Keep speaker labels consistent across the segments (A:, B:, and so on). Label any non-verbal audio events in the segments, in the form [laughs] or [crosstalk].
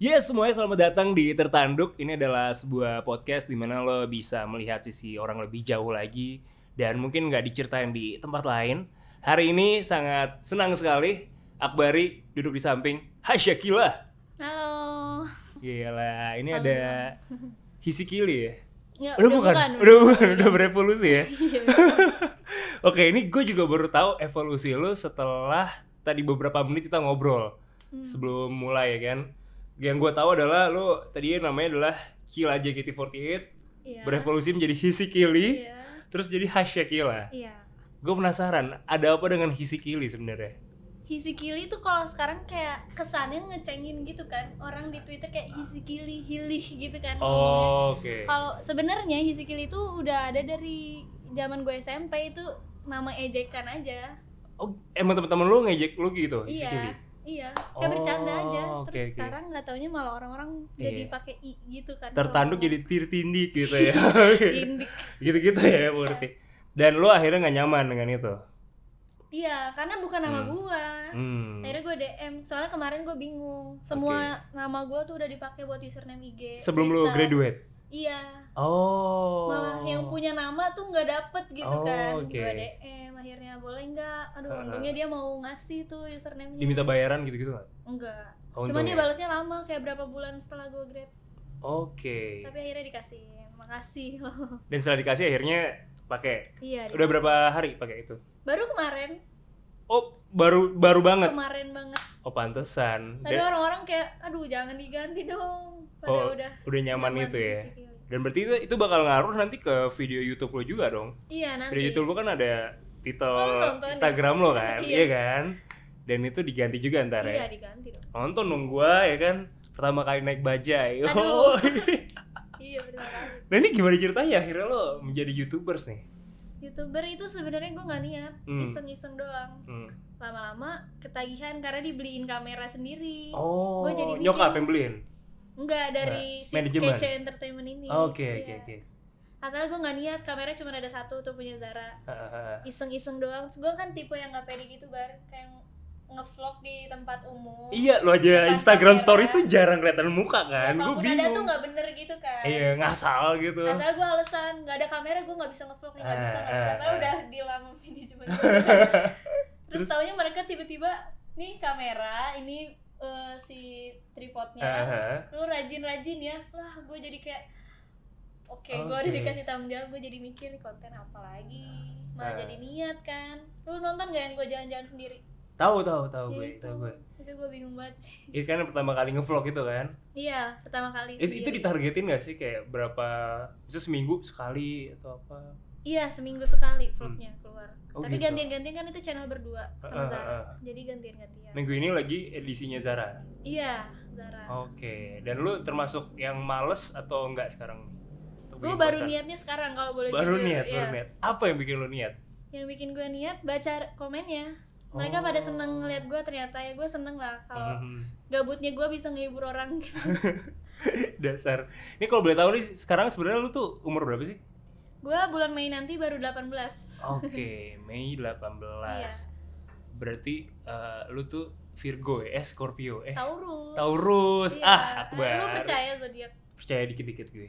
A: Iya, semuanya selamat datang di Tertanduk. Ini adalah sebuah podcast di mana lo bisa melihat sisi orang lebih jauh lagi dan mungkin nggak diceritain di tempat lain. Hari ini sangat senang sekali Akbari duduk di samping Hasyakila.
B: Halo.
A: Gila, ini ada Hisikili ya.
B: Ya,
A: Udah, bukan, udah bukan, udah berevolusi ya.
B: [laughs] Iya.
A: Oke, ini gue juga baru tahu evolusi lo setelah tadi beberapa menit kita ngobrol
B: Hmm.
A: sebelum mulai ya kan. Yang gue tahu adalah lo tadi namanya adalah Kila JKT48
B: Iya.
A: berevolusi menjadi Hisikili,
B: Iya.
A: terus jadi Hasyakila.
B: Iya.
A: Gue penasaran, ada apa dengan Hisikili sebenarnya?
B: Hisikili tuh kalau sekarang kayak kesannya ngecengin gitu kan. Orang di Twitter kayak hisikili hilih gitu kan.
A: Oh.
B: ngomongnya.
A: Oke.
B: Kalau sebenarnya hisikili itu udah ada dari zaman gue SMP itu nama ejekan aja.
A: Oh, emang teman-teman lo ngejek lo gitu Hisikili?
B: Iya. Iya, kayak
A: Oh,
B: bercanda aja. Terus
A: oke, oke.
B: sekarang nggak taunya malah orang-orang jadi
A: Iya.
B: pakai i gitu kan. kalau
A: Tertanduk
B: ngomong.
A: jadi tirtindik gitu ya. Oke.
B: [laughs] Tindik.
A: Gitu-gitu ya berarti. Dan lo akhirnya nggak nyaman dengan itu.
B: Iya, karena bukan nama
A: Hmm.
B: gua.
A: Hmm.
B: akhirnya gue DM soalnya kemarin gue bingung semua nama gue tuh udah dipakai buat username IG
A: Sebelum lo
B: Twitter.
A: graduate.
B: iya
A: Oh.
B: malah yang punya nama tuh nggak dapet gitu
A: Oh,
B: kan
A: oke.
B: gue DM akhirnya boleh nggak aduh
A: Ah.
B: untungnya dia mau ngasih tuh username nya
A: diminta bayaran gitu-gitu nggak?
B: enggak
A: Oh,
B: cuman
A: untung
B: dia
A: ya.
B: balasnya lama kayak berapa bulan setelah gue grade
A: Oke.
B: tapi akhirnya dikasih makasih loh [laughs]
A: Dan setelah dikasih akhirnya pakai.
B: iya
A: Udah
B: dikasih.
A: berapa hari pakai itu?
B: baru kemarin
A: Oh, baru baru banget.
B: kemarin banget
A: Oh, pantesan.
B: tadi
A: Dan-
B: orang-orang kayak aduh jangan diganti dong
A: Oh,
B: padahal udah
A: udah nyaman, itu ya.
B: basically.
A: Dan berarti itu, itu bakal ngaruh nanti ke video YouTube lo juga dong.
B: iya nanti
A: Video YouTube lo kan ada titel
B: Oh, nonton ya.
A: Instagram lo kan,
B: Iya.
A: iya kan? Dan itu diganti juga ntar
B: iya
A: ya.
B: diganti dong
A: Nonton dong gua ya kan. Pertama kali naik bajai. [laughs]
B: Aduh.
A: Oh.
B: iya benar banget
A: nah ini gimana ceritanya akhirnya lo menjadi YouTubers nih?
B: youtuber itu sebenarnya gue nggak niat
A: Hmm.
B: iseng-iseng doang
A: Hmm.
B: lama-lama ketagihan karena dibeliin kamera sendiri
A: Oh,
B: Gua jadi bikin.
A: nyokap yang beliin.
B: enggak dari si
A: Nah, Manajemen.
B: kece entertainment ini
A: Oke,
B: Iya.
A: oke, oke.
B: asalnya gue nggak niat kamera cuma ada satu tuh punya Zara
A: Hahaha.
B: iseng-iseng doang gue kan tipe yang nggak pede gitu bar kayak ngevlog di tempat umum
A: Iya, lo aja
B: Depan
A: Instagram
B: kamera.
A: stories tuh jarang kelihatan muka
B: Ya,
A: kan? Gue
B: kalaupun ada tuh
A: bingung.
B: nggak bener gitu kan
A: Iya, ngasal gitu.
B: Masalah gue alasan nggak ada kamera gue nggak bisa ngevlog nih nggak bisa nggak bisa
A: Ah,
B: padahal
A: ah,
B: udah [laughs] bilang sama
A: [laughs]
B: manajemen gue. terus
A: Terus?
B: taunya mereka tiba-tiba nih kamera ini eh, si tripodnya
A: Aha.
B: lu rajin-rajin ya lah gue jadi kayak oke gue
A: Oke.
B: udah dikasih tanggung jawab gue jadi mikir "Nih konten apa lagi malah
A: Ah.
B: jadi niat kan lu nonton gak yang gue jalan-jalan sendiri
A: Tahu, tahu, tahu
B: Ya
A: gue,
B: itu
A: tahu gue.
B: itu gue bingung banget sih [laughs]
A: Iya kan pertama kali ngevlog itu kan.
B: iya pertama kali
A: Itu, itu
B: sendiri.
A: ditargetin gak sih kayak berapa bisa seminggu sekali atau apa?
B: Iya seminggu sekali vlognya keluar.
A: Oh,
B: Tapi
A: gitu.
B: gantian-gantian kan itu channel berdua
A: Ah,
B: sama
A: ah,
B: Zara.
A: ah.
B: Jadi gantian-gantian.
A: Minggu ini lagi edisinya Zara.
B: Iya Zara.
A: Oh, Oke. Dan lu termasuk yang males atau enggak sekarang? Untuk
B: Gue
A: bikin
B: baru
A: konten?
B: niatnya sekarang kalau boleh
A: Baru
B: jujur,
A: niat,
B: iya.
A: baru niat. Apa yang bikin lu niat?
B: Yang bikin gue niat baca komennya. Mereka
A: Oh.
B: pada seneng ngeliat gue ternyata ya gue seneng lah kalau
A: Mhm.
B: gabutnya gue bisa ngehibur orang. [laughs]
A: [laughs] Dasar. Ini kalau boleh tahu nih sekarang sebenarnya lu tuh umur berapa sih?
B: gue bulan Mei nanti baru 18
A: Oke, [laughs] Mei 18.
B: Iya.
A: Berarti eh, lu tuh Virgo ya, eh Scorpio, eh
B: Taurus.
A: Taurus.
B: Iya.
A: Ah, Akbar.
B: Lu percaya zodiak?
A: Percaya dikit-dikit gue.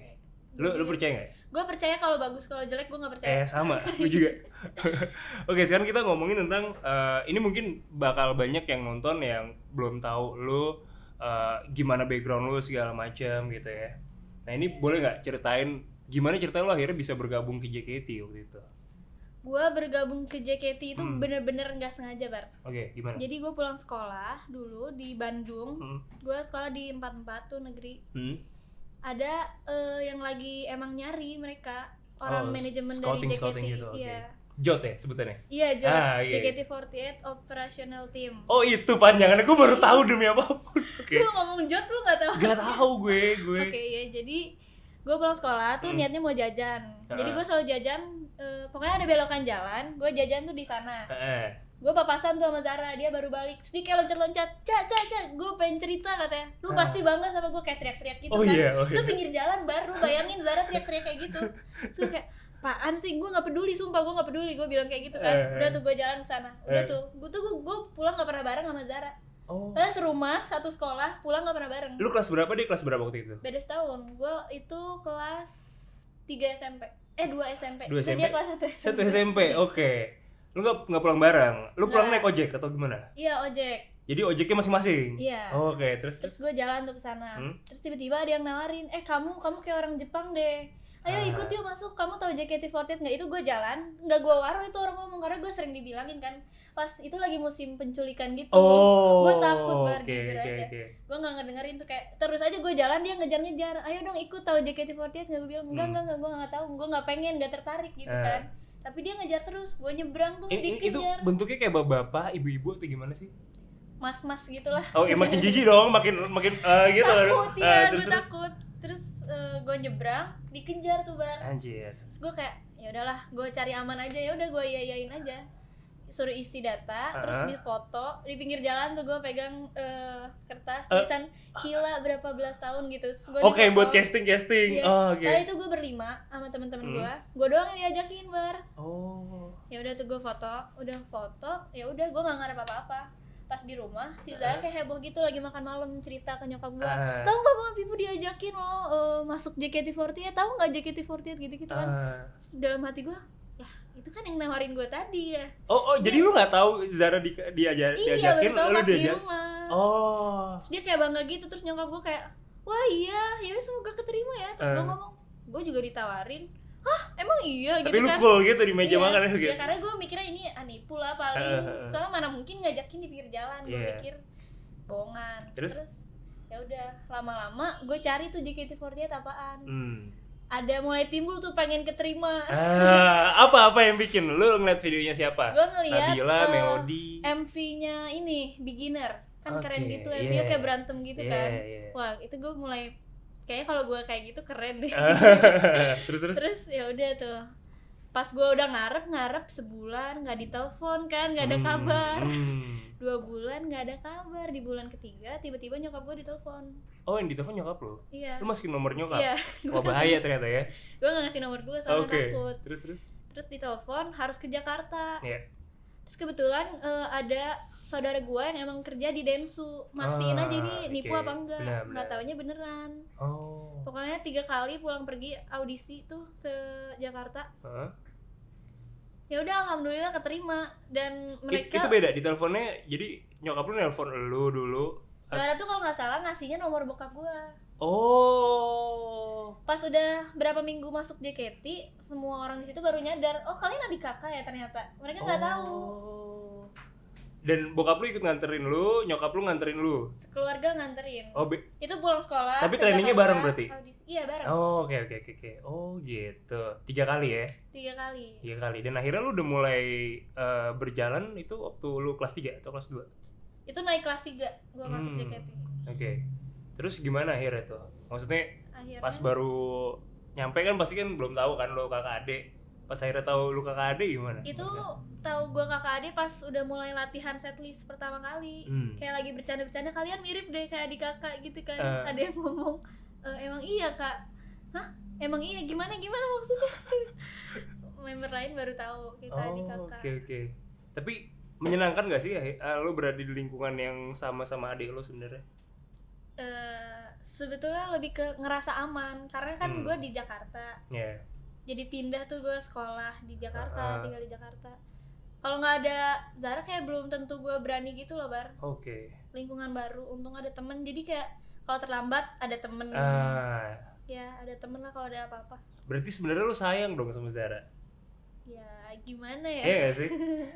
A: Lu lu percaya nggak?
B: Gue percaya kalau bagus kalau jelek gue nggak
A: Eh
B: percaya.
A: sama, gue
B: [laughs]
A: juga. Oke, sekarang kita ngomongin tentang eh, ini mungkin bakal banyak yang nonton yang belum tahu lu eh, gimana background lu segala macam gitu ya. Nah, ini boleh nggak ceritain gimana ceritanya lu akhirnya bisa bergabung ke JKT waktu itu?
B: Gue bergabung ke JKT itu
A: Hmm.
B: bener-bener nggak sengaja bar.
A: Oke, gimana?
B: Jadi gue pulang sekolah dulu di Bandung.
A: Hmm.
B: Gue sekolah di 44 tuh negeri.
A: Hmm.
B: Ada eh, yang lagi emang nyari mereka
A: Oh,
B: orang manajemen
A: scouting-
B: dari JKT.
A: scouting gitu, oke.
B: Iya.
A: Jot ya sebutannya?
B: Iya, Jo-
A: Ah, iya, iya.
B: JKT48 Operational Team.
A: Oh itu panjangannya, gue baru tahu demi
B: [laughs]
A: apapun. Oke.
B: Lu ngomong Jot lu gak tahu.
A: Gak tahu gue, gue.
B: Oke, ya. Jadi gue pulang sekolah tuh
A: Hmm.
B: niatnya mau jajan. Jadi
A: Ah.
B: gue selalu jajan eh, pokoknya ada belokan jalan, gue jajan tuh di sana.
A: Heeh.
B: gue papasan tuh sama Zara dia baru balik terus dia kayak loncat-loncat cak cak cak gue pengen cerita katanya lu
A: Ah.
B: pasti bangga sama gue kayak teriak-teriak gitu
A: Oh
B: kan
A: iya, oh
B: itu
A: iya.
B: pinggir jalan baru bayangin Zara teriak-teriak kayak gitu terus kayak apaan sih gue nggak peduli sumpah gue nggak peduli gue bilang kayak gitu kan
A: Eh.
B: udah tuh gue jalan ke sana udah
A: Eh.
B: tuh gue tuh gue pulang nggak pernah bareng sama Zara
A: Oh.
B: Padahal serumah, satu sekolah, pulang nggak pernah bareng.
A: Lu kelas berapa dia kelas berapa waktu itu?
B: Beda setahun. Gue itu kelas 3 SMP. Eh 2 SMP.
A: Dua
B: Dan
A: SMP?
B: dia kelas 1 SMP.
A: Satu SMP. Oke. Lu nggak nggak pulang bareng. Lu pulang
B: Nggak.
A: naik ojek atau gimana?
B: Iya, ojek.
A: Jadi ojeknya masing-masing.
B: Iya.
A: Oke, terus
B: Terus gue jalan tuh ke sana.
A: Hmm?
B: Terus tiba-tiba ada yang nawarin, "Eh, kamu kamu kayak orang Jepang deh." Ayo
A: Ah.
B: ikut yuk masuk, kamu tahu JKT48 nggak? Itu gue jalan, nggak gue waro itu orang ngomong karena gue sering dibilangin kan Pas itu lagi musim penculikan gitu
A: Oh.
B: Gua takut, Bar,
A: Oke,
B: jujur
A: oke,
B: aja.
A: oke.
B: gue nggak ngedengerin tuh kayak terus aja gue jalan dia ngejar-ngejar ayo dong ikut tahu JKT48 nggak gue bilang enggak
A: Hmm.
B: enggak enggak gue nggak tahu gue nggak pengen nggak tertarik gitu
A: Eh.
B: kan tapi dia ngejar terus gue nyebrang tuh
A: Ini, ini itu
B: dikejar
A: bentuknya kayak bapak-bapak, ibu-ibu atau gimana sih?
B: mas-mas gitulah
A: Oh, ya
B: [laughs]
A: makin jijik dong, makin makin eh, gitu.
B: takut
A: Eh,
B: ya
A: terus, terus.
B: gue takut terus gue nyebrang dikejar tuh bar
A: Anjir.
B: terus gue kayak ya udahlah gue cari aman aja ya udah gue yayain aja suruh isi data terus
A: Ah.
B: di foto di pinggir jalan tuh gue pegang eh, kertas
A: Eh.
B: tulisan gila berapa belas tahun gitu Terus gua
A: Oke,
B: difoto.
A: buat casting-casting.
B: Iya.
A: Oh, oke.
B: Nah itu gue berlima sama teman-teman
A: Hmm.
B: gue. Gue doang yang diajakin bar.
A: Oh.
B: Ya udah tuh gue foto, udah foto. Ya udah gue nggak ngarep apa-apa. Pas di rumah, si Zara kayak heboh gitu lagi makan malam cerita ke nyokap gue.
A: Ah,
B: Tahu nggak mama Pipu diajakin lo eh, masuk JKT48? Tahu nggak JKT48 gitu-gitu kan?
A: ah.
B: Terus Dalam hati gue, lah itu kan yang nawarin gue tadi ya.
A: Oh, oh, jadi lu nggak tahu Zara di, diajar,
B: iya
A: diajakin,
B: baru tahu
A: lu
B: pas di
A: diajak.
B: rumah.
A: Oh.
B: Terus dia kayak bangga gitu terus nyokap gue kayak wah iya ya wes, semoga keterima ya terus gue
A: Eh.
B: ngomong gue juga ditawarin hah emang iya
A: Tapi
B: gitu
A: lu
B: kan
A: cool gitu di meja
B: Iya,
A: makan
B: iya,
A: gitu.
B: karena gue mikirnya ini anipu lah
A: Eh,
B: paling
A: eh, eh.
B: soalnya mana mungkin ngajakin di pinggir jalan gue
A: Iya.
B: pikir bohongan
A: Terus?
B: ya udah lama-lama gue cari tuh JKT48 apaan
A: Hmm.
B: ada mulai timbul tuh pengen keterima
A: Ah, apa-apa yang bikin lu ngeliat videonya siapa?
B: gue ngeliat
A: Nabila,
B: eh,
A: Melody.
B: MV-nya ini beginner kan keren
A: Oke,
B: gitu
A: iya.
B: MV-nya kayak berantem gitu
A: Iya,
B: kan
A: iya.
B: Wah, itu gue mulai kayaknya kalau gue kayak gitu keren
A: [laughs]
B: deh.
A: Eh. terus terus.
B: [laughs] Terus ya udah tuh. Pas gue udah ngarep ngarep sebulan nggak ditelepon kan, nggak ada
A: Hmm,
B: kabar.
A: hmm.
B: Dua bulan nggak ada kabar. Di bulan ketiga tiba-tiba nyokap gue ditelepon.
A: Oh, yang ditelepon nyokap lu.
B: Iya.
A: Lu masukin nomor nyokap.
B: Iya.
A: Wah, bahaya ternyata ya.
B: Gue nggak ngasih nomor gue soalnya
A: Oke.
B: takut.
A: Terus terus.
B: Terus ditelepon harus ke Jakarta.
A: Iya.
B: Terus kebetulan eh, ada saudara gue yang emang kerja di Densu. Mastiin
A: Ah,
B: aja ini nipu
A: oke.
B: apa enggak.
A: Benar,
B: Nggak
A: benar.
B: taunya beneran.
A: Oh.
B: Pokoknya tiga kali pulang pergi audisi tuh ke Jakarta.
A: Hah?
B: Ya udah alhamdulillah keterima dan
A: It-
B: mereka
A: itu beda di teleponnya. Jadi nyokap lu nelpon lu dulu.
B: Zara tuh kalau nggak salah ngasihnya nomor bokap gua.
A: Oh.
B: Pas udah berapa minggu masuk JKT, semua orang di situ baru nyadar, oh kalian adik kakak ya ternyata. Mereka nggak tahu.
A: Oh. Dan bokap lu ikut nganterin lu, nyokap lu nganterin lu.
B: Sekeluarga nganterin.
A: Oh, be-
B: Itu pulang sekolah.
A: Tapi
B: ke
A: trainingnya
B: Jakarta,
A: bareng berarti?
B: audisi. Iya bareng.
A: oh, oke oke oke oke. Oh, gitu. Tiga kali ya.
B: Tiga kali.
A: Tiga kali. Dan akhirnya lu udah mulai eh, berjalan itu waktu lu kelas 3 atau kelas 2. Oke.
B: Itu naik kelas tiga gua masuk
A: Hmm.
B: JKT.
A: Terus gimana akhirnya tuh? Maksudnya
B: Akhirnya
A: pas baru nyampe kan pasti kan belum tahu kan lu kakak adik. Pas akhirnya tahu lu kakak adik gimana?
B: itu tahu gua kakak adik pas udah mulai latihan setlist pertama kali.
A: Hmm.
B: kayak lagi bercanda-bercanda kalian mirip deh kayak adik kakak gitu kan
A: Eh.
B: ada yang ngomong "E, emang iya kak hah emang iya gimana gimana maksudnya [laughs] member lain baru tahu kita
A: Oh,
B: adik
A: oke
B: kakak
A: oke. Tapi menyenangkan gak sih eh, eh, lu berada di lingkungan yang sama-sama adik lu sebenarnya?
B: Eh, sebetulnya lebih ke ngerasa aman karena kan
A: Hmm.
B: gue di Jakarta
A: Ya.
B: jadi pindah tuh gue sekolah di
A: Ah.
B: Jakarta tinggal di Jakarta kalau nggak ada Zara kayak belum tentu gue berani gitu loh bar
A: Oke.
B: lingkungan baru untung ada temen jadi kayak kalau terlambat ada temen
A: Ah,
B: ya ada temen lah kalau ada apa-apa
A: berarti sebenarnya lu sayang dong sama Zara.
B: ya gimana ya
A: Iya gak sih?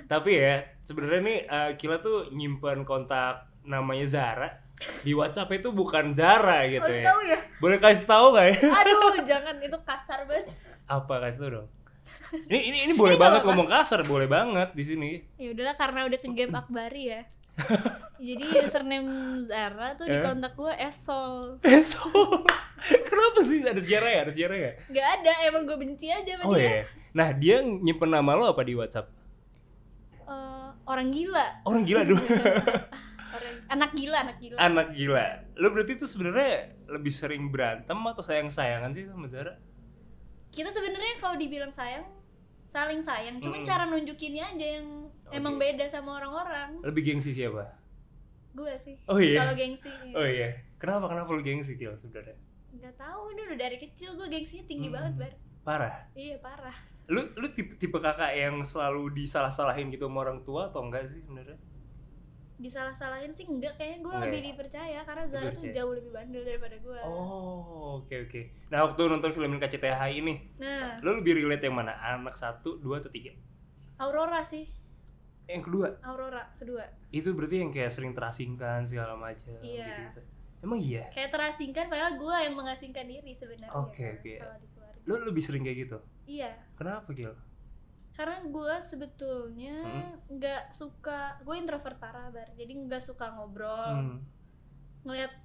A: Tapi ya, sebenarnya nih eh, Kila tuh nyimpen kontak namanya Zara di WhatsApp itu bukan Zara gitu
B: Kalau
A: ya.
B: tahu ya.
A: Boleh kasih tahu gak ya?
B: [laughs] Aduh, jangan itu kasar banget.
A: Apa kasih tahu dong? Ini ini ini boleh
B: Ini gak
A: banget
B: apa-apa.
A: ngomong kasar, boleh banget di sini.
B: Ya udahlah karena udah ke game Akbari
A: [laughs]
B: ya. Jadi username Zara tuh di
A: Eh?
B: kontak gue Esol.
A: Eh, so, kenapa sih ada sejarah ya? Ada sejarah ya?
B: Gak ada, emang gue benci aja sama
A: Oh iya.
B: dia.
A: Nah, dia nyimpen nama lo apa di WhatsApp?
B: Eh, orang gila,
A: Orang gila dulu.
B: orang anak gila, anak gila.
A: Anak gila. Lo berarti itu sebenarnya lebih sering berantem atau sayang-sayangan sih sama Zara?
B: Kita sebenarnya kalau dibilang sayang, saling sayang. Cuman
A: Mm-mm.
B: cara nunjukinnya aja yang
A: Oke.
B: emang beda sama orang-orang.
A: Lebih gengsi siapa?
B: gue sih
A: Oh iya?
B: kalau gengsi
A: Oh iya. Kenapa kenapa lu gengsi Gil sebenarnya?
B: nggak tahu dulu dari kecil gue gengsinya tinggi
A: Hmm.
B: banget bar
A: Parah.
B: iya parah
A: Lu lu tipe, tipe kakak yang selalu disalah-salahin gitu sama orang tua atau enggak sih sebenarnya?
B: disalah-salahin sih enggak kayaknya gue
A: Enggak
B: lebih
A: ya?
B: dipercaya karena Zara tuh
A: Dipercaya.
B: jauh lebih bandel daripada gue
A: Oh, oke oke. Nah, waktu nonton film KCTH ini,
B: nah
A: lu lebih relate yang mana? Anak satu, dua atau tiga?
B: Aurora sih
A: Yang kedua.
B: Aurora kedua
A: Itu berarti yang kayak sering terasingkan segala macam
B: Iya.
A: gitu-gitu. Emang iya?
B: kayak terasingkan padahal gue yang mengasingkan diri sebenarnya
A: Oke, oke.
B: kalau dikeluarin
A: Lu lebih sering kayak gitu.
B: iya
A: Kenapa, Gil?
B: karena gue sebetulnya
A: Hmm.
B: nggak suka gue introvert parah bar jadi nggak suka ngobrol
A: Hmm.
B: ngelihat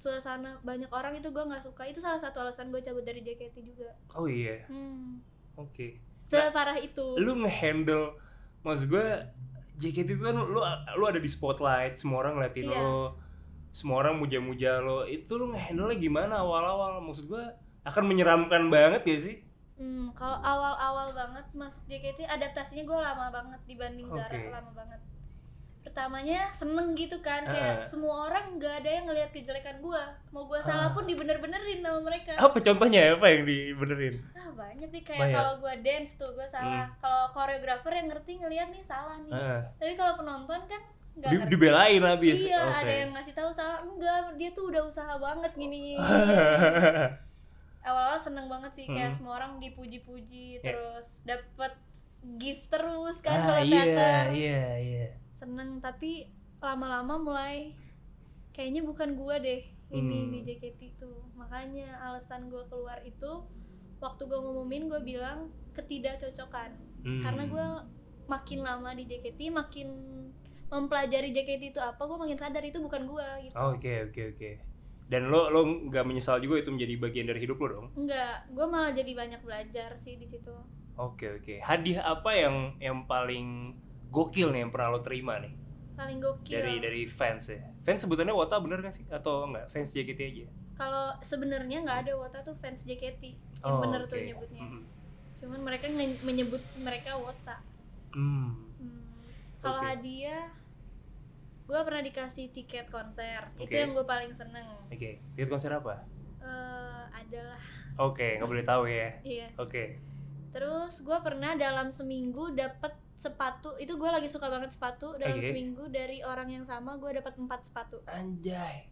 B: suasana banyak orang itu gue nggak suka itu salah satu alasan gue cabut dari JKT juga
A: Oh iya.
B: hmm.
A: Oke.
B: separah itu
A: Nah, Lu ngehandle maksud gue JKT itu kan lu lu ada di spotlight, semua orang ngeliatin
B: Iya.
A: lo. Semua orang muja-muja lo. Itu lu ngehandle gimana awal-awal? Maksud gue akan menyeramkan banget gak sih?
B: Hmm, kalau awal-awal banget masuk JKT adaptasinya gue lama banget dibanding Zara
A: Oke.
B: lama banget. Pertamanya seneng gitu kan
A: Ah.
B: kayak semua orang nggak ada yang ngelihat kejelekan gue. Mau gue
A: Ah.
B: salah pun dibener-benerin sama mereka.
A: Apa contohnya apa yang dibenerin?
B: Ah banyak nih kayak
A: Banyak. Hmm.
B: kalau gue dance tuh gue salah. Kalau koreografer yang ngerti ngelihat nih salah nih.
A: Heeh.
B: Tapi kalau penonton kan
A: Eh.
B: nggak
A: Ah, Di-
B: ngerti.
A: dibelain habis.
B: Iya
A: Oke.
B: ada
A: [laughs]
B: yang ngasih tahu salah enggak dia tuh udah usaha banget gini. awal-awal seneng banget sih kayak
A: Hmm.
B: semua orang dipuji-puji
A: Ya.
B: terus dapet gift terus kan
A: Ah,
B: kalau
A: iya,
B: teater
A: iya, iya.
B: seneng tapi lama-lama mulai kayaknya bukan gua deh ini
A: Hmm.
B: di JKT itu makanya alasan gua keluar itu waktu gua ngumumin gua bilang ketidakcocokan
A: Hmm.
B: karena gua makin lama di JKT makin mempelajari JKT itu apa gua makin sadar itu bukan gua gitu
A: Oh, Oke, oke, oke. Dan lo lo nggak menyesal juga itu menjadi bagian dari hidup lo dong?
B: enggak gua malah jadi banyak belajar sih di situ
A: Oke oke. Hadiah apa yang yang paling gokil nih yang pernah lo terima nih
B: paling gokil
A: dari dari fans ya? Fans sebutannya Wota bener gak sih atau enggak? Fans JKT aja.
B: kalau sebenarnya nggak ada Wota tuh fans JKT yang
A: Oh,
B: bener tuh
A: oke.
B: nyebutnya
A: Mm-mm.
B: cuman mereka nge- menyebut mereka Wota
A: Hmm.
B: Hmm. kalau
A: Oke.
B: hadiah gue pernah dikasih tiket konser itu
A: Oke.
B: yang gue paling seneng
A: Oke. Tiket konser apa?
B: Eh, adalah
A: Oke nggak boleh tahu ya.
B: iya
A: Oke.
B: terus gue pernah dalam seminggu dapet sepatu itu gue lagi suka banget sepatu dalam
A: Oke.
B: seminggu dari orang yang sama gue dapat empat sepatu
A: Anjay.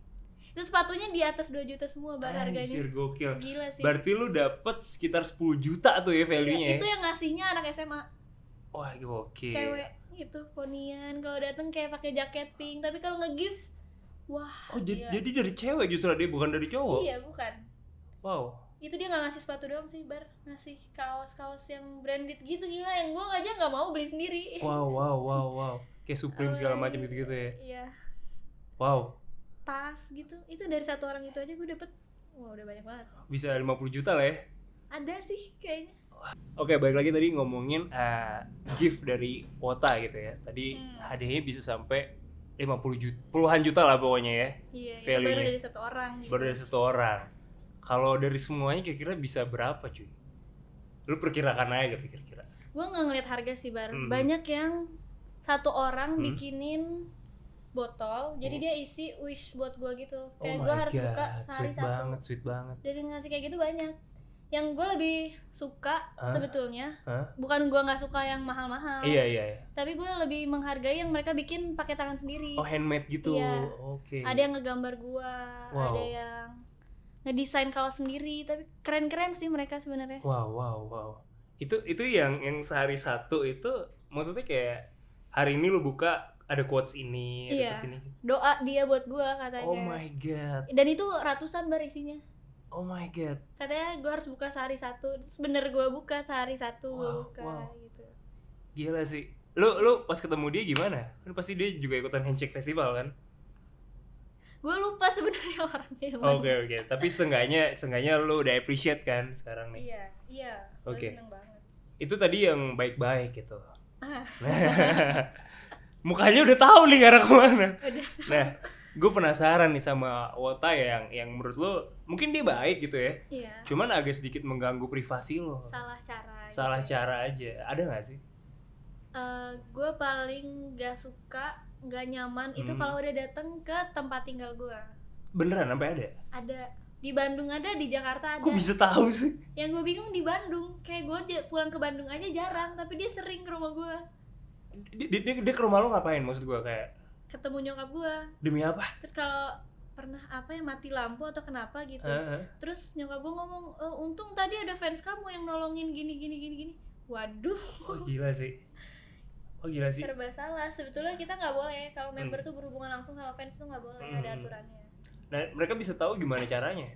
B: itu sepatunya di atas 2 juta semua bar harganya
A: Anjir gokil.
B: gila sih
A: Berarti lo dapet sekitar 10 juta tuh ya
B: Iya,
A: value-nya.
B: itu
A: ya? Iya.
B: yang ngasihnya anak SMA
A: Wah gokil.
B: cewek gitu ponian kalau dateng kayak pakai jaket pink tapi kalau nge-gift wah
A: Oh jadi,
B: Iya.
A: jadi dari cewek justru dia bukan dari cowok.
B: iya bukan
A: Wow.
B: itu dia nggak ngasih sepatu doang sih bar ngasih kaos-kaos yang branded gitu gila yang gue aja nggak mau beli sendiri
A: Wow wow wow wow. Kayak Supreme segala
B: Awalnya
A: macam gitu-gitu ya.
B: iya
A: Wow.
B: tas gitu itu dari satu orang itu aja gue dapet wah udah banyak banget
A: Bisa 50 juta lah ya.
B: ada sih kayaknya
A: Oke, balik lagi tadi ngomongin eh, gift dari Wota gitu ya. Tadi
B: Hmm.
A: hadiahnya bisa sampai 50 juta, puluhan juta lah pokoknya ya.
B: iya itu
A: Value-nya.
B: baru dari satu orang gitu.
A: Baru dari satu orang. Kalau dari semuanya kira-kira bisa berapa cuy? Lu perkirakan aja gitu kira-kira.
B: gue nggak ngeliat harga sih bar
A: Mhm.
B: banyak yang satu orang
A: Hmm.
B: bikinin botol
A: Hmm.
B: jadi dia isi wish buat gue gitu
A: Oh
B: kayak
A: my
B: gue harus
A: god,
B: buka sehari
A: sweet
B: satu
A: banget, sweet banget.
B: dari ngasih kayak gitu banyak yang gue lebih suka
A: Hah?
B: sebetulnya
A: Hah?
B: bukan gue nggak suka yang mahal-mahal
A: Iya, iya, iya.
B: tapi gue lebih menghargai yang mereka bikin pakai tangan sendiri
A: Oh, handmade gitu.
B: Iya.
A: Oke.
B: ada yang ngegambar gue
A: Wow.
B: ada yang ngedesain kaos sendiri tapi keren-keren sih mereka sebenarnya
A: Wow, wow, wow. Itu itu yang yang sehari satu itu maksudnya kayak hari ini lu buka ada quotes ini, ada
B: Iya.
A: quotes ini.
B: doa dia buat gue katanya
A: Oh my god.
B: dan itu ratusan bar isinya
A: Oh my god.
B: katanya gue harus buka sehari satu terus bener gue buka sehari satu gue
A: Wow,
B: buka
A: wow.
B: gitu
A: Gila sih. Lu lu pas ketemu dia gimana? Kan pasti dia juga ikutan handshake festival kan?
B: gue lupa sebenarnya [laughs] orangnya yang
A: Oke, oke. Tapi seenggaknya seenggaknya lu udah appreciate kan sekarang
B: mana.
A: nih.
B: iya iya gue
A: Oke.
B: seneng banget [laughs]
A: Itu tadi yang baik-baik gitu. [laughs]
B: Ah.
A: Mukanya udah tahu nih arah kemana.
B: udah
A: Nah, gue penasaran nih sama Wota ya, yang yang menurut lu mungkin dia baik gitu ya.
B: iya
A: Cuman agak sedikit mengganggu privasi lo.
B: salah cara
A: Salah
B: gitu.
A: cara aja. Ada nggak sih?
B: gue Eh, paling gak suka gak nyaman itu
A: Hmm.
B: kalau udah datang ke tempat tinggal gue
A: Beneran sampai ada?
B: ada di Bandung ada di Jakarta ada
A: Kok bisa tahu sih?
B: yang gue bingung di Bandung kayak gue pulang ke Bandung aja jarang tapi dia sering ke rumah gue
A: Dia, dia, dia- dia ke rumah lo ngapain maksud gua kayak
B: ketemu nyokap gue
A: demi apa?
B: terus kalau pernah apa ya mati lampu atau kenapa gitu
A: Heeh.
B: terus nyokap gue ngomong "E, untung tadi ada fans kamu yang nolongin gini gini gini gini waduh
A: Oh gila sih. Oh gila sih.
B: serba salah sebetulnya kita nggak boleh kalau member
A: Hmm.
B: tuh berhubungan langsung sama fans tuh nggak boleh
A: Hmm.
B: ada aturannya
A: Nah, mereka bisa tahu gimana caranya.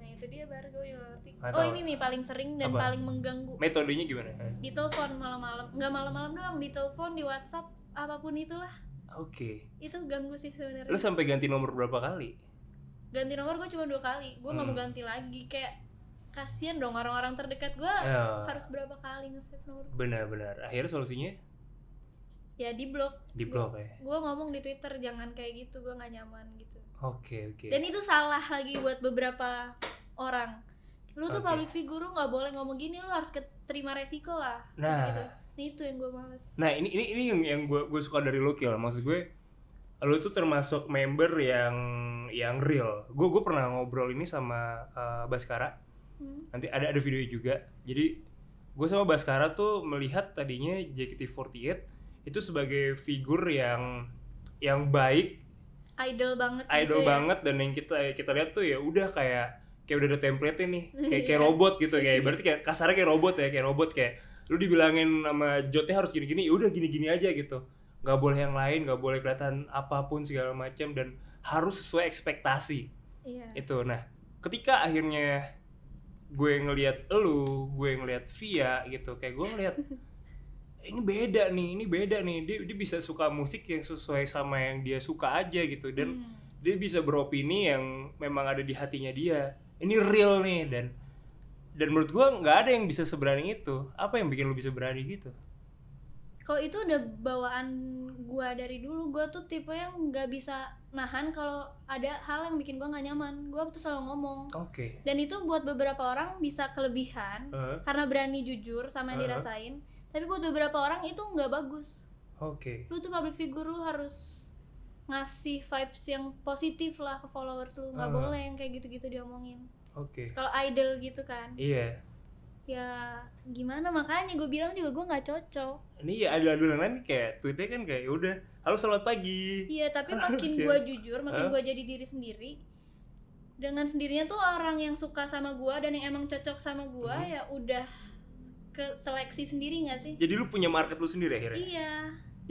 B: nah itu dia baru gue juga ngerti
A: Nggak
B: oh
A: tahu.
B: ini nih paling sering dan
A: Apa?
B: paling mengganggu
A: Metodenya gimana?
B: ditelepon malam-malam nggak malam-malam doang ditelepon di WhatsApp apapun itulah
A: Oke.
B: itu ganggu sih sebenarnya
A: Lo sampai ganti nomor berapa kali?
B: ganti nomor gue cuma dua kali gue nggak mau
A: Hmm.
B: ganti lagi kayak kasihan dong orang-orang terdekat gue
A: Nah,
B: harus berapa kali nge-save nomor
A: Oh, benar-benar. Akhirnya solusinya
B: ya di blok
A: di blok ya.
B: gue ngomong di twitter jangan kayak gitu gue nggak nyaman gitu
A: Oke, oke.
B: dan itu salah lagi buat beberapa orang lu tuh
A: Oke.
B: public figure lu nggak boleh ngomong gini lu harus ke- terima resiko lah
A: Nah,
B: gitu nah itu yang gue males
A: Nah ini ini ini yang yang gue gue suka dari lo Kil maksud gue lo tuh termasuk member yang yang real. Gue gue pernah ngobrol ini sama eh, Baskara
B: Hmm.
A: nanti ada ada videonya juga. Jadi gue sama Baskara tuh melihat tadinya JKT48 itu sebagai figur yang yang baik,
B: idol banget
A: idol
B: gitu
A: banget dan yang kita kita lihat tuh ya udah kayak kayak udah ada template nih kayak kayak
B: Iya.
A: robot gitu kayak berarti kayak kasarnya kayak robot ya kayak robot kayak lu dibilangin sama jotnya harus gini-gini ya udah gini-gini aja gitu nggak boleh yang lain nggak boleh kelihatan apapun segala macam dan harus sesuai ekspektasi
B: ya iya
A: itu nah ketika akhirnya gue ngelihat elu gue ngelihat Via gitu kayak gue
B: [laughs]
A: ngelihat ini beda nih ini beda nih dia dia bisa suka musik yang sesuai sama yang dia suka aja gitu dan
B: Hmm.
A: dia bisa beropini yang memang ada di hatinya dia ini real nih dan dan menurut gua nggak ada yang bisa seberani itu apa yang bikin lu bisa berani gitu
B: kalau itu udah bawaan gua dari dulu gua tuh tipe yang nggak bisa nahan kalau ada hal yang bikin gua nggak nyaman gua tuh selalu ngomong
A: oke
B: dan itu buat beberapa orang bisa kelebihan
A: Heeh,
B: karena berani jujur sama yang
A: Uh-uh.
B: dirasain tapi buat beberapa orang itu nggak bagus
A: oke
B: lu tuh public figure lu harus ngasih vibes yang positif lah ke followers lu nggak
A: Uh.
B: boleh yang kayak gitu-gitu diomongin
A: oke
B: kalau idol gitu kan
A: iya
B: ya gimana makanya gue bilang juga gue nggak cocok
A: ini ya ada aduan lain kayak tweetnya kan kayak udah halo selamat pagi
B: Iya, tapi
A: [laughs] Harus
B: makin
A: ya.
B: gue jujur, makin
A: Hah?
B: gue jadi diri sendiri. Dengan sendirinya tuh orang yang suka sama gue dan yang emang cocok sama gue
A: Mhm.
B: ya udah ke seleksi sendiri nggak sih?
A: jadi lu punya market lu sendiri akhirnya
B: Iya,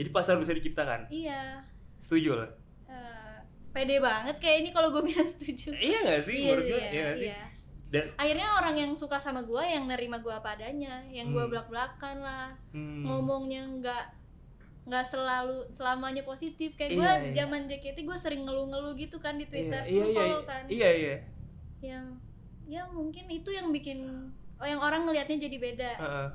A: jadi pasar bisa diciptakan
B: iya.
A: setuju lah
B: Eh, pede banget kayak ini kalau gue [laughs] bilang setuju.
A: iya nggak sih menurut gua iya nggak sih
B: iya.
A: Dan-
B: Akhirnya orang yang suka sama gue yang nerima gue apa adanya, yang gue
A: Hmm.
B: belak-belakan lah,
A: Hmm.
B: ngomongnya nggak nggak selalu selamanya positif kayak gue
A: Iya, iya.
B: zaman JKT gue sering ngeluh-ngeluh gitu kan di Twitter,
A: iya
B: Lu
A: iya
B: follow kan?
A: iya iya
B: yang ya mungkin itu yang bikin oh, yang orang ngelihatnya jadi beda
A: Heeh.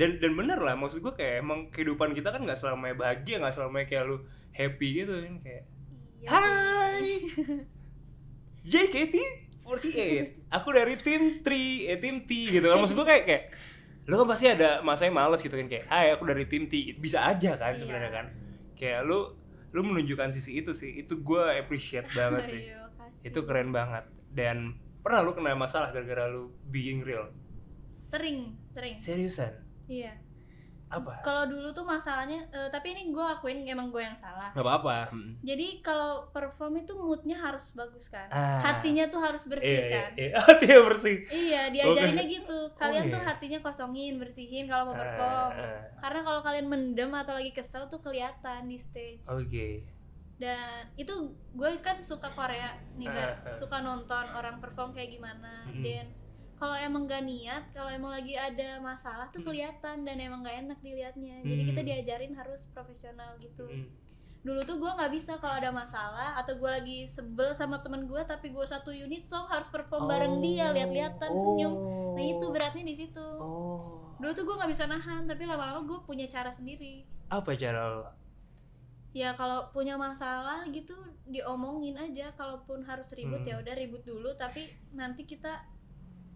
A: dan dan bener lah maksud gue kayak emang kehidupan kita kan nggak selamanya bahagia nggak selamanya kayak lu happy gitu kan kayak
B: Iya [laughs]
A: Hai JKT 48 aku dari tim 3 eh tim T gitu kan maksud gue kayak kayak lu kan pasti ada masanya males gitu kan kayak hai aku dari tim T bisa aja kan sebenarnya
B: Iya.
A: kan kayak lu lu menunjukkan sih itu sih itu gue appreciate banget
B: sih. [laughs]
A: sih
B: Ayo, kasih.
A: itu keren banget dan pernah lu kena masalah gara-gara lu being real
B: sering sering
A: seriusan
B: iya
A: apa
B: kalau dulu tuh masalahnya eh, tapi ini gue akuin emang gue yang salah
A: Gak apa-apa.
B: jadi kalau perform itu moodnya harus bagus kan
A: Ah.
B: hatinya tuh harus bersih
A: Iya,
B: kan
A: iya, [laughs] iya. Hatinya bersih.
B: iya diajarinnya gitu kalian tuh
A: Oh, iya.
B: hatinya kosongin bersihin kalau mau
A: Ah,
B: perform
A: ah.
B: karena kalau kalian mendem atau lagi kesel tuh kelihatan di stage
A: Oh. Oke.
B: dan itu gue kan suka Korea nih Bar.
A: Ah, ah.
B: suka nonton orang perform kayak gimana
A: Mm-mm.
B: dance kalau emang gak niat kalau emang lagi ada masalah tuh
A: Mm.
B: kelihatan dan emang gak enak dilihatnya jadi kita
A: Mm.
B: diajarin harus profesional gitu
A: Mm.
B: dulu tuh gue nggak bisa kalau ada masalah atau gue lagi sebel sama temen gue tapi gue satu unit song harus perform bareng dia lihat-lihatan
A: Oh.
B: senyum nah itu beratnya di situ
A: Oh.
B: dulu tuh gue nggak bisa nahan tapi lama-lama gue punya cara sendiri
A: Apa cara lo?
B: ya kalau punya masalah gitu diomongin aja kalaupun harus ribut
A: Hmm.
B: ya udah ribut dulu tapi nanti kita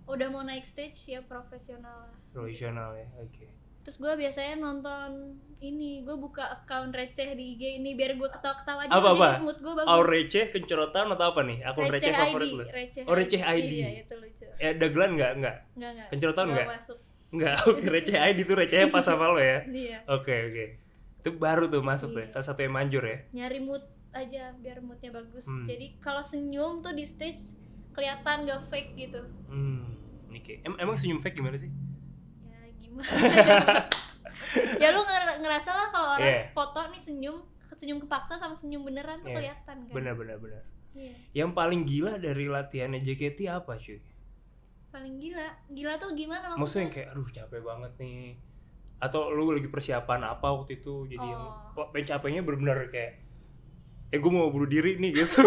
B: udah mau naik stage ya profesional lah
A: Profesional ya. Oke.
B: itu terus gue biasanya nonton ini gue buka account receh di IG ini biar gue ketawa-ketawa aja
A: Apa, apa?
B: jadi mood gue bagus
A: Aur receh, kencorotan atau apa nih? Akun receh,
B: ID,
A: favorit lu?
B: receh
A: Oh, receh ID.
B: iya itu lucu
A: Eh, dagelan nggak? Nggak?
B: nggak nggak
A: Kencorotan
B: nggak
A: nggak?
B: masuk
A: Nggak, [laughs] oke receh ID tuh recehnya pas sama lo ya?
B: iya
A: Oke, oke. Itu baru tuh masuk tuh,
B: Iya.
A: salah satu yang manjur ya?
B: nyari mood aja biar moodnya bagus
A: Hmm.
B: jadi kalau senyum tuh di stage kelihatan gak fake gitu
A: Hmm, oke. Em- emang senyum fake gimana sih?
B: ya
A: [laughs]
B: gimana ya lu nger- ngerasa lah kalau orang
A: Iya.
B: foto nih senyum senyum kepaksa sama senyum beneran
A: Iya.
B: tuh kelihatan kan
A: Benar, benar, benar.
B: Iya.
A: Yang paling gila dari latihannya JKT apa cuy?
B: paling gila gila tuh gimana
A: Maksudnya
B: maksudnya
A: yang kayak, aduh capek banget nih Atau lu lagi persiapan apa waktu itu Jadi yang
B: Oh.
A: kok pengen capeknya bener-bener kayak Eh gue mau bunuh diri nih
B: [laughs]
A: gitu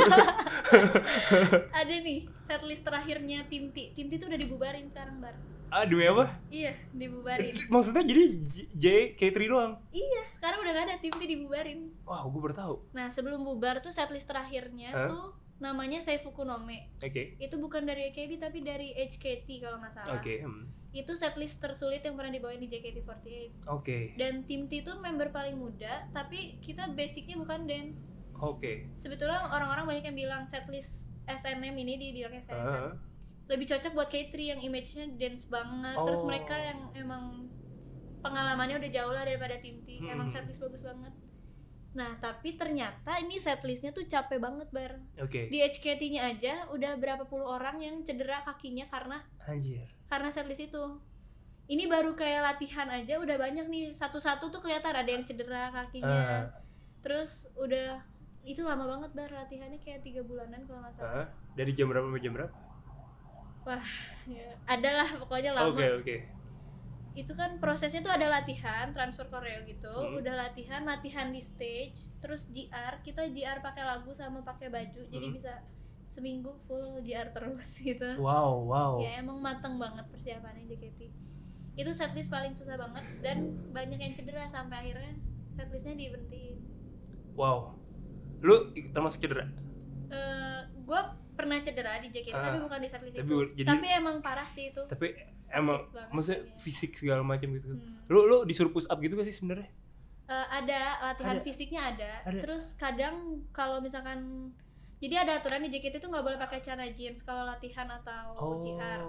B: ada nih setlist terakhirnya tim T tim T tuh udah dibubarin sekarang bar
A: Ah demi apa?
B: iya dibubarin
A: [laughs] Maksudnya jadi J- JK3 doang?
B: iya sekarang udah gak ada tim T dibubarin
A: Wah gue baru tahu.
B: nah sebelum bubar tuh setlist terakhirnya
A: Hah?
B: tuh namanya Seifuku no Me
A: Oke
B: itu bukan dari AKB tapi dari HKT kalau nggak salah
A: Oke hmm.
B: itu setlist tersulit yang pernah dibawain di JKT48
A: Oke
B: dan tim T itu member paling muda tapi kita basicnya bukan dance
A: Oke
B: sebetulnya orang-orang banyak yang bilang setlist SNM ini di bilang SNM
A: Ah,
B: lebih cocok buat K3 yang image-nya dance banget
A: Oh.
B: terus mereka yang emang pengalamannya udah jauh lah daripada tim T emang
A: Hmm.
B: setlist bagus banget nah tapi ternyata ini setlistnya tuh capek banget bar
A: Oke
B: di HKT-nya aja udah berapa puluh orang yang cedera kakinya karena
A: Anjir
B: karena setlist itu ini baru kayak latihan aja udah banyak nih satu-satu tuh kelihatan ada yang cedera
A: Ah.
B: kakinya terus udah itu lama banget bar latihannya kayak tiga bulanan kalau nggak
A: Ah,
B: salah
A: Dari jam berapa sampai jam berapa?
B: ya, adalah pokoknya lama
A: Oke
B: Iya.
A: oke
B: itu kan prosesnya tuh ada latihan transfer koreo gitu
A: Hmm.
B: udah latihan latihan di stage terus GR kita GR pakai lagu sama pakai baju jadi
A: Hmm.
B: bisa seminggu full GR terus gitu
A: Wow wow
B: ya emang mateng banget persiapannya JKT itu setlist paling susah banget dan banyak yang cedera sampai akhirnya setlistnya diberhentiin
A: Wow Lu termasuk cedera?
B: Eh gue pernah cedera di JKT
A: Ah,
B: tapi bukan di setlist
A: tapi
B: itu
A: u- jadi-
B: tapi emang parah sih itu
A: Tapi emang
B: Sakit banget
A: Maksudnya
B: kayaknya.
A: fisik segala macam gitu
B: Hmm.
A: lu lu disuruh push up gitu gak sih sebenarnya
B: Eh, ada latihan
A: Ada.
B: fisiknya ada.
A: Ada.
B: terus kadang kalau misalkan jadi ada aturan di JKT itu nggak boleh pakai celana jeans kalau latihan atau
A: Oh.
B: GR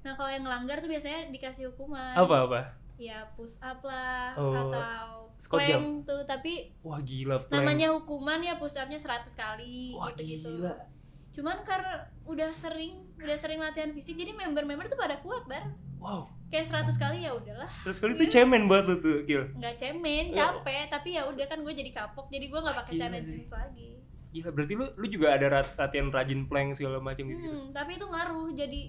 B: nah kalau yang ngelanggar tuh biasanya dikasih hukuman
A: apa apa
B: ya push up lah
A: Oh.
B: atau
A: Squat
B: plank tuh tapi
A: wah gila plank
B: namanya gitu. hukuman ya push upnya 100 kali
A: wah
B: gitu-gitu
A: gila
B: cuman karena udah sering udah sering latihan fisik jadi member-member tuh pada kuat bar
A: wow
B: kayak 100 kali ya udahlah
A: terus kali itu cemen buat lu tuh gil
B: nggak cemen capek tapi ya udah kan gue jadi kapok jadi gue nggak pakai
A: Oh. Ah, Gila
B: celana
A: sih.
B: jeans lagi
A: gila berarti lu lu juga ada rat- latihan rajin plank segala macam gitu gitu
B: Hmm, tapi itu ngaruh jadi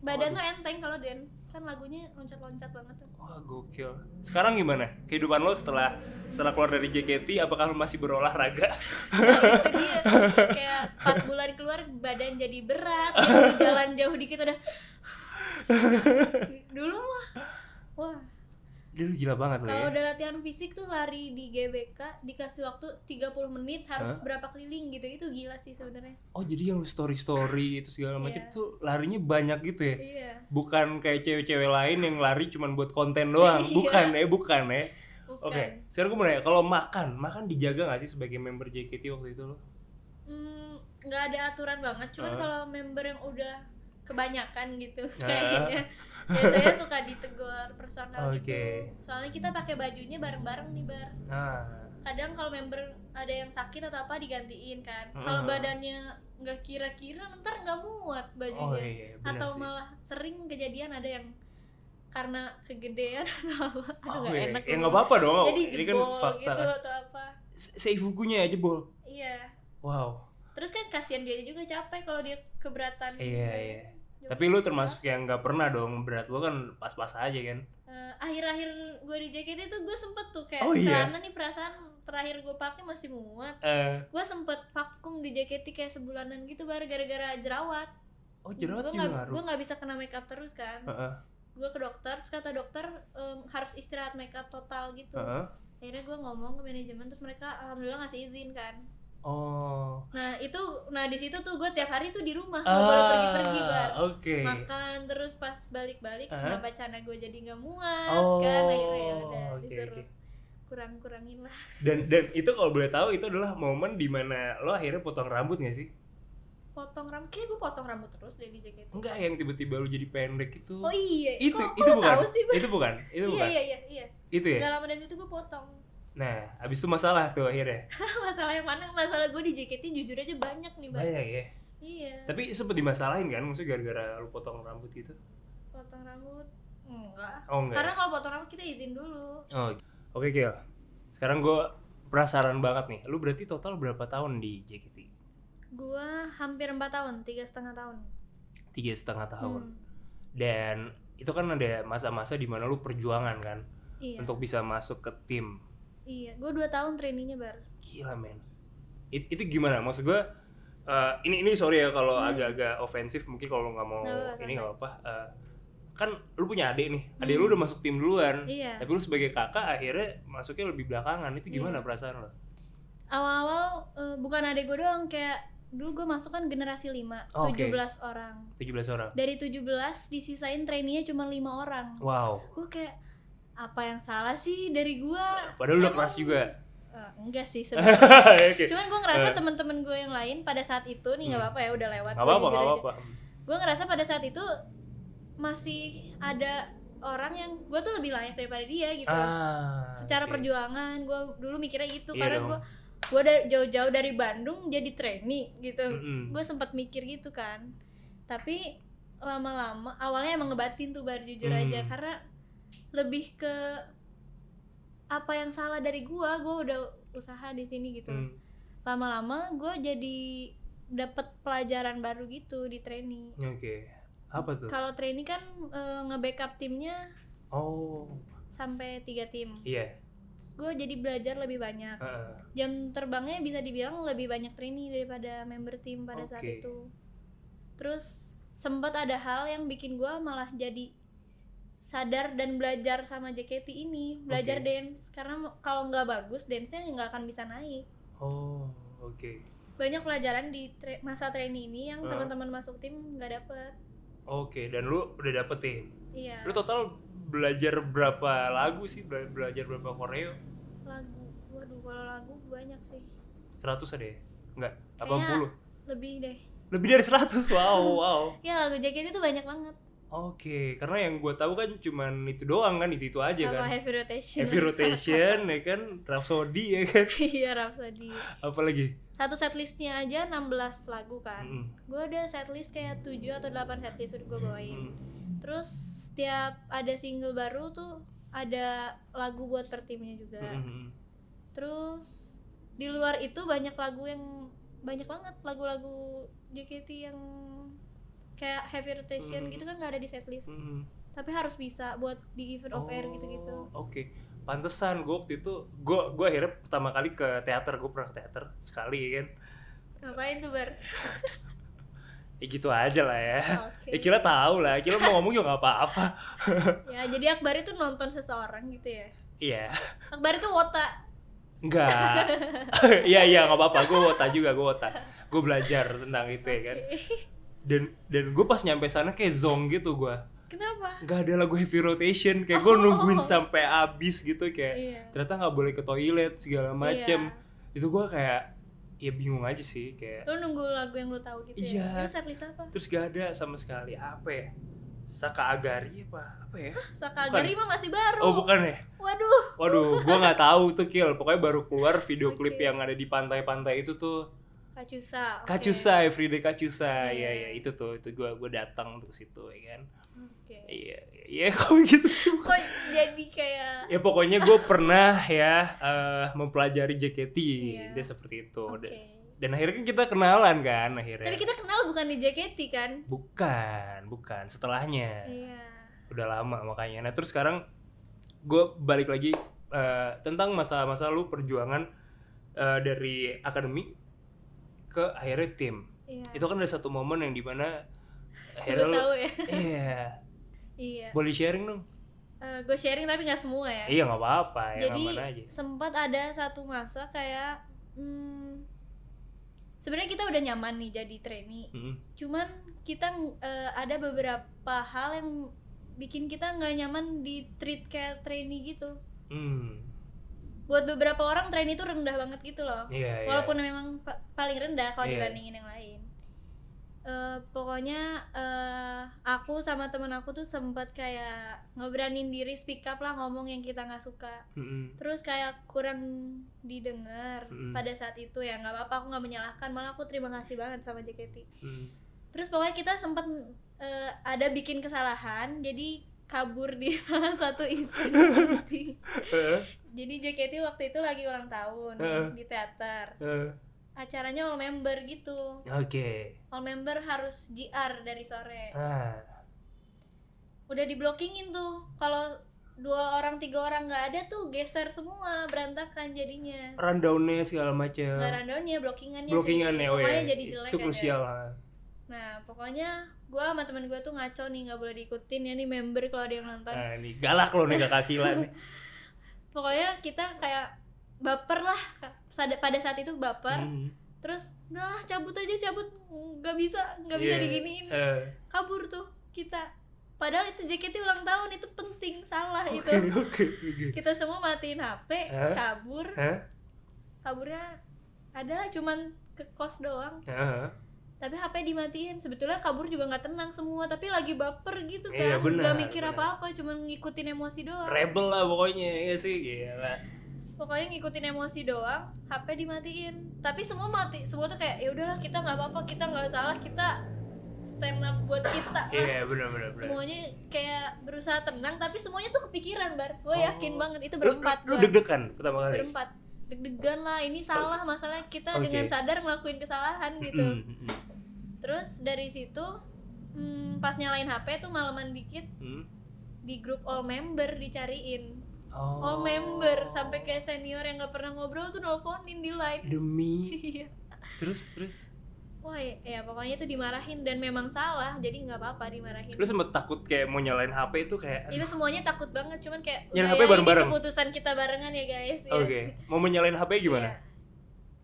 B: badan
A: Waduh.
B: tuh enteng kalau dance kan lagunya loncat-loncat banget tuh
A: wah gokil sekarang gimana kehidupan lo setelah setelah keluar dari JKT apakah lu masih berolahraga
B: Nah, itu dia kayak 4 bulan keluar badan jadi berat gitu. jalan jauh dikit udah dulu mah wah
A: Gila, lu gila banget lo
B: kalau
A: ya
B: udah latihan fisik tuh lari di GBK dikasih waktu 30 menit harus berapa keliling gitu itu gila sih sebenarnya
A: oh jadi yang lu story story itu segala macam
B: Iya.
A: tuh larinya banyak gitu ya
B: iya
A: bukan kayak cewek-cewek lain yang lari cuman buat konten doang
B: [laughs] Iya.
A: bukan ya bukan ya
B: bukan
A: Oke, sekarang gue mau nanya, kalau makan, makan dijaga gak sih sebagai member JKT waktu itu lo?
B: Hmm, nggak ada aturan banget cuman
A: Ah.
B: kalau member yang udah kebanyakan gitu
A: Ah.
B: kayaknya biasanya suka ditegur personal
A: Oke.
B: gitu soalnya kita pakai bajunya bareng-bareng nih bar
A: Nah,
B: kadang kalau member ada yang sakit atau apa digantiin kan
A: Ah.
B: kalau badannya nggak kira-kira ntar nggak muat
A: oh
B: bajunya
A: iya, benar
B: atau
A: sih.
B: malah sering kejadian ada yang karena kegedean [laughs] atau apa aduh
A: Oh,
B: nggak
A: iya.
B: enak
A: Ya
B: ngomong.
A: nggak apa-apa dong.
B: jadi
A: Ini kan
B: jebol
A: fakta.
B: gitu
A: Kan.
B: atau apa
A: Se- Seifukunya aja jebol.
B: iya
A: Wow.
B: terus kan kasihan dia juga capek kalau dia keberatan
A: Iya, iya. Tapi lu termasuk yang nggak pernah dong berat lu kan pas-pas aja kan.
B: Eh, akhir-akhir gue di JKT itu gue sempet tuh kayak
A: Oh, iya?
B: celana nih perasaan terakhir gue pakai masih muat
A: Eh,
B: gue sempet vakum di JKT kayak sebulanan gitu baru gara-gara jerawat
A: oh jerawat juga
B: gue nggak
A: ngaruh.
B: gue nggak bisa kena make up terus kan
A: Heeh,
B: gue ke dokter terus kata dokter em, harus istirahat make up total gitu
A: heeh.
B: akhirnya gue ngomong ke manajemen terus mereka alhamdulillah ngasih izin kan
A: Oh.
B: Nah itu, nah di situ tuh gue tiap hari tuh di rumah nggak boleh pergi-pergi
A: Ah,
B: bar.
A: oke.
B: Makan terus pas balik-balik
A: Hah?
B: kenapa cana gue jadi nggak muat
A: Oh.
B: kan akhirnya ya udah
A: oke,
B: disuruh
A: oke.
B: kurang-kurangin lah.
A: Dan dan itu kalau boleh tahu itu adalah momen dimana lo akhirnya potong rambut gak sih?
B: Potong rambut, kayak gue potong rambut terus deh di JKT.
A: Enggak yang tiba-tiba lo jadi pendek itu.
B: Oh iya,
A: itu
B: kok,
A: itu
B: kok lu
A: bukan.
B: tahu sih? Bang?
A: Itu bukan. Itu
B: Iya
A: bukan.
B: iya iya iya.
A: Itu ya.
B: Gak lama dari situ gue potong. [laughs]
A: Nah, abis itu masalah tuh akhirnya.
B: masalah yang mana? Masalah gue di JKT jujur aja banyak nih bang.
A: Banyak ya.
B: Iya.
A: Tapi sempet dimasalahin kan maksudnya gara-gara lo potong rambut gitu.
B: Potong rambut enggak.
A: Oh enggak.
B: Karena kalau potong rambut kita izin dulu.
A: Oh, Oke, Gil. Sekarang gue penasaran banget nih. Lu berarti total berapa tahun di JKT?
B: Gua hampir 4 tahun, tiga setengah tahun.
A: Tiga setengah tahun.
B: Hmm,
A: Dan itu kan ada masa-masa di mana lu perjuangan kan
B: iya.
A: untuk bisa masuk ke tim.
B: Iya, gue 2 tahun trainingnya bar.
A: Gila, men. It- itu gimana? Maksud gue eh, ini ini sorry ya kalau
B: Hmm.
A: agak-agak ofensif mungkin kalau lu nggak mau
B: Nggak apa-apa,
A: ini
B: santai.
A: nggak apa. Eh, kan lu punya adik nih. Adik
B: Hmm.
A: lu udah masuk tim duluan.
B: Iya.
A: Tapi lu sebagai kakak akhirnya masuknya lebih belakangan. Itu gimana
B: Iya.
A: perasaan lo?
B: Awal-awal eh, bukan adek gue doang kayak dulu gue masuk kan generasi 5,
A: Oh, oke.
B: 17 orang.
A: 17 orang.
B: Dari 17 disisain trainingnya cuma 5 orang.
A: Wow.
B: Gue kayak apa yang salah sih dari gua?
A: Padahal udah
B: Emang-
A: keras
B: [laughs]
A: juga. [laughs]
B: Eh, enggak sih sebenarnya.
A: Oke.
B: Cuman gue ngerasa
A: Eh.
B: teman-teman gue yang lain pada saat itu nih nggak
A: Hmm.
B: apa-apa ya udah lewat.
A: Gak apa-apa, gak apa-apa.
B: Gue ngerasa pada saat itu masih ada orang yang gue tuh lebih layak daripada dia gitu.
A: Ah,
B: Secara
A: oke.
B: perjuangan gue dulu mikirnya gitu
A: Iya
B: karena
A: dong.
B: gue gue da- jauh-jauh dari Bandung jadi trainee gitu.
A: Mm-mm.
B: Gue sempat mikir gitu kan. Tapi lama-lama awalnya emang ngebatin tuh baru jujur
A: Hmm.
B: aja karena lebih ke apa yang salah dari gue, gue udah usaha di sini gitu.
A: Mm.
B: lama-lama gue jadi dapet pelajaran baru gitu di trainee
A: Oke. Apa tuh?
B: kalau trainee kan eh, nge-backup timnya
A: Oh,
B: sampai tiga tim
A: iya.
B: gue jadi belajar lebih banyak
A: Heeh.
B: jam terbangnya bisa dibilang lebih banyak trainee daripada member tim pada saat
A: Oke.
B: itu terus sempat ada hal yang bikin gue malah jadi sadar dan belajar sama JKT ini belajar
A: Oke.
B: dance karena kalau nggak bagus dance-nya nggak akan bisa naik
A: Oh, oke.
B: banyak pelajaran di tra- masa trainee ini yang
A: Hmm.
B: teman-teman masuk tim nggak dapet
A: Oke, dan lu udah dapetin.
B: iya
A: Lu total belajar berapa lagu sih? Bela- Belajar berapa koreo?
B: lagu waduh kalau lagu banyak sih
A: 100 ada ya? Enggak,
B: Kayaknya
A: 80.
B: lebih deh
A: Lebih dari 100. Wow, wow.
B: ya lagu JKT itu banyak banget
A: Oke, karena yang gua tahu kan cuman itu doang kan, itu-itu aja
B: sama
A: kan.
B: heavy rotation
A: Heavy rotation ya kan, Rhapsody ya kan.
B: [laughs] iya Rhapsody
A: Apalagi?
B: satu setlistnya aja 16 lagu kan
A: Mm-mm.
B: gue ada setlist kayak 7 atau 8 setlist udah gue bawain
A: Mm.
B: terus setiap ada single baru tuh ada lagu buat per timnya juga
A: Mm-mm.
B: terus di luar itu banyak lagu yang banyak banget lagu-lagu JKT yang kayak heavy rotation
A: Hmm.
B: gitu kan nggak ada di setlist
A: Mm-mm.
B: tapi harus bisa buat di event off air
A: Oh,
B: gitu-gitu
A: Oke. Pantesan gue waktu itu gue gue akhirnya pertama kali ke teater gue pernah ke teater sekali ya kan.
B: ngapain tuh
A: [coughs]
B: bar
A: Ya gitu aja lah ya.
B: Oke.
A: Ya kira tahu lah, kira mau ngomong juga gak apa-apa.
B: ya jadi Akbar itu nonton seseorang gitu ya
A: Iya,
B: Akbar itu wota [laughs]
A: enggak. Iya iya nggak apa-apa. Gue wota juga, gue wota. Gue belajar tentang itu ya kan.
B: Oke.
A: Dan dan gue pas nyampe sana kayak zong gitu gue.
B: [laughs] kenapa
A: Gak ada lagu heavy rotation kayak gue nungguin
B: Oh.
A: sampai abis gitu kayak.
B: iya
A: Ternyata nggak boleh ke toilet segala macem.
B: Iya.
A: Itu gue kayak ya bingung aja sih kayak
B: lu nunggu lagu yang lu tahu gitu
A: Iya.
B: ya Itu setlist apa
A: terus gak ada sama sekali apa ya Saka Agari apa apa ya
B: Saka
A: Bukan.
B: Agari mah masih baru
A: oh bukan ya
B: waduh
A: waduh gua nggak tahu tuh kill pokoknya baru keluar
B: [laughs]
A: video klip
B: Oke.
A: yang ada di pantai-pantai itu tuh
B: Kacusa oke.
A: Kacusa Everyday Kacusa ya ya
B: Iya.
A: itu tuh itu gua gua datang tuh ke situ ya kan
B: Oke.
A: iya iya [laughs] kok gitu sih
B: kok jadi kayak
A: ya pokoknya gue pernah ya eh, mempelajari JKT
B: Iya.
A: dia seperti itu
B: oke
A: Dan- dan akhirnya kan kita kenalan kan akhirnya
B: tapi kita kenal bukan di JKT kan
A: bukan bukan setelahnya
B: iya
A: udah lama makanya nah terus sekarang gue balik lagi eh, tentang masa-masa lu perjuangan eh, dari akademi ke akhirnya tim
B: iya
A: itu kan ada satu momen yang dimana akhirnya
B: Udah
A: lu
B: tahu ya [laughs]
A: iya
B: iya
A: boleh sharing dong
B: gue sharing tapi nggak semua ya
A: iya nggak apa-apa yang
B: jadi
A: aman aja
B: sempat ada satu masa kayak hmm, sebenarnya kita udah nyaman nih jadi trainee
A: Mm.
B: cuman kita eh, ada beberapa hal yang bikin kita nggak nyaman di treat kayak trainee gitu
A: Hmm.
B: buat beberapa orang trainee itu rendah banget gitu loh
A: Iya, iya.
B: walaupun memang pa- paling rendah kalau
A: Iya.
B: dibandingin yang lain Eh, pokoknya eh, aku sama temen aku tuh sempat kayak ngeberanin diri speak up lah ngomong yang kita nggak suka
A: Mm-mm.
B: terus kayak kurang didengar
A: Mm-mm.
B: pada saat itu ya nggak apa-apa aku nggak menyalahkan malah aku terima kasih banget sama JKT
A: Mm.
B: terus pokoknya kita sempat eh, ada bikin kesalahan jadi kabur di [laughs] salah satu event penting.
A: Eh,
B: jadi JKT waktu itu lagi ulang tahun nih,
A: Heeh.
B: di teater
A: eh.
B: acaranya all member gitu
A: [laughs] Oke.
B: all member harus GR dari sore
A: Ah.
B: udah diblokingin tuh kalau dua orang tiga orang nggak ada tuh geser semua berantakan jadinya
A: Rundownnya segala macam.
B: nggak rundownnya blockingannya
A: Blockingannya,
B: sih.
A: oh
B: Pokoknya
A: Hmm. ya.
B: jadi jelek
A: Itu
B: kan ya.
A: krusial. ha.
B: nah pokoknya gua sama temen gua tuh ngaco nih nggak boleh diikutin ya nih member kalau ada yang nonton
A: Nah, ini galak loh nih kakak Tila
B: [laughs]
A: nih.
B: pokoknya kita kayak baper lah Ka- sada- pada saat itu baper
A: Hmm.
B: terus udahlah cabut aja cabut nggak bisa nggak bisa
A: Iya.
B: diginiin
A: Eh,
B: kabur tuh kita padahal itu JKT ulang tahun itu penting salah
A: Oke, Eh?
B: itu
A: oke, oke.
B: kita semua matiin HP
A: Hah?
B: kabur
A: Hah?
B: kaburnya adalah cuman ke kos doang
A: Ah,
B: tapi HP dimatiin sebetulnya kabur juga nggak tenang semua tapi lagi baper gitu kan
A: Iya, benar,
B: nggak mikir
A: benar.
B: apa-apa cuman ngikutin emosi doang
A: Rebel lah pokoknya, ya sih, gila.
B: pokoknya ngikutin emosi doang HP dimatiin tapi semua mati semua tuh kayak ya udahlah kita nggak apa-apa kita nggak salah kita stand up buat kita lah
A: Iya, benar-benar.
B: semuanya kayak berusaha tenang tapi semuanya tuh kepikiran bar gue
A: Oh.
B: yakin banget itu
A: Lu,
B: berempat
A: lu
B: gua.
A: deg-degan pertama kali.
B: berempat deg-degan lah ini salah masalahnya kita
A: Oke.
B: dengan sadar ngelakuin kesalahan gitu
A: Mm, mm, mm,
B: terus dari situ hmm, pas nyalain HP tuh malaman dikit
A: mm.
B: di grup all member dicariin
A: Oh.
B: all member sampai kayak senior yang nggak pernah ngobrol tuh nelfonin di line
A: demi
B: [laughs] Iya.
A: terus terus
B: Wah, ya, ya pokoknya tuh dimarahin dan memang salah, jadi nggak apa-apa dimarahin.
A: lu sempet takut kayak mau nyalain HP itu kayak
B: itu semuanya takut banget, cuman kayak
A: Nyalain HP
B: udah ya, ini
A: bareng-bareng?
B: keputusan kita barengan ya guys. ya.
A: oke mau menyalain HP gimana
B: Iya.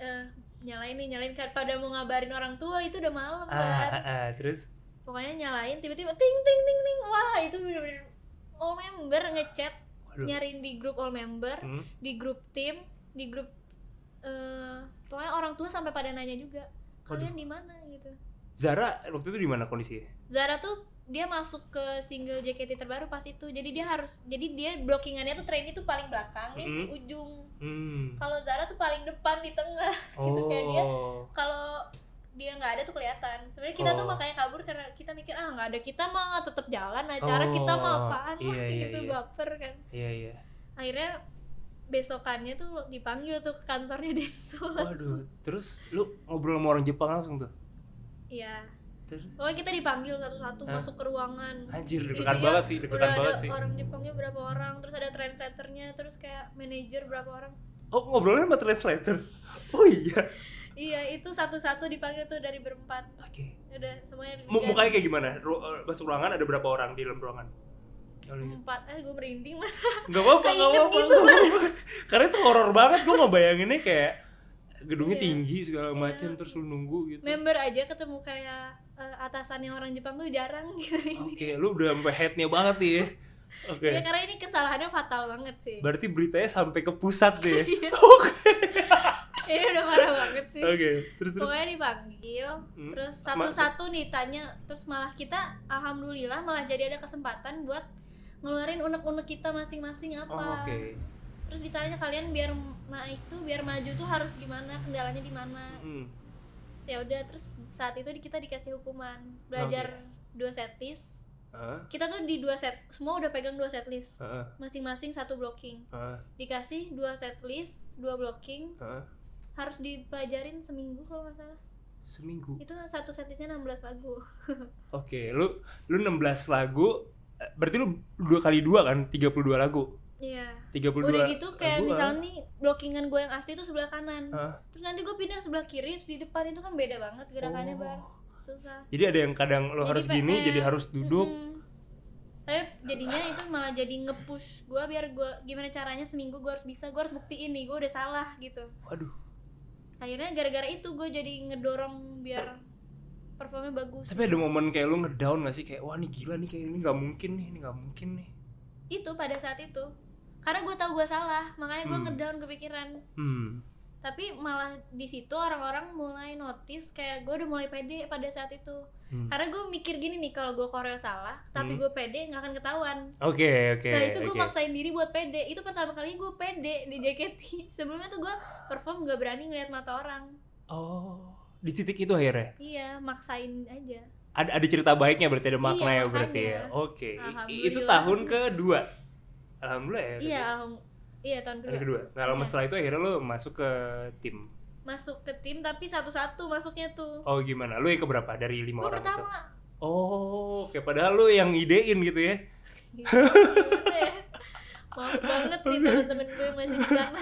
B: Eh, nyalain nih, nyalain kan pada mau ngabarin orang tua itu udah
A: ah,
B: malam kan.
A: ah, ah, terus
B: Pokoknya nyalain tiba-tiba ting ting ting ting. Wah, itu bener-bener all member ngechat
A: Waduh.
B: nyariin di grup all member,
A: Hmm.
B: di grup tim, di grup eh pokoknya orang tua sampai pada nanya juga,
A: Waduh.
B: kalian di mana gitu.
A: Zara waktu itu di mana kondisinya
B: Zara tuh dia masuk ke single JKT terbaru pas itu. Jadi dia harus jadi dia blockingannya tuh trainee tuh paling belakang nih di
A: Mhm.
B: ujung.
A: hmm.
B: Kalau Zara tuh paling depan di tengah. gitu kayak dia. Kalau dia nggak ada tuh kelihatan. Sebenarnya kita tuh
A: Oh.
B: makanya kabur karena kita mikir ah nggak ada kita mah tetap jalan acara kita mah
A: Oh,
B: apaan lah
A: iya, iya,
B: gitu
A: iya.
B: baper kan.
A: iya iya
B: Akhirnya besokannya tuh dipanggil tuh ke kantornya [laughs] Denso langsung.
A: waduh terus lu ngobrol sama orang Jepang langsung tuh
B: Iya.
A: terus
B: Pokoknya kita dipanggil satu-satu
A: Hah?
B: masuk ke ruangan.
A: anjir deg-degan
B: Isinya
A: banget sih
B: udah
A: deg-degan
B: ada
A: banget sih
B: orang Jepangnya berapa orang terus ada trendsetternya terus kayak manajer berapa orang
A: oh ngobrolnya sama translator [laughs] oh iya
B: iya itu satu-satu dipanggil tuh dari berempat
A: oke
B: udah semuanya
A: Mu-
B: diganti.
A: mukanya kayak gimana Ru- eh, masuk ruangan ada berapa orang di dalam ruangan Kalau ingat.
B: empat eh gue merinding mas
A: Gak apa-apa,
B: Kayak
A: gak
B: inget
A: apa-apa,
B: gitu,
A: nggak apa-apa. Karena itu horor banget, gue ngebayanginnya kayak gedungnya
B: Iya.
A: tinggi segala
B: Iya.
A: macem terus lu nunggu gitu.
B: member aja ketemu kayak eh, atasannya orang Jepang tuh jarang [laughs] gitu ini
A: Oke, lu udah sampai headnya banget nih.
B: Iya
A: ya. Oke,
B: ya karena ini kesalahannya fatal banget sih
A: berarti beritanya sampai ke pusat deh. ya.
B: Iya.
A: Oke,
B: [laughs] ini udah parah banget sih
A: oke, terus terus.
B: Iya. pokoknya dipanggil
A: Hmm.
B: terus
A: Sema-
B: satu-satu nih tanya terus malah kita alhamdulillah malah jadi ada kesempatan buat ngeluarin unek-unek kita masing-masing apa
A: Oh, oke.
B: terus ditanya kalian biar naik tuh biar maju tuh harus gimana kendalanya di mana
A: Hmm.
B: terus ya udah terus saat itu di- kita dikasih hukuman belajar dua set list
A: Heeh,
B: kita tuh di dua set semua udah pegang dua set list
A: heeh,
B: masing-masing satu blocking
A: heeh,
B: dikasih dua set list dua blocking
A: heeh.
B: harus dipelajarin seminggu kalau nggak salah
A: Seminggu.
B: itu satu set listnya 16 lagu
A: Oke, lu lu 16 lagu eh, berarti lu dua kali dua kan 32 lagu.
B: iya
A: 32.
B: udah gitu kayak
A: lagu, Ah.
B: misalnya nih blockingan gue yang asli tuh sebelah kanan
A: Heeh.
B: terus nanti gue pindah sebelah kiri terus di depan itu kan beda banget gerakannya bar
A: Oh.
B: susah
A: Jadi ada yang kadang lo
B: Jadi
A: harus gini,
B: PR.
A: jadi harus duduk.
B: Mm-mm. Tapi jadinya itu malah jadi nge-push gue biar gue gimana caranya seminggu gue harus bisa, gue harus buktiin nih gue udah salah gitu.
A: Waduh.
B: akhirnya gara-gara itu gue jadi ngedorong biar performnya bagus
A: Tapi ada momen kayak lu ngedown gak sih kayak wah ini gila nih kayak ini nggak mungkin nih, ini nggak mungkin nih.
B: itu pada saat itu karena gue tahu gue salah makanya gue
A: Hmm.
B: ngedown kepikiran
A: Hmm.
B: tapi malah di situ orang-orang mulai notice kayak gue udah mulai pede pada saat itu
A: hmm.
B: karena gue mikir gini nih kalau gue koreo salah tapi
A: Hmm.
B: gue pede nggak akan ketahuan
A: Oke, oke.
B: nah itu gue
A: oke.
B: maksain diri buat pede itu pertama kali gue pede di JKT [laughs] sebelumnya tuh gue perform nggak berani ngeliat mata orang
A: Oh, di titik itu akhirnya.
B: iya maksain aja
A: Ada ada cerita baiknya berarti ada
B: Iya,
A: makna ya berarti ya.
B: makanya.
A: Oke. I- i- Itu
B: Alhamdulillah.
A: tahun kedua. Alhamdulillah ya.
B: iya alham- iya tahun
A: Tahun
B: kedua
A: kedua. Nah, lama
B: Iya.
A: setelah itu akhirnya lu masuk ke tim.
B: masuk ke tim tapi satu-satu masuknya tuh
A: Oh, gimana? Lu yang keberapa dari lima
B: gue
A: orang itu?
B: pertama
A: Oh, oke. Padahal lu yang idein gitu ya.
B: Gitu deh. maaf banget nih teman-teman gue yang masih di sana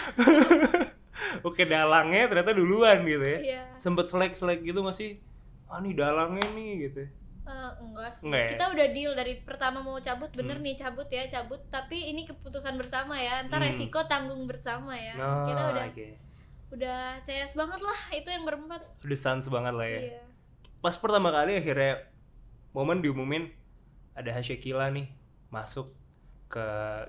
A: Oke, dalangnya ternyata duluan gitu ya.
B: iya
A: Sempet selek-selek gitu masih ah nih dalangnya nih gitu.
B: Eh, enggak sih
A: Enggak ya?
B: kita udah deal dari pertama mau cabut bener
A: Hmm.
B: nih cabut ya cabut tapi ini keputusan bersama ya ntar
A: Hmm.
B: resiko tanggung bersama ya
A: Nah,
B: kita udah
A: oke.
B: udah CS banget lah itu yang berempat
A: Udah sans banget lah ya.
B: iya
A: Pas pertama kali akhirnya momen diumumin ada Hasyakila nih masuk ke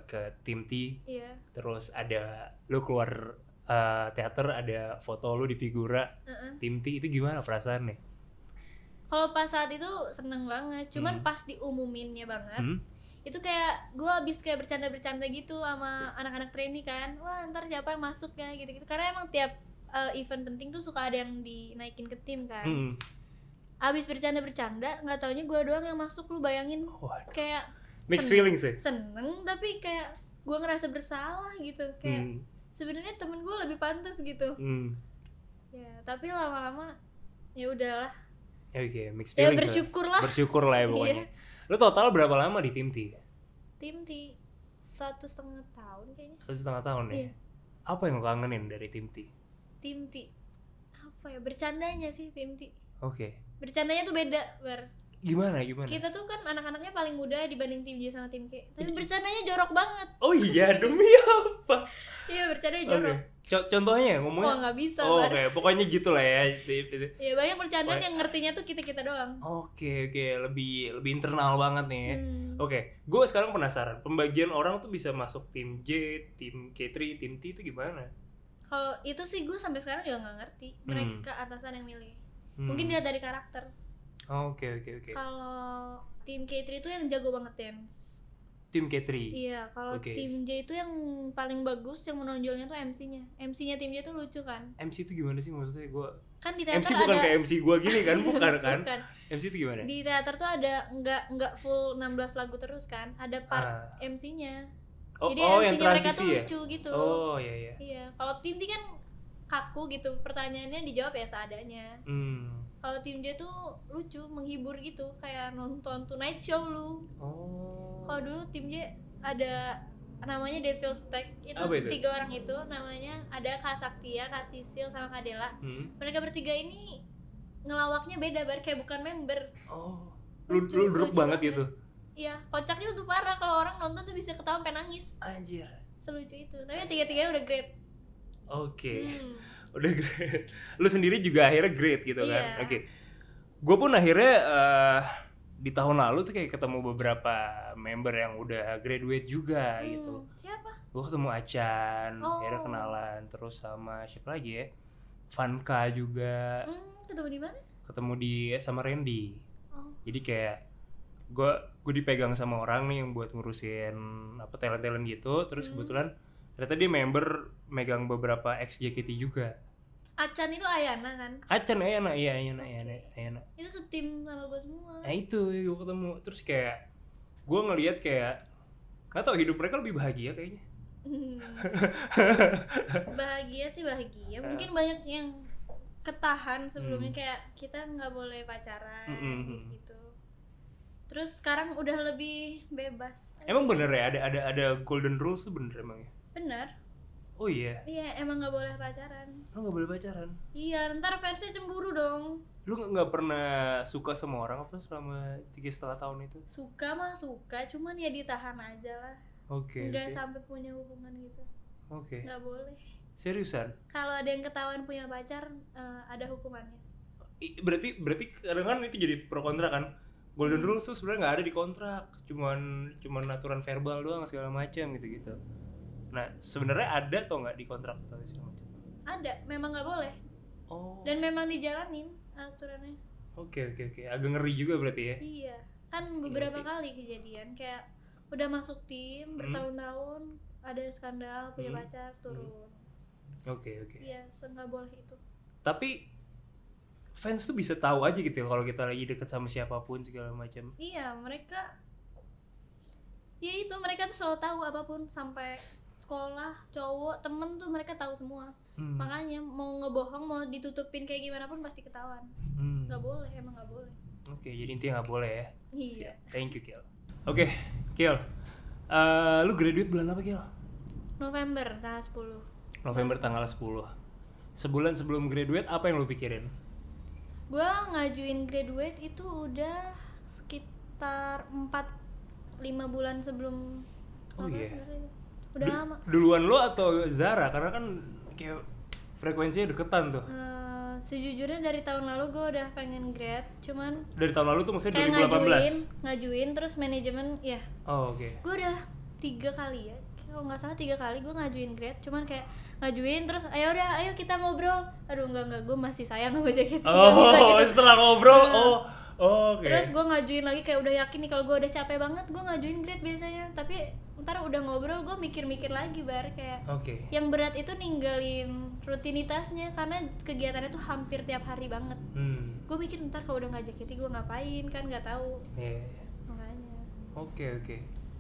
A: ke tim T
B: iya
A: terus ada lu keluar eh, teater ada foto lu di figura
B: Heeh.
A: tim T itu gimana perasaan nih?
B: kalau pas saat itu seneng banget cuman
A: Hmm.
B: pas diumuminnya banget
A: Hmm?
B: itu kayak gue abis kayak bercanda-bercanda gitu sama anak-anak trainee kan wah ntar siapa yang masuk ya gitu-gitu karena emang tiap eh, event penting tuh suka ada yang dinaikin ke tim kan
A: Hmm.
B: abis bercanda-bercanda nggak taunya gue doang yang masuk lu bayangin
A: Waduh.
B: kayak
A: Mixed
B: Seneng.
A: feelings ya? sih.
B: seneng tapi kayak gue ngerasa bersalah gitu kayak
A: Hmm.
B: sebenarnya temen gue lebih pantas gitu
A: hmm.
B: ya tapi lama-lama ya udahlah
A: Oke, mixed
B: ya
A: feelings. lah.
B: bersyukur Iya. lah
A: bersyukur lah
B: [laughs]
A: ya pokoknya. Lu total berapa lama di tim T?
B: tim di satu setengah tahun kayaknya
A: Satu setengah tahun ya.
B: Iya.
A: Apa yang lo kangenin dari tim T?
B: tim T apa ya bercandanya sih tim T
A: Oke.
B: bercandanya tuh beda bar
A: Gimana gimana?
B: kita tuh kan anak-anaknya paling muda dibanding tim J sama tim K
A: Iya.
B: tapi bercandanya jorok banget
A: Oh iya demi apa?
B: iya bercandanya
A: Oke.
B: jorok
A: Co- Contohnya
B: wah
A: ngomongnya.
B: nggak bisa
A: oh,
B: Bar.
A: oke, Oh, pokoknya gitu lah ya. Tip- tip.
B: ya banyak bercandaan
A: Wah.
B: yang ngertinya tuh kita kita doang
A: Oke, oke, lebih lebih internal banget nih ya.
B: Hmm.
A: Oke, gue sekarang penasaran. Pembagian orang tuh bisa masuk tim J, tim K3, tim T itu gimana?
B: kalau itu sih gue sampai sekarang juga nggak ngerti mereka atasan yang milih
A: Hmm.
B: mungkin dia dari karakter
A: Oke, oke, oke.
B: kalau tim K3 itu yang jago banget dance
A: Tim K3.
B: iya kalau
A: Oke.
B: tim J itu yang paling bagus yang menonjolnya tuh MC-nya MC-nya tim J tuh lucu kan
A: MC itu gimana sih maksudnya gue?
B: kan di teater
A: MC bukan
B: ada
A: kayak MC gue gini
B: [laughs]
A: kan, bukan kan?
B: Bukan.
A: MC itu gimana?
B: di teater tuh ada nggak nggak full 16 lagu terus kan ada part
A: Ah.
B: MC-nya
A: Oh,
B: jadi
A: oh, yang
B: MC-nya mereka
A: transisi
B: tuh
A: ya?
B: lucu gitu
A: Oh iya iya.
B: iya kalau tim T kan kaku gitu pertanyaannya dijawab ya seadanya
A: Hmm.
B: kalau tim dia tuh lucu menghibur gitu kayak nonton Tonight Show lu
A: Oh.
B: kalau dulu tim dia ada namanya Devil's Tag itu,
A: Apa itu?
B: tiga orang itu namanya ada Kak Saktia, Kak Sisil sama Kak Dela
A: Hmm.
B: mereka bertiga ini ngelawaknya beda bar kayak bukan member
A: Oh. Lu
B: Lucu,
A: lu druk
B: lucu
A: banget
B: banget.
A: gitu.
B: ya kocaknya tuh parah kalau orang nonton tuh bisa ketawa pengen nangis
A: Anjir.
B: selucu itu tapi yang tiga-tiganya udah great
A: Oke. [laughs]
B: hmm.
A: Udah great. Lu sendiri juga akhirnya great gitu kan.
B: Iya.
A: Oke. Gue pun akhirnya eh, di tahun lalu tuh kayak ketemu beberapa member yang udah graduate juga
B: Hmm.
A: gitu.
B: siapa?
A: Gue ketemu Acan,
B: Oh.
A: akhirnya kenalan terus sama siapa lagi ya? Vanka juga
B: Hmm, ketemu di mana?
A: ketemu di sama Randy.
B: Oh.
A: Jadi kayak gue gue dipegang sama orang nih yang buat ngurusin apa talent talent gitu. Terus
B: Hmm.
A: kebetulan ternyata dia member megang beberapa ex JKT juga.
B: Acan itu Ayana kan?
A: Acan Ayana, iya Ayana, Ayana,
B: Oke.
A: Ayana.
B: Itu setim sama gue semua.
A: Nah itu gue ketemu. Terus kayak gue ngelihat kayak nggak tau hidup mereka lebih bahagia kayaknya.
B: Hmm. bahagia sih bahagia mungkin banyak yang ketahan sebelumnya
A: Eh. Hmm.
B: kayak kita nggak boleh pacaran
A: Mm-mm.
B: gitu terus sekarang udah lebih bebas
A: Emang bener ya ada ada ada golden rules tuh bener emang ya.
B: bener
A: Oh iya,
B: iya emang nggak boleh pacaran
A: lu nggak boleh pacaran.
B: iya ntar fansnya cemburu dong
A: Lu nggak- nggak pernah suka sama orang apa selama tiga setengah tahun itu?
B: suka mah suka cuman ya ditahan aja lah
A: Oke.
B: nggak
A: oke.
B: sampai punya hubungan gitu
A: Oke.
B: nggak boleh
A: seriusan
B: Kalau ada yang ketahuan punya pacar, eh, ada hukumannya.
A: I- berarti berarti kadang kan itu jadi pro kontra kan golden
B: Hmm.
A: rules tuh sebenarnya nggak ada di kontrak cuman cuman aturan verbal doang segala macam gitu gitu nah sebenarnya ada atau nggak di kontrak atau segala macam
B: Ada, memang nggak boleh.
A: oh
B: Dan memang dijalanin aturannya.
A: oke oke oke agak ngeri juga berarti ya
B: Iya. Kan beberapa
A: sih.
B: kali kejadian kayak udah masuk tim bertahun-tahun ada skandal punya
A: Hmm.
B: pacar turun.
A: oke oke
B: Iya, se- nggak boleh itu.
A: tapi fans tuh bisa tahu aja gitu ya kalau kita lagi deket sama siapapun segala macam
B: Iya, mereka Ya itu mereka tuh selalu tahu apapun sampai sekolah, cowok, temen tuh mereka tahu semua.
A: Hmm,
B: Makanya mau ngebohong, mau ditutupin kayak gimana pun pasti ketahuan.
A: hmm.
B: Nggak boleh, emang nggak boleh.
A: oke jadi intinya nggak boleh ya
B: Iya.
A: Siap. thank you Kiel oke Kiel Eh, lu graduate bulan apa Kiel
B: November tanggal 10.
A: November tanggal 10 Sebulan sebelum graduate apa yang lu pikirin?
B: Gua ngajuin graduate itu udah sekitar 4 5 bulan sebelum
A: Oh,
B: apa
A: iya.
B: sebenarnya. Udah
A: Du-
B: lama.
A: Duluan lu atau Zara? Karena kan kayak frekuensinya deketan tuh
B: Eh, sejujurnya dari tahun lalu gue udah pengen grad, cuman
A: Dari tahun lalu tuh maksudnya
B: kayak ngajuin,
A: 2018
B: ngajuin terus manajemen ya.
A: Oh oke
B: Gue udah tiga kali ya kalau nggak salah tiga kali gue ngajuin grad cuman kayak ngajuin terus ayo udah ayo kita ngobrol aduh enggak enggak gue masih sayang sama jaket Nggak bisa
A: Oh
B: gitu.
A: setelah ngobrol oh oke
B: Terus gue ngajuin lagi kayak udah yakin nih kalau gue udah capek banget gue ngajuin grade biasanya Tapi ntar udah ngobrol gue mikir-mikir lagi bar kayak
A: Oke
B: Yang berat itu ninggalin rutinitasnya karena kegiatannya tuh hampir tiap hari banget
A: Hmm
B: Gue mikir ntar kalau udah ngajak JKT gue ngapain kan nggak tahu
A: Iya, iya.
B: Makanya
A: Oke oke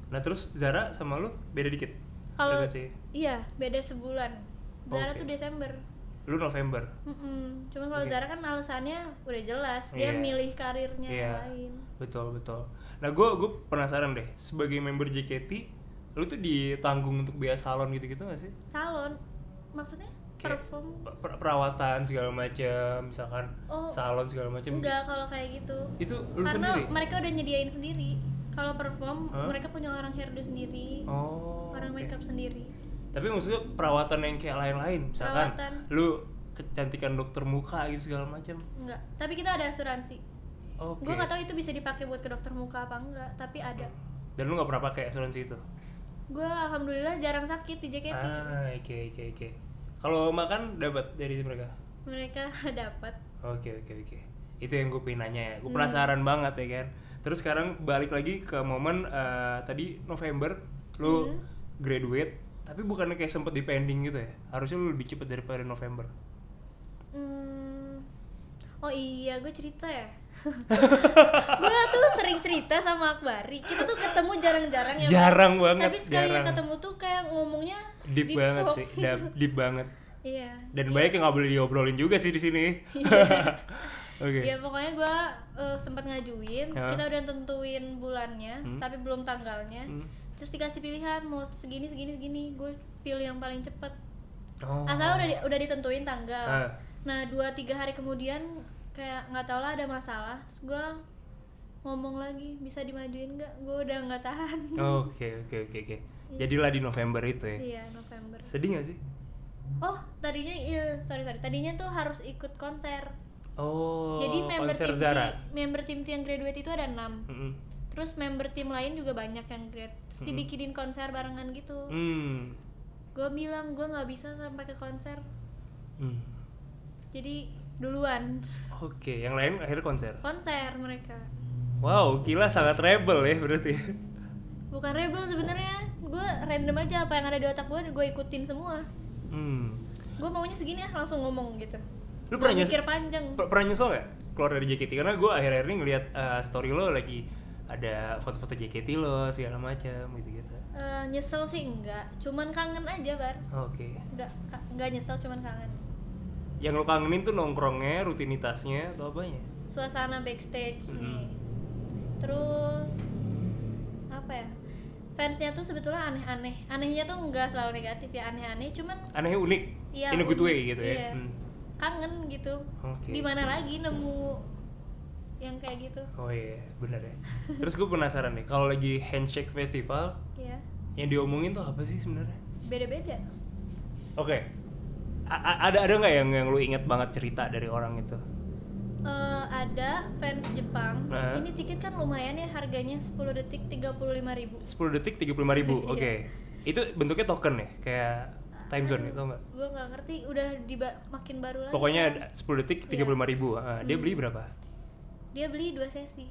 A: Nah terus Zara sama lu beda dikit?
B: Kalau-
A: Deket sih.
B: Iya beda sebulan Zara
A: Oke.
B: tuh Desember
A: Lu November
B: Mm-mm. Cuman kalau
A: Oke.
B: Zara kan alasannya udah jelas Dia
A: Iya.
B: milih karirnya
A: Iya.
B: yang lain
A: Betul betul Nah gue gue penasaran deh Sebagai member JKT Lu tuh ditanggung untuk biaya salon gitu-gitu gak sih?
B: Salon maksudnya
A: Kayak
B: perform
A: per- per- perawatan segala macam misalkan
B: Oh.
A: salon segala macam
B: Enggak kalau kayak gitu
A: itu lu
B: karena
A: sendiri
B: mereka udah nyediain sendiri kalau perform
A: Hah?
B: mereka punya orang hairdo sendiri
A: oh
B: orang
A: oke.
B: makeup sendiri
A: tapi maksudnya perawatan yang kayak lain-lain misalkan
B: Perawatan.
A: lu kecantikan dokter muka gitu segala macam
B: enggak tapi kita ada asuransi
A: oke
B: gue nggak tahu itu bisa dipakai buat ke dokter muka apa enggak tapi ada
A: dan lu nggak pernah pakai asuransi itu
B: gue alhamdulillah jarang sakit di JKT
A: ah oke oke oke kalau makan dapat dari mereka
B: mereka [laughs] dapat
A: Oke oke oke. Itu yang gue pengen nanya ya. Gue
B: Hmm.
A: penasaran banget ya kan. Terus sekarang balik lagi ke momen eh, tadi November lu
B: Hmm.
A: graduate tapi bukannya kayak sempet di pending gitu ya. Harusnya lu lebih cepet daripada November.
B: Hmm. Oh iya, gue cerita
A: [laughs]
B: ya. gue tuh sering cerita sama Akbari. Kita tuh ketemu jarang-jarang ya. Bang.
A: Jarang banget,
B: Tapi sekali
A: jarang.
B: ketemu tuh kayak ngomongnya
A: Deep, banget
B: talk.
A: sih.
B: [laughs]
A: Deep, deep banget.
B: Iya.
A: Dan banyak yang nggak boleh diobrolin juga sih di sini. [laughs] Oke.
B: Ya pokoknya gue sempat ngajuin,
A: Ya.
B: kita udah tentuin bulannya, tapi belum tanggalnya.
A: Hmm.
B: Terus dikasih pilihan mau segini segini segini, gue pilih yang paling cepet.
A: Oh.
B: Asal udah di- udah ditentuin
A: Ah.
B: tanggal. Nah dua tiga hari kemudian kayak nggak tau lah ada masalah, terus gue ngomong lagi bisa dimajuin nggak? Gue udah nggak tahan.
A: Oke oke oke oke. Jadilah di November itu ya.
B: Iya November.
A: Sedih gak sih?
B: Oh tadinya iya sorry sorry, tadinya tuh harus ikut konser.
A: Oh.
B: Jadi member gitu ya?
A: konser
B: tim T-
A: Zara.
B: member tim T yang graduate itu ada enam.
A: Mm-mm.
B: Terus member tim lain juga banyak yang grad. Terus dibikinin konser barengan gitu.
A: Hmm.
B: Gue bilang gue nggak bisa sampai ke konser.
A: Hmm.
B: Jadi duluan
A: Oke, yang lain akhirnya konser.
B: konser mereka.
A: Wow, Kila sangat rebel ya berarti.
B: Bukan rebel sebenarnya. Gue random aja apa yang ada di otak gue gue ikutin semua.
A: Hmm.
B: Gue maunya segini ya langsung ngomong gitu.
A: Lu
B: Nggak
A: pernah nyes-
B: mikir panjang.
A: per- pernah nyesel nggak keluar dari JKT? Karena gue akhir-akhir ini ngeliat eh, story lo lagi ada foto-foto JKT lo segala macam gitu-gitu.
B: Eh, nyesel sih enggak, cuman kangen aja bar.
A: Oke.
B: Enggak ka- enggak nyesel cuman kangen.
A: Yang lo kangenin tuh nongkrongnya, rutinitasnya atau apanya?
B: suasana backstage
A: Mhm.
B: nih terus apa ya fansnya tuh sebetulnya aneh-aneh anehnya tuh nggak selalu negatif ya aneh-aneh cuman
A: Anehnya unik.
B: Iya,
A: In a good
B: unik,
A: way gitu
B: iya.
A: ya. Hmm.
B: kangen gitu
A: Oke.
B: di mana lagi nemu yang kayak gitu
A: Oh iya, benar ya. Terus gue penasaran nih, kalau lagi handshake festival,
B: ya
A: yang diomongin tuh apa sih sebenarnya?
B: beda-beda
A: Oke, A- a- ada ada nggak yang yang lu inget banget cerita dari orang itu?
B: Eh, ada fans Jepang.
A: Nah.
B: Ini tiket kan lumayan ya harganya 10 detik 35.000.
A: 10 detik 35.000. ribu.
B: [laughs] Iya.
A: Oke. Itu bentuknya token ya, kayak time zone gitu enggak?
B: Gue nggak ngerti udah diba- makin baru lagi.
A: Pokoknya ada 10 detik
B: Iya. Hmm.
A: 35.000. ribu. Ah, dia beli berapa?
B: dia beli dua sesi.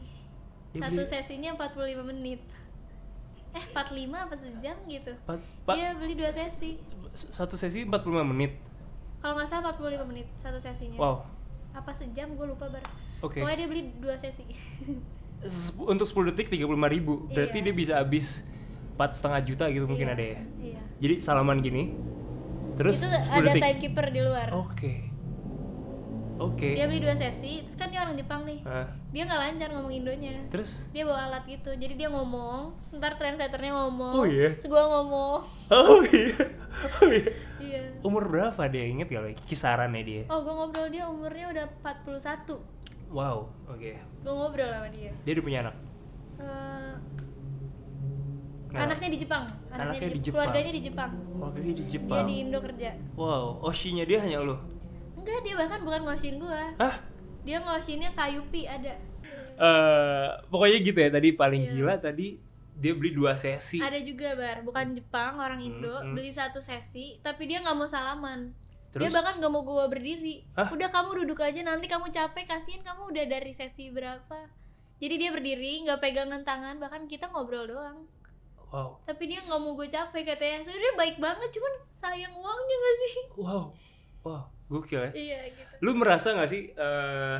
A: Dia
B: Satu
A: beli-
B: sesinya 45 menit. Eh 45 apa sejam gitu.
A: Empat, empat-
B: Dia beli dua sesi.
A: s- satu sesi 45 menit.
B: Kalau nggak salah 45 menit satu sesinya.
A: Wow.
B: Apa sejam gue lupa bar.
A: Oke.
B: Iya. Pokoknya dia beli dua sesi. [laughs]
A: Sep- Untuk 10 detik 35.000. Berarti
B: Iya.
A: dia bisa habis 4,5 juta gitu mungkin
B: Iya,
A: ada ya.
B: Iya.
A: Jadi salaman gini. Terus 10
B: itu ada
A: detik.
B: timekeeper di luar.
A: Oke. Oke.
B: Dia beli dua sesi, terus kan dia orang Jepang nih.
A: Ah,
B: Dia nggak lancar ngomong Indonya.
A: terus
B: Dia bawa alat gitu. Jadi dia ngomong, sebentar translatornya ngomong.
A: Oh, iya?
B: Terus gua ngomong. [laughs]
A: Oh iya. Oh iya.
B: iya.
A: Umur berapa dia inget gak lo? Kisarannya dia.
B: Oh, gua ngobrol dia umurnya udah 41.
A: Wow, oke.
B: Gua ngobrol sama dia.
A: Dia udah punya anak.
B: Eh,
A: Nah,
B: anaknya di Jepang.
A: Anaknya di Jepang.
B: Keluarganya di Jepang.
A: keluarganya di
B: Dia
A: Jepang.
B: di Indo kerja.
A: Wow, oshinya dia hanya lo.
B: Enggak, dia bahkan bukan ngosin gua.
A: Hah?
B: Dia ngosinnya kayu pi ada.
A: Eh, pokoknya gitu ya tadi paling
B: Iya.
A: gila tadi dia beli dua sesi.
B: Ada juga bar, bukan Jepang, orang
A: Hmm,
B: Indo,
A: Mm-mm.
B: beli satu sesi, tapi dia nggak mau salaman.
A: Terus
B: Dia bahkan nggak mau gua berdiri.
A: Hah?
B: Udah kamu duduk aja, nanti kamu capek, kasihin kamu udah dari sesi berapa. Jadi dia berdiri, nggak pegangan tangan, bahkan kita ngobrol doang.
A: wow,
B: Tapi dia nggak mau gue capek katanya. Sebenarnya baik banget, cuman sayang uangnya gak sih? [laughs]
A: wow, wow, gokil ya.
B: iya gitu.
A: Lu merasa nggak sih eh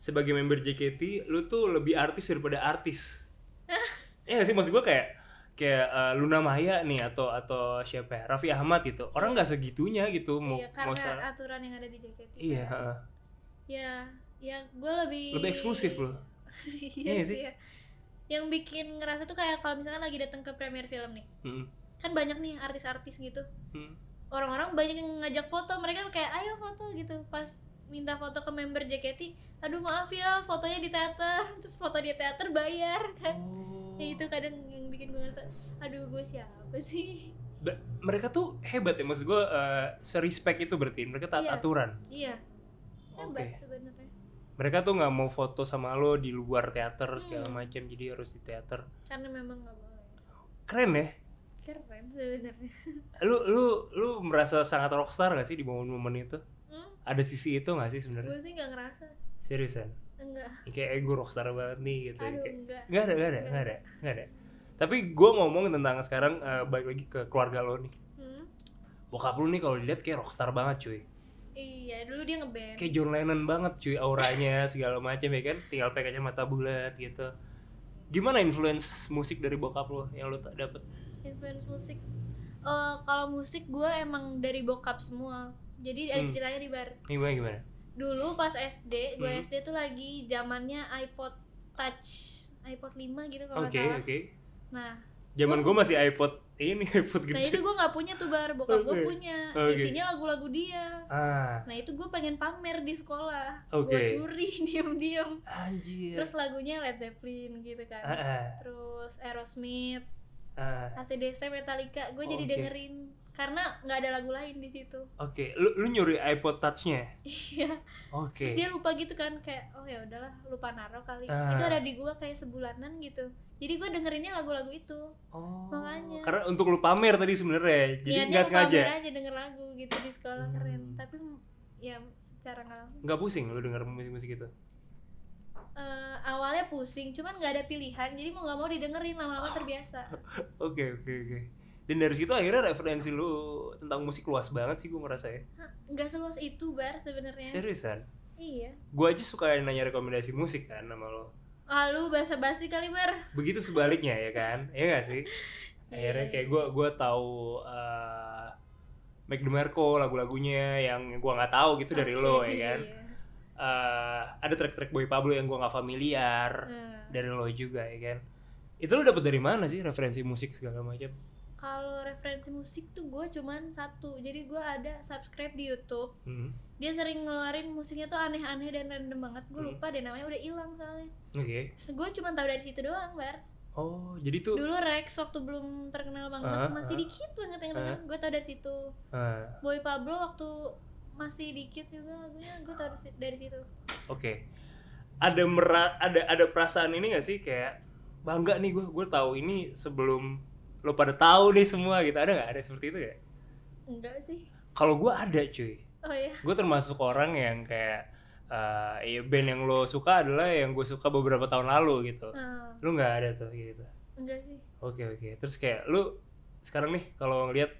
A: sebagai member JKT lu tuh lebih artis daripada
B: [laughs]
A: artis? Iya nggak sih maksud gua kayak kayak eh, Luna Maya nih atau atau siapa ya? Raffi Ahmad gitu. Orang nggak segitunya gitu mau
B: Iya,
A: mau
B: karena
A: sa-
B: aturan yang ada di JKT.
A: Iya, heeh.
B: Ya, ya gue lebih
A: lebih eksklusif loh.
B: [laughs] iya
A: Iya
B: sih.
A: sih.
B: ya. Yang bikin ngerasa tuh kayak kalau misalkan lagi datang ke premier film nih.
A: Mm,
B: Kan banyak nih artis-artis gitu. [laughs]
A: mm.
B: Orang-orang banyak yang ngajak foto, mereka kayak ayo foto gitu. Pas minta foto ke member JKT, aduh maaf ya, fotonya di teater. [laughs] Terus foto di teater bayar kan. Ya itu kadang yang bikin gue ngerasa, aduh gue siapa sih? [laughs]
A: Ba- mereka tuh hebat ya maksud gue serespect itu berarti mereka taat
B: Iya.
A: aturan
B: iya, hebat
A: Oke.
B: sebenarnya.
A: mereka tuh nggak mau foto sama lo di luar teater segala
B: Hmm.
A: macam jadi harus di teater
B: Karena memang nggak boleh.
A: keren ya
B: Keren sebenarnya.
A: lu lu lu merasa sangat rockstar gak sih di momen-momen itu
B: Hmm,
A: ada sisi itu gak sih sebenarnya
B: gue sih nggak ngerasa.
A: seriusan
B: Enggak.
A: kayak eh, gue rockstar banget nih gitu
B: Aduh,
A: Kayak-
B: enggak.
A: nggak ada nggak ada nggak ada nggak ada tapi gue ngomong tentang sekarang eh, balik lagi ke keluarga lo nih
B: Hmm,
A: bokap lu nih kalau dilihat kayak rockstar banget cuy
B: iya, dulu dia ngeband.
A: kayak John Lennon banget cuy auranya [laughs] segala macam ya kan tinggal pakai mata bulat gitu gimana influence musik dari bokap lo yang lo tak dapet
B: Influence musik. Eh, kalau musik gue emang dari bokap semua. Jadi ada
A: Hmm.
B: ceritanya di bar.
A: gimana gimana
B: Dulu pas SD, gue
A: Hmm.
B: SD tuh lagi zamannya iPod Touch, iPod 5 gitu
A: oke
B: kalau nggak salah.
A: oke
B: Nah,
A: zaman
B: Gua-
A: gue masih iPod ini [laughs] iPod
B: nah itu
A: gede
B: gue nggak punya tuh bar, bokap gue
A: Gitu. Oke.
B: punya.
A: Oke.
B: Isinya lagu-lagu dia.
A: ah
B: Nah itu gue pengen pamer di sekolah. Gue
A: oke
B: curi [laughs] diem-diem.
A: anjir
B: Terus lagunya Led Zeppelin gitu kan.
A: ah ah,
B: Terus Aerosmith.
A: ah.
B: ACDC Metallica gue
A: Oh,
B: jadi
A: oke.
B: dengerin karena nggak ada lagu lain di situ [laughs]
A: oke lu lu nyuri iPod touchnya
B: iya
A: oke
B: terus dia lupa gitu kan kayak oh ya udahlah lupa naro kali
A: Ah.
B: itu ada di gue kayak sebulanan gitu jadi gue dengerinnya lagu-lagu itu
A: oh
B: makanya.
A: karena untuk lu pamer tadi sebenarnya jadi nggak
B: Niatnya mau pamer
A: sengaja
B: aja denger lagu gitu di sekolah
A: Hmm.
B: keren tapi m- ya secara nggak langsung
A: nggak pusing lu denger musik-musik itu
B: eh, awalnya pusing cuman nggak ada pilihan jadi mau nggak mau didengerin lama-lama terbiasa
A: oke oke oke dan dari situ akhirnya referensi lu tentang musik luas banget sih gue ngerasa ya
B: Hah, nggak seluas itu bar sebenarnya
A: seriusan
B: iya
A: gue aja suka nanya rekomendasi musik kan sama lo
B: ah lu basa-basi kali bar
A: begitu sebaliknya ya kan ya gak sih akhirnya
B: [laughs] Iya.
A: kayak gue gua tahu eh Mac DeMarco lagu-lagunya yang gue nggak tahu gitu dari lo ya
B: Oke,
A: kan
B: iya.
A: Eh, ada track-track Boy Pablo yang gue nggak familiar
B: Nah.
A: dari lo juga ya kan itu lo dapet dari mana sih referensi musik segala macam
B: kalau referensi musik tuh gue cuman satu jadi gue ada subscribe di YouTube
A: Hmm,
B: dia sering ngeluarin musiknya tuh aneh-aneh dan random banget gue
A: Hmm.
B: lupa deh namanya udah hilang soalnya
A: oke
B: gue cuman tahu dari situ doang bar
A: oke Oh, jadi tuh
B: dulu Rex waktu belum terkenal banget
A: Ah,
B: masih
A: ah.
B: dikit banget yang denger gue tau dari situ
A: eh,
B: Boy Pablo waktu masih dikit juga lagunya gue tau dari- dari situ
A: oke. Ada mera ada ada perasaan ini gak sih kayak bangga nih gue gue tahu ini sebelum lo pada tahu nih semua gitu ada nggak ada seperti itu ya?
B: enggak sih
A: Kalau gue ada cuy,
B: oh ya
A: gue termasuk orang yang kayak eh ya band yang lo suka adalah yang gue suka beberapa tahun lalu gitu.
B: Ah,
A: Lo nggak ada tuh gitu.
B: enggak sih
A: Oke oke. Terus kayak lu sekarang nih kalau ngelihat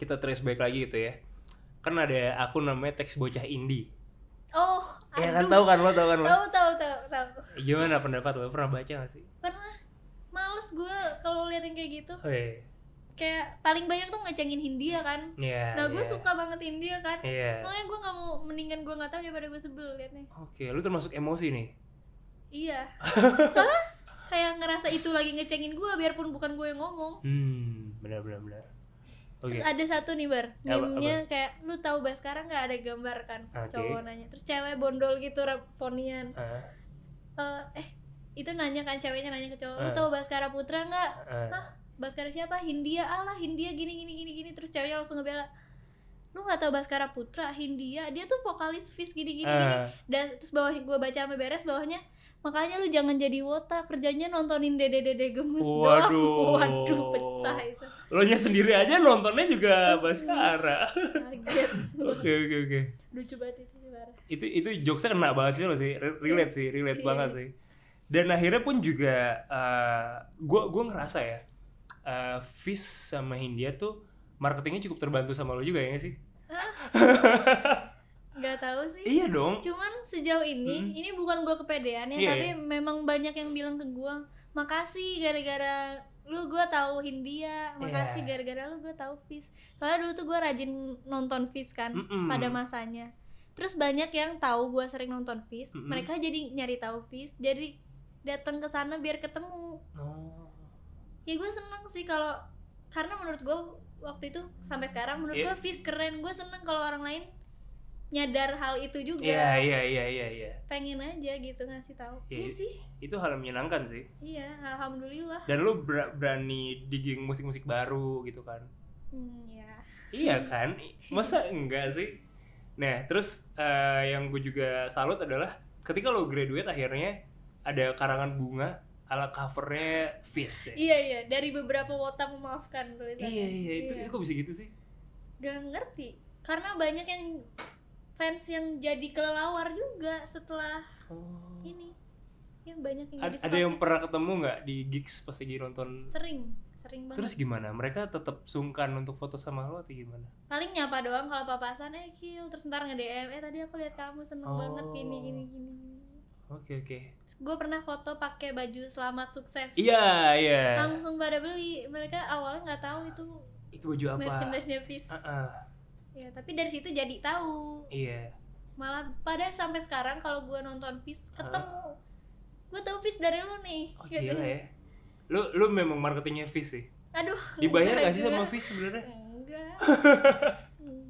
A: kita trace back lagi gitu ya. Kan ada akun namanya teks bocah indie.
B: oh
A: Ya kan
B: aduh.
A: tahu kan lo tahu kan lo.
B: tahu tahu tahu tahu
A: Gimana pendapat lo? Pernah baca gak sih?
B: pernah males gue kalau liat yang kayak gitu
A: Oh iya.
B: kayak paling banyak tuh ngecengin Hindia kan
A: Iya.
B: nah gue
A: iya.
B: suka banget Hindia kan
A: Iya.
B: makanya gue nggak mau mendingan gue nggak tahu daripada gue sebel liatnya
A: Oke, lu termasuk emosi nih.
B: iya [laughs] soalnya kayak ngerasa itu lagi ngecengin gue biarpun bukan gue yang ngomong
A: Hmm, benar benar benar. Oke.
B: Terus ada satu nih bar,
A: Apa-
B: meme-nya kayak lu tahu bah sekarang nggak ada gambar kan
A: Oke.
B: cowok nanya, terus cewek bondol gitu rap- ponian.
A: Ah,
B: Eh, eh itu nanya kan ceweknya nanya ke cowok, lu
A: Eh.
B: tahu Baskara Putra nggak?
A: ah.
B: Hah? Baskara siapa? Hindia Allah, Hindia gini gini gini gini. Terus ceweknya langsung ngebela, lu nggak tahu Baskara Putra, Hindia, dia tuh vokalis Fis gini gini gini.
A: Ah,
B: Dan terus bawah gua baca sampai beres bawahnya, makanya lu jangan jadi wota, kerjanya nontonin dede dede gemes doang."
A: Waduh.
B: [laughs] waduh, pecah itu.
A: lo nya sendiri aja nontonnya juga Baskara. [laughs]
B: Kaget. [laughs]
A: Oke oke oke.
B: lucu banget itu sih parah
A: itu itu jokesnya kena banget sih lo sih Re- relate sih relate
B: Iya.
A: banget sih dan akhirnya pun juga eh, gua gue ngerasa ya eh Fis sama Hindia tuh marketingnya cukup terbantu sama lo juga ya nggak sih
B: nggak tahu sih
A: iya dong
B: cuman sejauh ini
A: Mm.
B: ini bukan gue kepedean ya
A: Iya,
B: tapi
A: iya.
B: memang banyak yang bilang ke gue makasih gara-gara lu gue tahu Hindia makasih
A: Iya.
B: gara-gara lu gue tahu Fis soalnya dulu tuh gue rajin nonton Fis kan
A: Mm-mm.
B: pada masanya terus banyak yang tahu gue sering nonton Fis
A: Mm-mm.
B: mereka jadi nyari tahu Fis jadi datang ke sana biar ketemu
A: Oh.
B: ya gue seneng sih kalau karena menurut gue waktu itu sampai sekarang menurut
A: Iya.
B: gue Fis keren gue seneng kalau orang lain nyadar hal itu juga
A: iya iya iya iya iya
B: pengen aja gitu ngasih tahu
A: Iya.
B: iya sih
A: itu hal yang menyenangkan sih
B: iya alhamdulillah
A: dan lo ber- berani digging musik-musik baru gitu kan
B: hmm, ya
A: Iya kan? Masa enggak sih? Nah, terus eh, yang gue juga salut adalah ketika lo graduate akhirnya ada karangan bunga ala covernya Fish ya?
B: iya iya dari beberapa wota memaafkan tuh
A: Iya, iya, itu, itu kok bisa gitu sih?
B: gak ngerti karena banyak yang fans yang jadi kelelawar juga setelah
A: Oh.
B: ini yang banyak yang jadi
A: Ada,
B: suka
A: yang
B: Fis.
A: pernah ketemu nggak di gigs pas lagi nonton?
B: sering sering banget
A: Terus gimana? Mereka tetap sungkan untuk foto sama lo atau gimana?
B: paling nyapa doang kalau papasan eh kill terus ntar nge DM eh tadi aku lihat kamu seneng
A: Oh.
B: banget gini gini gini
A: Oke, oke.
B: gue pernah foto pakai baju selamat sukses
A: Iya, iya.
B: langsung pada beli mereka awalnya nggak tahu itu
A: Itu baju apa?
B: merchandise nya Fis
A: Ah, ah,
B: ya tapi dari situ jadi tahu
A: Iya.
B: malah pada sampai sekarang kalau gue nonton Fis ketemu gue tahu Fis dari lu nih
A: Oh,
B: Gitu.
A: gila ya. Lu, lu memang marketingnya Fish sih?
B: aduh
A: Dibayar gak
B: enggak
A: sih sama
B: juga.
A: Fish sebenarnya? [laughs]
B: enggak Hmm.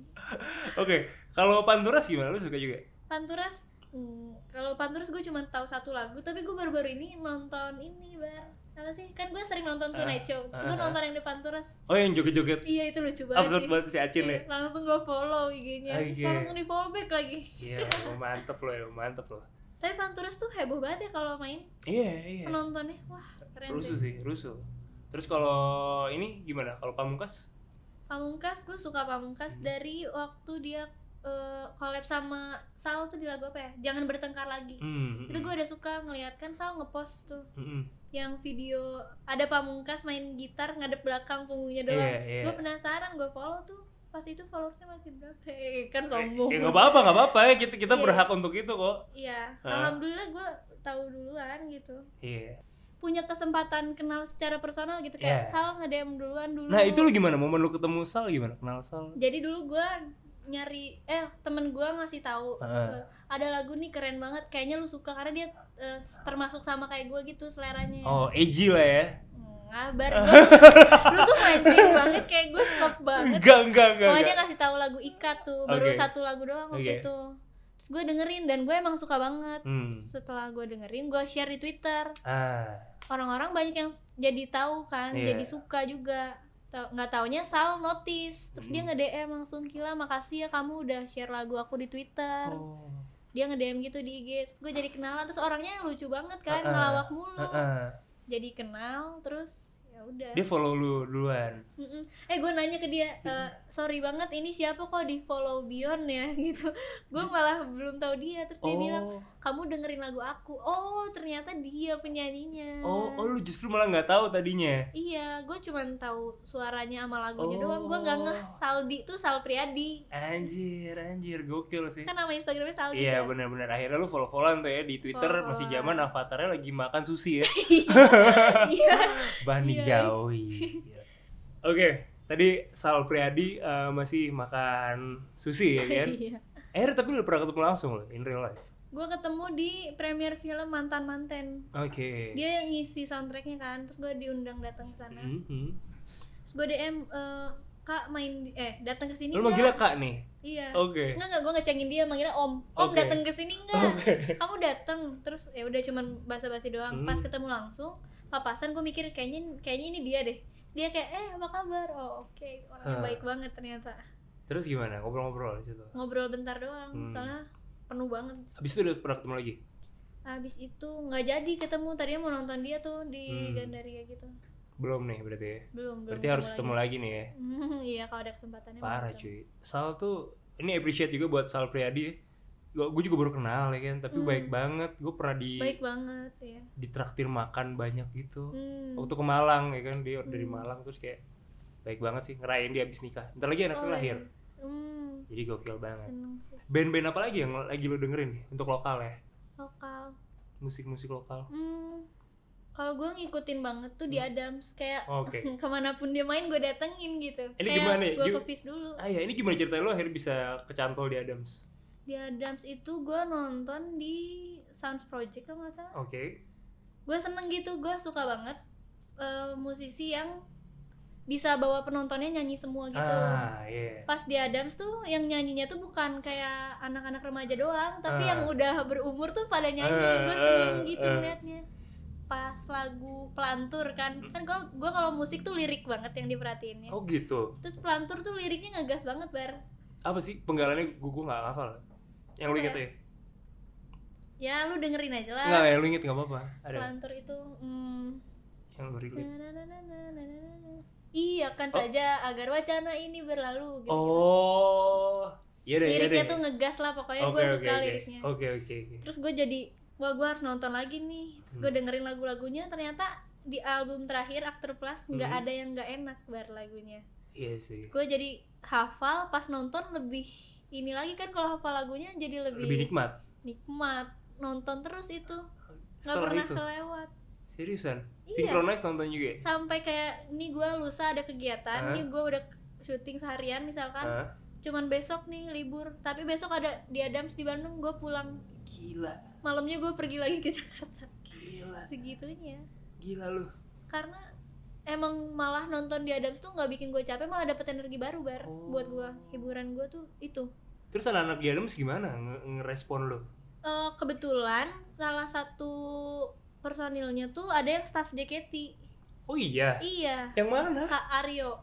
A: Oke, kalau Panturas gimana? Lu suka juga?
B: Panturas hmm, kalau Panturas gue cuma tahu satu lagu tapi gue baru-baru ini nonton ini bar apa sih kan gue sering nonton
A: Ah,
B: Tonight Show terus
A: ah,
B: gue
A: ah.
B: nonton yang di Panturas
A: Oh yang joget-joget
B: iya itu lucu banget
A: absurd
B: sih.
A: banget Ah, iya. si Acil
B: Iya,
A: ya?
B: langsung gue follow IG-nya
A: Oke.
B: langsung di follow back lagi
A: Iya, emang mantep loh, emang mantep loh
B: tapi Panturas tuh heboh banget ya kalau main
A: Iya, iya
B: penontonnya wah keren
A: Rusuh
B: sih
A: sih, rusuh Terus kalau ini gimana? Kalau Pamungkas?
B: Pamungkas gue suka Pamungkas
A: Hmm.
B: dari waktu dia eh, collab sama Sal tuh di lagu apa ya jangan bertengkar lagi
A: Hmm,
B: itu gue udah suka ngeliat kan Sal ngepost tuh
A: hmm, hmm.
B: yang video ada pamungkas main gitar ngadep belakang punggungnya doang
A: Iya, iya
B: gue penasaran gue follow tuh pas itu followersnya masih berapa [laughs] eh, kan sombong
A: Ya nggak apa-apa, nggak apa-apa ya Kita, kita
B: Iya.
A: berhak untuk itu kok
B: Iya,
A: Hah?
B: alhamdulillah gue tahu duluan gitu
A: Iya
B: punya kesempatan kenal secara personal gitu kayak
A: Iya.
B: Sal nge-DM duluan dulu
A: Nah itu lu gimana? Momen lu ketemu Sal gimana? Kenal Sal?
B: jadi dulu gue nyari eh temen gue ngasih tahu
A: Ah.
B: eh, ada lagu nih keren banget kayaknya lu suka karena dia eh, termasuk sama kayak gue gitu seleranya
A: Oh, edgy lah ya
B: ngabar gue [laughs] lu tuh mancing banget kayak gue stop banget
A: Enggak, enggak, enggak,
B: Pokoknya dia
A: enggak.
B: ngasih tahu lagu Ika tuh, baru
A: Oke.
B: satu lagu doang waktu
A: Oke.
B: itu. terus gue dengerin dan gue emang suka banget
A: Hmm.
B: setelah gue dengerin gue share di twitter
A: Ah.
B: orang-orang banyak yang s- jadi tahu kan
A: Iya.
B: jadi suka juga Tau- nggak taunya Sal notice terus dia
A: Mm.
B: nge DM langsung Kila makasih ya kamu udah share lagu aku di Twitter
A: Oh.
B: dia nge DM gitu di IG terus gue jadi kenalan terus orangnya lucu banget kan
A: Ah-ah.
B: ngelawak mulu
A: Ah-ah.
B: jadi kenal terus ya udah
A: Dia follow lu duluan.
B: Mm-mm. eh gue nanya ke dia "Eh, sorry banget ini siapa kok di follow Beyond ya [laughs] gitu gue malah belum tahu dia terus dia bilang
A: Oh.
B: kamu dengerin lagu aku oh ternyata dia penyanyinya
A: Oh, oh lu justru malah nggak tahu tadinya.
B: Iya, gue cuman tahu suaranya sama lagunya
A: Oh.
B: doang. Gue nggak ngeh Saldi tuh Sal Priadi.
A: Anjir, anjir, gokil sih.
B: Kan nama Instagramnya Saldi.
A: Iya
B: kan?
A: benar-benar akhirnya lu follow-followan tuh ya di Twitter masih
B: Follow-followan.
A: zaman avatarnya lagi makan sushi
B: [laughs]
A: ya.
B: [laughs]
A: [laughs]
B: Iya.
A: Bani
B: Iya.
A: Jawi.
B: [laughs]
A: Gila. Oke, tadi Sal Priadi eh, masih makan sushi ya
B: [laughs]
A: kan?
B: Iya.
A: Akhirnya tapi lu pernah ketemu langsung loh in real life.
B: Gue ketemu di premier film mantan manten.
A: Oke.
B: Dia yang ngisi soundtracknya kan, terus gue diundang datang ke sana.
A: Mhm.
B: Terus gue DM eh, kak main di- eh datang ke sini
A: Lu manggilnya Kak nih.
B: Iya.
A: Oke.
B: Enggak enggak gue ngecengin dia manggilnya Om. Om
A: Oke.
B: datang ke sini enggak?
A: Oke.
B: kamu datang terus ya udah cuman basa-basi doang
A: Hmm.
B: pas ketemu langsung papasan gue mikir kayaknya kayaknya ini dia deh Terus dia kayak eh apa kabar oh oke orangnya
A: Hah.
B: baik banget ternyata
A: Terus gimana? Ngobrol-ngobrol di situ.
B: ngobrol bentar doang
A: Hmm.
B: soalnya penuh banget
A: Habis itu udah pernah ketemu lagi.
B: habis itu nggak jadi ketemu tadinya mau nonton dia tuh di
A: Hmm.
B: Gandaria gitu
A: Belum nih berarti ya.
B: belum belum
A: Berarti harus ketemu lagi nih ya.
B: Hmm, [laughs] iya kalau ada kesempatannya mau
A: Parah
B: ketemu.
A: cuy. Sal tuh ini appreciate juga buat Sal Priadi. Gue juga baru kenal ya kan, tapi
B: Hmm.
A: baik banget. Gue pernah di
B: baik banget ya
A: ditraktir makan banyak gitu.
B: Hmm.
A: Waktu ke Malang ya kan, dia dari
B: Hmm.
A: Malang terus kayak baik banget sih ngerayain dia abis nikah. Ntar lagi anaknya
B: Oh,
A: lahir. Nah,
B: iya. Hmm,
A: Jadi gokil banget.
B: seneng sih
A: Band-band apa lagi yang lagi lo dengerin nih untuk lokal ya?
B: lokal
A: Musik-musik lokal.
B: Hmm, kalau gue ngikutin banget tuh di Adams kayak
A: Hmm. Oh, Oke.
B: [laughs] kemanapun dia main gue datengin gitu.
A: Ini
B: kayak
A: gimana ya?
B: Gue
A: Gim-
B: ke Fis dulu.
A: Ah ya, ini gimana ceritanya lo akhirnya bisa kecantol di Adams?
B: Di Adams itu gue nonton di Sounds Project kalau nggak salah.
A: Oke.
B: Gue seneng gitu, gue suka banget eh, musisi yang bisa bawa penontonnya nyanyi semua gitu.
A: Ah, iya.
B: Pas di Adams tuh yang nyanyinya tuh bukan kayak anak-anak remaja doang, tapi
A: Ah.
B: yang udah berumur tuh pada nyanyi. gue
A: Ah,
B: seneng
A: ah,
B: gitu
A: ah.
B: ngeliatnya. Pas lagu pelantur kan, kan gue gua kalau musik tuh lirik banget yang diperhatiinnya.
A: Hmm. Oh gitu.
B: Terus pelantur tuh liriknya ngegas banget bar.
A: Apa sih penggalannya gue gak hafal. Yang lo
B: Apa
A: inget
B: ya?
A: ya?
B: Ya lu dengerin aja lah.
A: Enggak, yang lo inget gak apa-apa. Nah, Ada
B: Pelantur itu mm,
A: yang lo relate.
B: na-na-na-na-na-na-na. Iya kan
A: Oh.
B: saja agar wacana ini berlalu gitu.
A: Oh, iya deh, iya deh.
B: liriknya tuh ngegas lah pokoknya gue suka
A: oke. Oh,
B: liriknya.
A: Oke, oke, oke.
B: Terus gue jadi wah gue harus nonton lagi nih. Terus gue
A: Hmm.
B: dengerin lagu-lagunya ternyata di album terakhir Aktor Plus nggak
A: Hmm.
B: ada yang nggak enak bar lagunya.
A: Iya
B: Terus
A: sih.
B: gue jadi hafal pas nonton lebih ini lagi kan kalau hafal lagunya jadi lebih,
A: Lebih nikmat
B: nikmat nonton terus itu nggak
A: setelah
B: pernah
A: itu.
B: kelewat
A: Seriusan?
B: Iya.
A: Synchronize nonton juga? ya?
B: sampai kayak nih gue lusa ada
A: Hah?
B: kegiatan nih gue udah syuting seharian misalkan
A: Hah?
B: cuman besok nih libur tapi besok ada di Adams di Bandung gue pulang
A: Gila,
B: malamnya gue pergi lagi ke Jakarta [laughs]
A: gila,
B: segitunya
A: gila lu.
B: karena emang malah nonton di Adams tuh nggak bikin gue capek malah dapet energi baru bar
A: Oh.
B: buat gue hiburan gue tuh itu
A: Terus anak-anak di Adams gimana nge- ngerespon lu?
B: Eh, kebetulan salah satu personilnya tuh ada yang staff JKT
A: Oh iya,
B: iya
A: yang mana?
B: Kak Aryo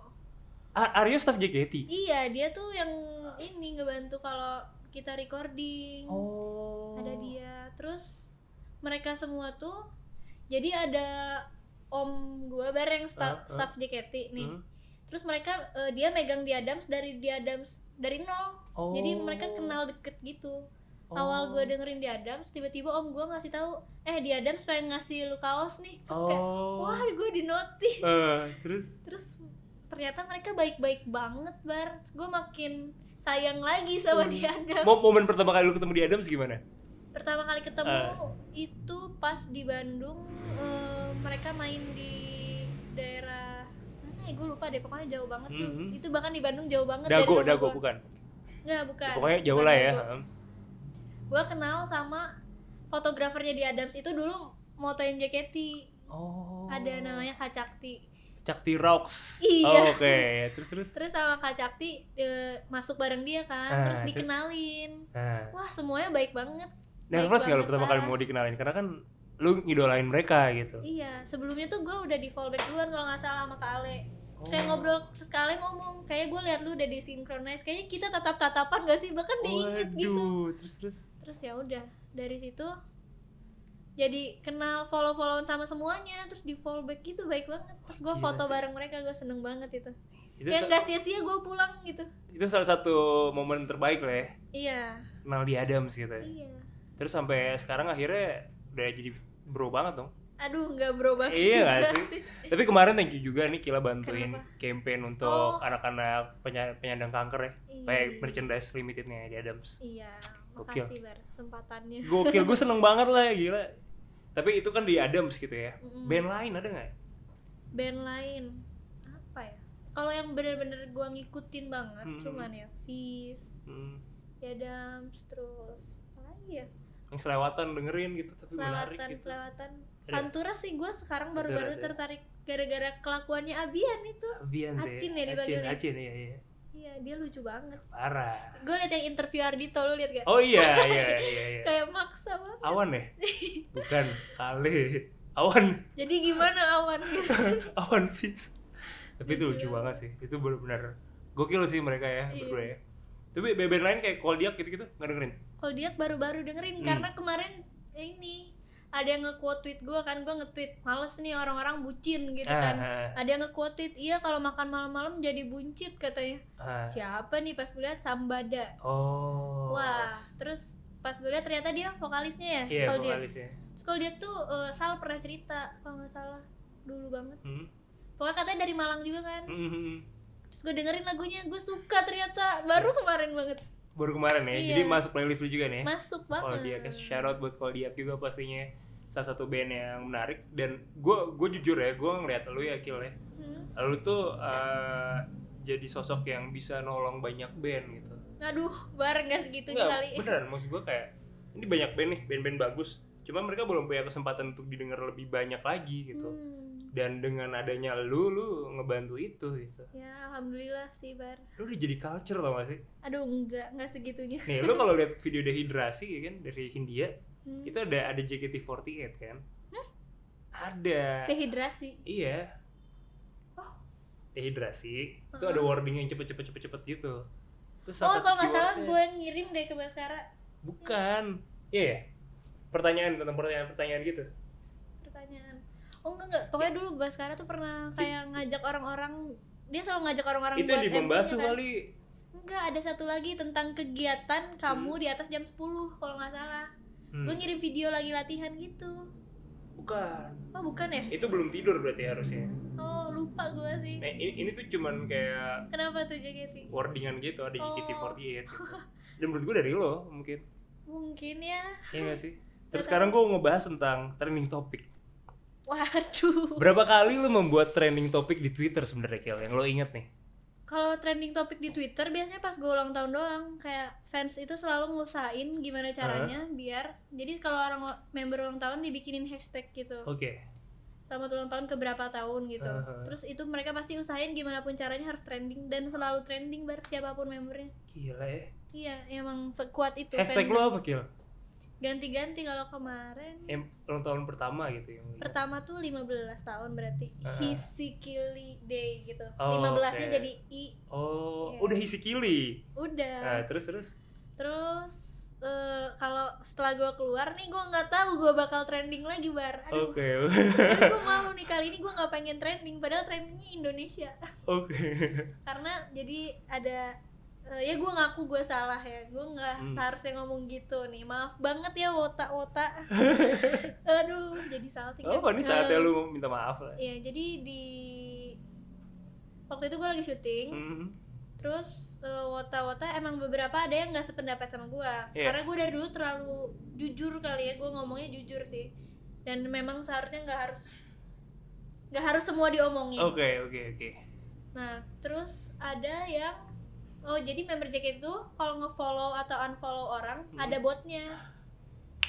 A: A- Aryo staff JKT?
B: Iya, dia tuh yang ini ngebantu kalau kita recording.
A: Oh.
B: Ada dia. Terus mereka semua tuh jadi ada om gua bareng
A: Ah, ah.
B: sta- staff JKT nih.
A: Hmm?
B: Terus mereka eh, dia megang diadams dari diadams dari nol.
A: Oh.
B: Jadi mereka kenal deket gitu.
A: Oh.
B: Awal gua dengerin diadams, tiba-tiba om gua ngasih tahu, "Eh, diadams pengen ngasih lu kaos nih." Terus kayak,
A: Oh.
B: "Wah, gua di notice."
A: Eh, terus
B: terus ternyata mereka baik-baik banget bar gue makin sayang lagi sama
A: Hmm.
B: dia Adam
A: Mo- momen pertama kali lu ketemu di Adams gimana?
B: pertama kali
A: Ah.
B: ketemu itu pas di Bandung eh, mereka main di daerah mana ya gue lupa deh pokoknya jauh banget tuh
A: Mhm.
B: itu bahkan di Bandung jauh banget
A: Dago,
B: dari
A: Dago bukan.
B: nggak bukan
A: Pokoknya jauh lah ya.
B: gue kenal sama fotografernya di Adams itu dulu motoin JKT
A: Oh.
B: ada namanya Kacakti
A: Cakti Rocks.
B: Iya.
A: Oh, Oke, terus terus.
B: terus sama Kak Cakti eh, masuk bareng dia kan
A: Ah,
B: terus
A: terus-
B: dikenalin
A: Nah,
B: wah semuanya baik banget
A: nervous nggak lo
B: banget,
A: pertama kali
B: parah.
A: mau dikenalin? Karena kan lu ngidolain mereka gitu.
B: iya sebelumnya tuh gue udah di fallback duluan kalau nggak salah sama Kak Ale
A: Oh.
B: kayak ngobrol terus Kak Ale ngomong kayak gue liat lu udah disinkronize kayaknya kita tatap tatapan gak sih bahkan diinget gitu
A: Waduh, terus terus.
B: terus ya udah dari situ jadi kenal follow followan sama semuanya terus di fallback gitu baik banget terus gue
A: Gila
B: foto
A: sih.
B: bareng mereka gue seneng banget itu
A: Itu,
B: kayak
A: sa-
B: nggak sia-sia gue pulang gitu
A: itu salah satu momen terbaik lah ya.
B: iya
A: Kenal di Adams gitu. ya.
B: iya
A: Terus sampai sekarang akhirnya udah jadi bro banget dong.
B: aduh nggak berubah
A: Iya
B: juga
A: nggak sih? Tapi kemarin thank you juga nih Kila bantuin
B: Kenapa?
A: campaign untuk
B: Oh.
A: anak-anak penya- penyandang kanker ya.
B: Iya.
A: Kayak merchandise limitednya di Adams.
B: Iya,
A: Gokil.
B: makasih Bar kesempatannya.
A: Gokil, gue seneng banget lah gila. Tapi itu kan di Adams gitu ya.
B: Mm-mm.
A: Band lain ada nggak?
B: Band lain apa ya? Kalau yang bener-bener gua ngikutin banget
A: Mm-mm.
B: cuman ya Fizz,
A: Hmm,
B: ya Dams, terus apa lagi ya?
A: yang selewatan dengerin gitu tapi menarik
B: Selawatan,
A: gitu.
B: selawatan.
A: Ada.
B: Pantura sih gua sekarang baru-baru
A: Panturas ya.
B: tertarik gara-gara kelakuannya Abian itu.
A: Abian deh.
B: Acin ya
A: Acin,
B: dipanggilnya.
A: Acin iya iya.
B: Iya, dia lucu banget.
A: Parah.
B: Gue liat yang interview Ardito, lu liat gak?
A: Oh iya iya iya.
B: [laughs]
A: iya.
B: Kayak maksa banget.
A: Awan
B: [laughs]
A: ya? Bukan kali. Awan [laughs]
B: Jadi gimana awan gitu?
A: awan fish tapi itu lucu
B: Lucu
A: banget sih itu benar-benar gokil sih mereka ya
B: Iya.
A: berdua ya tapi beben lain kayak Koldiak gitu-gitu nggak dengerin
B: Kalau dia baru-baru dengerin
A: Hmm.
B: karena kemarin ini ada yang nge-quote tweet gue kan gue nge-tweet males nih orang-orang bucin gitu kan
A: Ah,
B: ada yang nge-quote tweet iya kalau makan malam-malam jadi buncit katanya
A: ah, ah.
B: siapa nih pas gue liat Sambada
A: oh
B: wah terus pas gue liat ternyata dia vokalisnya ya
A: iya
B: kalau dia
A: vokalisnya
B: Terus kalau dia tuh eh, Sal pernah cerita kalau nggak salah dulu banget
A: Hmm,
B: pokoknya katanya dari Malang juga kan
A: hmm, hmm, hmm.
B: terus gue dengerin lagunya gue suka ternyata baru kemarin banget
A: baru kemarin ya
B: Iya.
A: jadi masuk playlist lu juga nih
B: masuk banget
A: Koldiak shout out buat Koldiak juga pastinya salah satu band yang menarik dan gue gue jujur ya gue ngeliat lu ya Kil ya
B: Hmm.
A: lu tuh eh, jadi sosok yang bisa nolong banyak band gitu
B: aduh bareng gak segitunya
A: Nggak,
B: kali [laughs]
A: beneran maksud gue kayak ini banyak band nih band-band bagus cuma mereka belum punya kesempatan untuk didengar lebih banyak lagi gitu
B: Hmm,
A: dan dengan adanya lu lu ngebantu itu gitu
B: ya alhamdulillah sih bar.
A: lu udah jadi culture tau gak sih
B: Aduh enggak enggak segitunya.
A: nih lu kalau lihat video dehidrasi ya kan dari Hindia
B: Hmm.
A: itu ada ada JKT48 kan ada
B: dehidrasi.
A: iya
B: Eh. Oh.
A: dehidrasi itu
B: Uh-uh.
A: ada wording yang cepet cepet cepet cepet gitu Terus salah satu
B: Oh
A: ya.
B: kalau nggak salah
A: keywordnya-
B: gue ngirim deh ke Baskara
A: bukan iya ya? pertanyaan tentang pertanyaan pertanyaan gitu
B: pertanyaan. Oh enggak enggak.
A: Iya.
B: Pokoknya dulu Baskara tuh pernah kayak ngajak orang-orang dia selalu ngajak orang-orang
A: itu di
B: MV-nya
A: Mambasu
B: kan.
A: kali
B: Enggak, ada satu lagi tentang kegiatan kamu di atas jam 10 kalau nggak salah.
A: Hmm,
B: Gue ngirim video lagi latihan gitu.
A: bukan
B: Oh, bukan ya?
A: itu belum tidur berarti harusnya
B: Oh, lupa gue sih.
A: nah, ini, ini tuh cuman kayak
B: Kenapa tuh JKT?
A: wordingan gitu ada
B: Oh.
A: JKT48 gitu dan menurut gue dari lo mungkin
B: Mungkin ya. [laughs]
A: iya gak sih terus
B: Nggak
A: sekarang gue ngebahas tentang trending topic
B: Waduh.
A: berapa kali lo membuat trending topic di Twitter sebenarnya Kel yang lo inget nih
B: kalau trending topik di Twitter biasanya pas gue ulang tahun doang kayak fans itu selalu ngusahain gimana caranya biar jadi kalau orang member ulang tahun dibikinin hashtag gitu
A: oke
B: selamat ulang tahun ke berapa tahun gitu
A: Aha.
B: terus itu mereka pasti usahain gimana pun caranya harus trending dan selalu trending bar siapapun membernya
A: gila ya
B: iya emang sekuat itu
A: hashtag
B: fandom.
A: lo apa Kel
B: ganti-ganti kalau kemarin
A: yang ulang tahun pertama gitu yang lo inget.
B: pertama tuh 15 tahun berarti
A: Aha.
B: hisikili day gitu
A: Ah. Oh,
B: 15-nya
A: oke.
B: jadi i
A: oh
B: Iya.
A: udah isi kili
B: udah
A: nah, terus terus
B: Terus eh, kalau setelah gua keluar nih gua nggak tahu gua bakal trending lagi bar. Aduh,
A: oke [laughs]
B: tapi gue malu nih kali ini gua nggak pengen trending. Padahal trendingnya Indonesia.
A: oke
B: Karena jadi ada eh, ya gua ngaku gua salah ya. Gua nggak
A: Hmm.
B: seharusnya ngomong gitu nih. Maaf banget ya
A: [laughs]
B: wota-wota. Aduh, jadi salting.
A: oh ini
B: Eh,
A: saatnya lo minta maaf lah
B: Iya, jadi di waktu itu gua lagi syuting.
A: Mhm.
B: Terus eh, wota-wota emang beberapa ada yang nggak sependapat sama gua
A: Iya.
B: Karena gue dari dulu terlalu jujur kali ya, gue ngomongnya jujur sih. Dan memang seharusnya nggak harus nggak harus semua diomongin.
A: oke oke oke
B: Nah, terus ada yang oh jadi member JKT itu kalau nge-follow atau unfollow orang
A: Hmm.
B: ada botnya.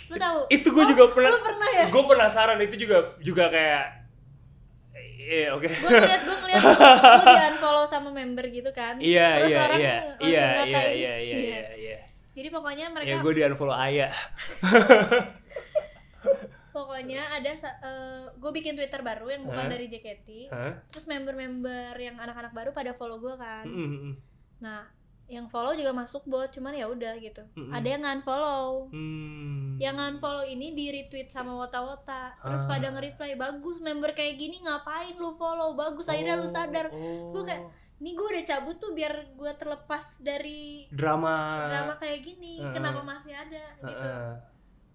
B: Lu tahu?
A: itu gue
B: Oh,
A: juga pernah
B: Lu pernah ya?
A: gue penasaran itu juga juga kayak Iya, oke.
B: gue ngeliat gue ngeliat gue di unfollow sama member gitu
A: [laughs]
B: kan
A: Iya,
B: terus
A: iya,
B: orang
A: iya.
B: langsung
A: Iya, iya,
B: ngatain.
A: iya, iya,
B: Iya.
A: iya, iya.
B: jadi pokoknya
A: Ya
B: mereka
A: gue di unfollow Aya.
B: pokoknya ada gue bikin twitter baru yang bukan
A: Hah?
B: dari JKT
A: Hah?
B: terus member-member yang anak-anak baru pada follow gue kan
A: Mm, mm, mm.
B: nah yang follow juga masuk bot cuman ya udah gitu
A: Mm-mm.
B: ada yang unfollow
A: Hmm.
B: yang unfollow ini di retweet sama wota-wota terus
A: Ah.
B: pada nge-reply bagus member kayak gini ngapain lu follow bagus akhirnya lu
A: Oh,
B: sadar
A: oh.
B: Gua kayak, nih gue udah cabut tuh biar gue terlepas dari
A: drama.
B: drama kayak gini
A: Heeh.
B: kenapa masih ada gitu
A: Heeh.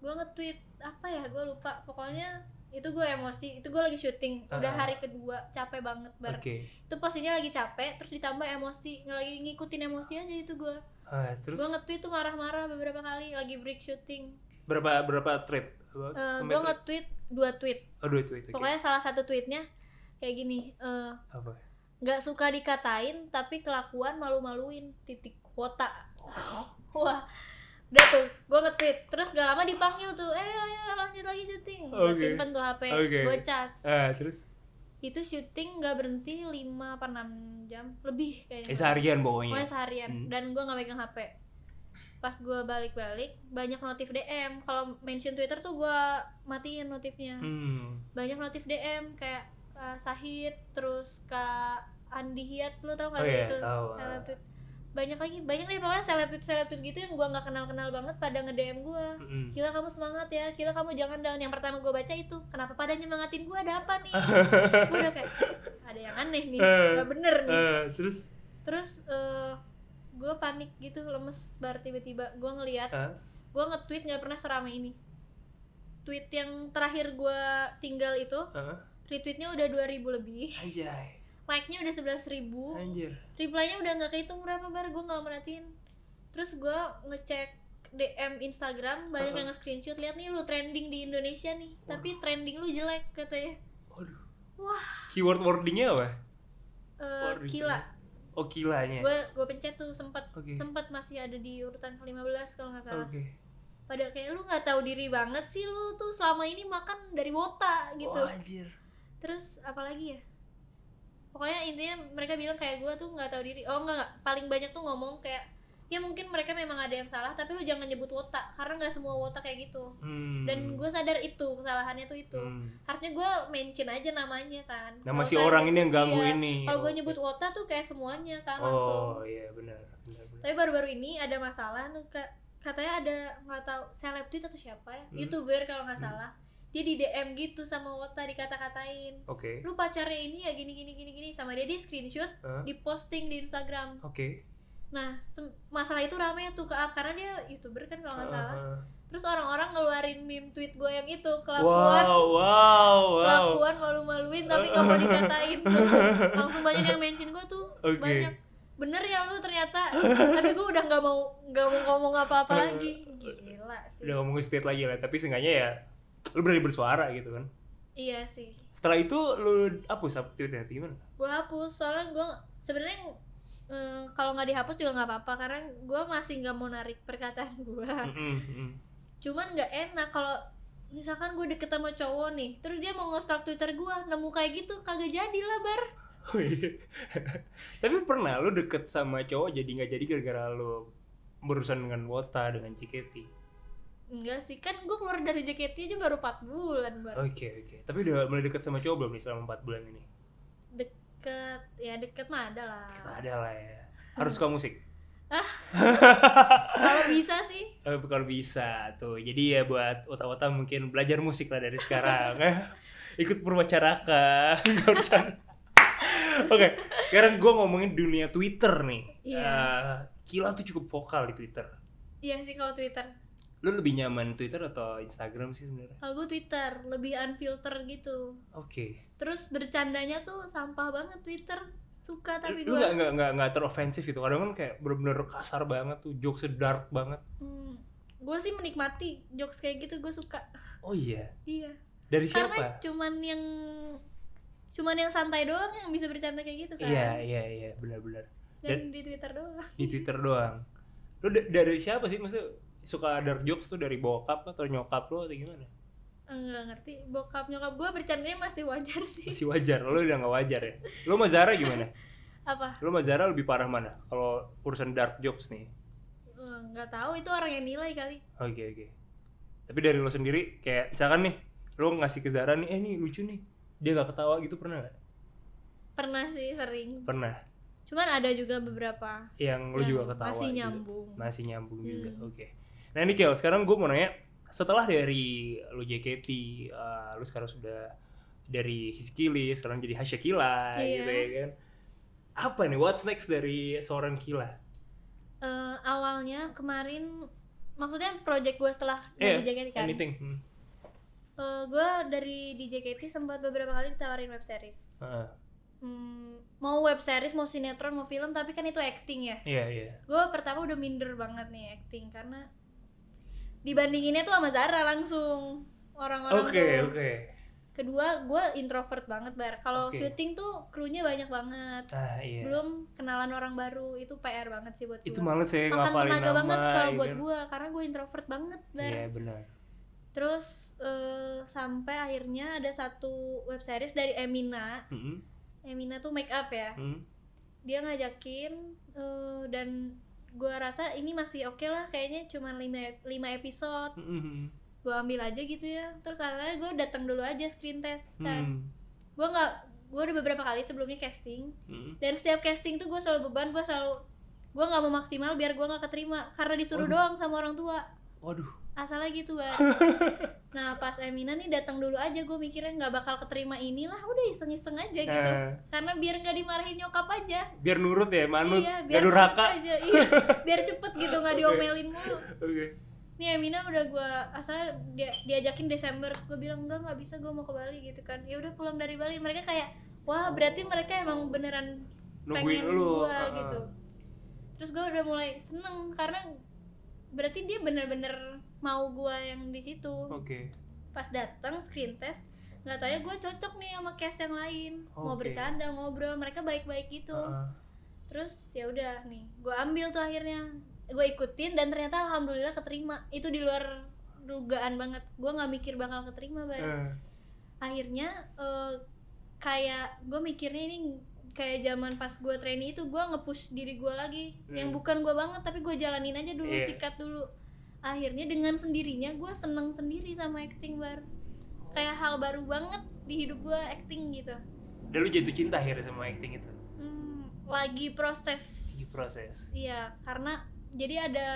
B: gue nge-tweet apa ya gue lupa pokoknya itu gue emosi itu gue lagi syuting udah
A: Heeh.
B: hari kedua capek banget
A: Ah, Oke.
B: bar itu posisinya lagi capek terus ditambah emosi lagi ngikutin emosi aja itu gue
A: Ah, terus
B: gue nge-tweet tuh marah-marah beberapa kali lagi break syuting
A: berapa berapa trip? Berapa-
B: Eh
A: sampai
B: gue
A: trip?
B: nge-tweet dua tweet
A: Oh, dua tweet. oke.
B: pokoknya salah satu tweetnya kayak gini eh
A: Apa?
B: nggak suka dikatain tapi kelakuan malu-maluin titik
A: [laughs]
B: kuota wah udah tuh gue nge-tweet terus gak lama dipanggil tuh eh ayo, ayo, lanjut lagi syuting gue
A: Oke.
B: simpen tuh hp
A: Oke.
B: gue cas
A: Ah, terus
B: itu syuting nggak berhenti 5 apa 6 jam lebih kayaknya
A: eh, seharian
B: Pokoknya
A: pokoknya.
B: seharian
A: Hmm.
B: dan gue nggak megang hp pas gue balik-balik banyak notif dm kalau mention twitter tuh gue matiin notifnya
A: Hmm.
B: banyak notif DM kayak Kak Sahid, terus Kak Andi Hiat, lu tau
A: Oh
B: gak
A: iya,
B: itu?
A: tahu.
B: Seleb tweet. Banyak lagi, banyak nih pokoknya seleb tweet seleb tweet gitu yang gua nggak kenal-kenal banget pada nge-DM gua.
A: Mm-mm.
B: Gila kamu semangat ya, gila kamu jangan down. Yang pertama gua baca itu, kenapa pada nyemangatin gua ada apa
A: [laughs]
B: nih? gua udah kayak ada yang aneh nih,
A: Eh,
B: nggak bener nih.
A: Eh, terus
B: Terus eh gua panik gitu, lemes bar tiba-tiba gua ngeliat
A: Hah?
B: gua nge-tweet nggak pernah seramai ini. Tweet yang terakhir gua tinggal itu
A: Heeh.
B: retweetnya udah 2000 lebih
A: eh. anjay,
B: like-nya udah 11.000 ribu
A: anjir.
B: reply-nya udah nggak kehitung berapa bar gue nggak merhatiin terus gue ngecek DM Instagram banyak yang nge-screenshot lihat nih lu trending di Indonesia nih tapi trending lu jelek katanya
A: Waduh.
B: Wah.
A: Keyword wordingnya apa?
B: Eh
A: Waduh,
B: gila
A: Oh, kilanya.
B: gue gue pencet tuh sempet
A: Oke.
B: sempet kan, masih ada di urutan ke 15 kalau nggak salah
A: Oke.
B: pada kayak lu nggak tahu diri banget sih lu tuh selama ini makan dari wota gitu
A: Wah, anjir.
B: terus apalagi ya pokoknya intinya mereka bilang kayak gue tuh nggak tahu diri oh enggak, enggak paling banyak tuh ngomong kayak ya mungkin mereka memang ada yang salah tapi lu jangan nyebut wota karena nggak semua wota kayak gitu
A: Hmm.
B: dan gue sadar itu kesalahannya tuh itu
A: Hmm.
B: harusnya gue mention aja namanya kan
A: Nama
B: Kalau
A: si
B: saya-
A: orang ini yang ganggu
B: Iya.
A: ini.
B: kalau gue
A: Oh,
B: nyebut wota tuh kayak semuanya kan langsung
A: Oh, iya benar, benar, benar.
B: tapi baru-baru ini ada masalah tuh ka- katanya ada nggak tahu seleb tweet atau siapa ya
A: Hmm.
B: youtuber kalau nggak
A: Hmm.
B: salah dia di DM gitu sama wota dikata-katain
A: Oke.
B: lu pacarnya ini ya gini gini gini gini sama dia di screenshot
A: Hah?
B: diposting di Instagram
A: eh, Oke.
B: nah sem- masalah itu rame tuh ke up karena dia youtuber kan kalau nggak salah
A: Heeh.
B: terus orang-orang ngeluarin meme tweet gue yang itu kelakuan
A: Wow, wow, wow. [laughs]
B: kelakuan malu-maluin tapi nggak mau dikatain langsung, langsung banyak yang mention gue tuh
A: Oke.
B: banyak bener ya lu ternyata tapi gue udah nggak mau nggak mau ngomong apa-apa lagi gila sih
A: Udah ngomongin state lagi lah, tapi seenggaknya ya lu berani bersuara gitu kan.
B: iya sih
A: Setelah itu lu hapus up tweetnya atau gimana?
B: gue hapus soalnya gue sebenarnya eh, kalau nggak dihapus juga nggak apa-apa karena gue masih nggak mau narik perkataan [laughs] gue
A: Mm-mm, mm-mm.
B: cuman nggak enak kalau misalkan gue deket sama cowok nih terus dia mau nge-stalk twitter gue nemu kayak gitu kagak jadi lah bar
A: Oh, iya. [laughs] tapi pernah lu deket sama cowok jadi nggak jadi gara-gara lu berurusan dengan Wota dengan Ciketi.
B: enggak sih kan gue keluar dari JKT aja baru 4 bulan bar
A: Oke oke. Tapi udah mulai deket sama cowok belum nih selama 4 bulan ini?
B: deket ya deket mah ada lah
A: Kita ada lah ya.
B: Hmm.
A: Harus suka musik. [laughs]
B: kalau bisa sih
A: Eh, kalau bisa tuh. Jadi ya buat otak-otak mungkin belajar musik lah dari
B: [laughs]
A: sekarang. Eh, Ikut perwacaraka. [laughs] Nggak bercanda. Oke, sekarang gue ngomongin dunia Twitter nih.
B: Iya.
A: Eh, Kila tuh cukup vokal di Twitter.
B: iya sih kalau Twitter
A: Lu lebih nyaman Twitter atau Instagram sih sebenarnya?
B: kalau gue Twitter lebih unfilter gitu
A: Oke.
B: terus bercandanya tuh sampah banget Twitter suka tapi
A: Lu nggak
B: gue
A: nggak nggak nggak terofensif itu. Kadang kan kayak bener-bener kasar banget tuh, jokes dark banget.
B: gue Hmm, sih menikmati jokes kayak gitu gue suka
A: Oh iya.
B: iya
A: Dari siapa?
B: karena cuman yang cuman yang santai doang yang bisa bercanda kayak gitu kan
A: Iya, iya, iya, benar-benar.
B: dan di Twitter doang
A: di Twitter doang. Lu da- dari siapa sih maksudnya suka dark jokes tuh dari bokap atau nyokap lu atau gimana?
B: Eh nggak ngerti bokap nyokap gue bercandanya masih wajar [laughs] sih
A: Masih wajar, lo udah nggak wajar ya. Lo sama Zara gimana?
B: apa
A: Lo sama Zara lebih parah mana? Kalau urusan dark jokes nih.
B: Eh, nggak tahu itu orang yang nilai kali
A: Oke oke. Tapi dari lo sendiri kayak misalkan nih, lo ngasih ke Zara nih, eh nih lucu nih. Dia gak ketawa gitu pernah nggak?
B: pernah sih sering
A: Pernah.
B: cuman ada juga beberapa
A: Yang lo
B: yang
A: juga ketawa. gitu.
B: masih
A: juga.
B: nyambung
A: Masih nyambung juga.
B: Hmm.
A: Oke. Nah ini Kel, sekarang gue mau nanya, setelah dari lo JKT, eh, lo sekarang sudah dari Hiskili, sekarang jadi Hasyakila
B: Iya.
A: gitu ya kan. Apa nih, what's next dari seorang Kila?
B: Eh, awalnya kemarin maksudnya project gue setelah
A: Iya,
B: dari JKT kan
A: Anything? Hmm.
B: gue dari di JKT sempat beberapa kali ditawarin web series
A: Heeh.
B: Hmm, mau web series mau sinetron mau film tapi kan itu acting ya
A: Iya, iya.
B: gue pertama udah minder banget nih acting karena dibandinginnya tuh sama Zara langsung orang-orang
A: Oke,
B: tuh
A: oke.
B: kedua gue introvert banget bar kalau
A: Oke.
B: syuting tuh krunya banyak banget
A: Ah, iya.
B: belum kenalan orang baru itu PR banget sih buat gue
A: itu malah saya
B: makan
A: ngafalin
B: tenaga
A: nama
B: banget kalau
A: ya
B: buat
A: kan?
B: gue karena gue introvert banget bar
A: iya benar
B: terus eh, sampai akhirnya ada satu web series dari Emina
A: Mm-mm,
B: Emina tuh make up ya
A: mm.
B: dia ngajakin eh, dan gue rasa ini masih oke lah kayaknya cuma 5 episode
A: Mm-mm,
B: gue ambil aja gitu ya terus akhirnya gue datang dulu aja screen test
A: mm,
B: kan gue nggak gue udah beberapa kali sebelumnya casting
A: mm.
B: dan setiap casting tuh gue selalu beban gue selalu gue nggak mau maksimal biar gue nggak keterima karena disuruh
A: Waduh.
B: doang sama orang tua
A: waduh
B: asalnya gitu
A: [laughs]
B: bar nah pas Emina nih datang dulu aja gue mikirnya nggak bakal keterima inilah udah iseng iseng aja gitu
A: Nah,
B: karena biar nggak dimarahin nyokap aja
A: biar nurut ya manut
B: iya
A: gak
B: biar
A: durhaka
B: cepet aja
A: [laughs]
B: iya biar cepet gitu nggak
A: Oke.
B: diomelin mulu
A: oke
B: nih Emina udah gue asalnya dia, diajakin Desember gue bilang enggak nggak bisa gue mau ke Bali gitu kan ya udah pulang dari Bali mereka kayak wah berarti mereka emang beneran
A: nungguin
B: pengen
A: lu ah,
B: gua
A: ah.
B: gitu terus gue udah mulai seneng karena berarti dia bener-bener mau gua yang di situ
A: oke
B: pas datang screen test nggak tanya gue cocok nih sama cast yang lain mau
A: Oke.
B: bercanda ngobrol mereka baik-baik gitu
A: Ah, ah.
B: terus ya udah nih gue ambil tuh akhirnya gue ikutin dan ternyata alhamdulillah keterima itu di luar dugaan banget gua nggak mikir bakal keterima Bar
A: Eh,
B: akhirnya eh, kayak gue mikirnya ini kayak zaman pas gue trainee itu gue nge-push diri gue lagi yang
A: Hmm.
B: bukan gue banget tapi gue jalanin aja dulu
A: Iya.
B: sikat dulu akhirnya dengan sendirinya gue seneng sendiri sama acting bar kayak hal baru banget di hidup gue acting gitu
A: dan lu jatuh cinta akhirnya sama acting itu
B: Hmm, lagi proses
A: di proses
B: iya karena jadi ada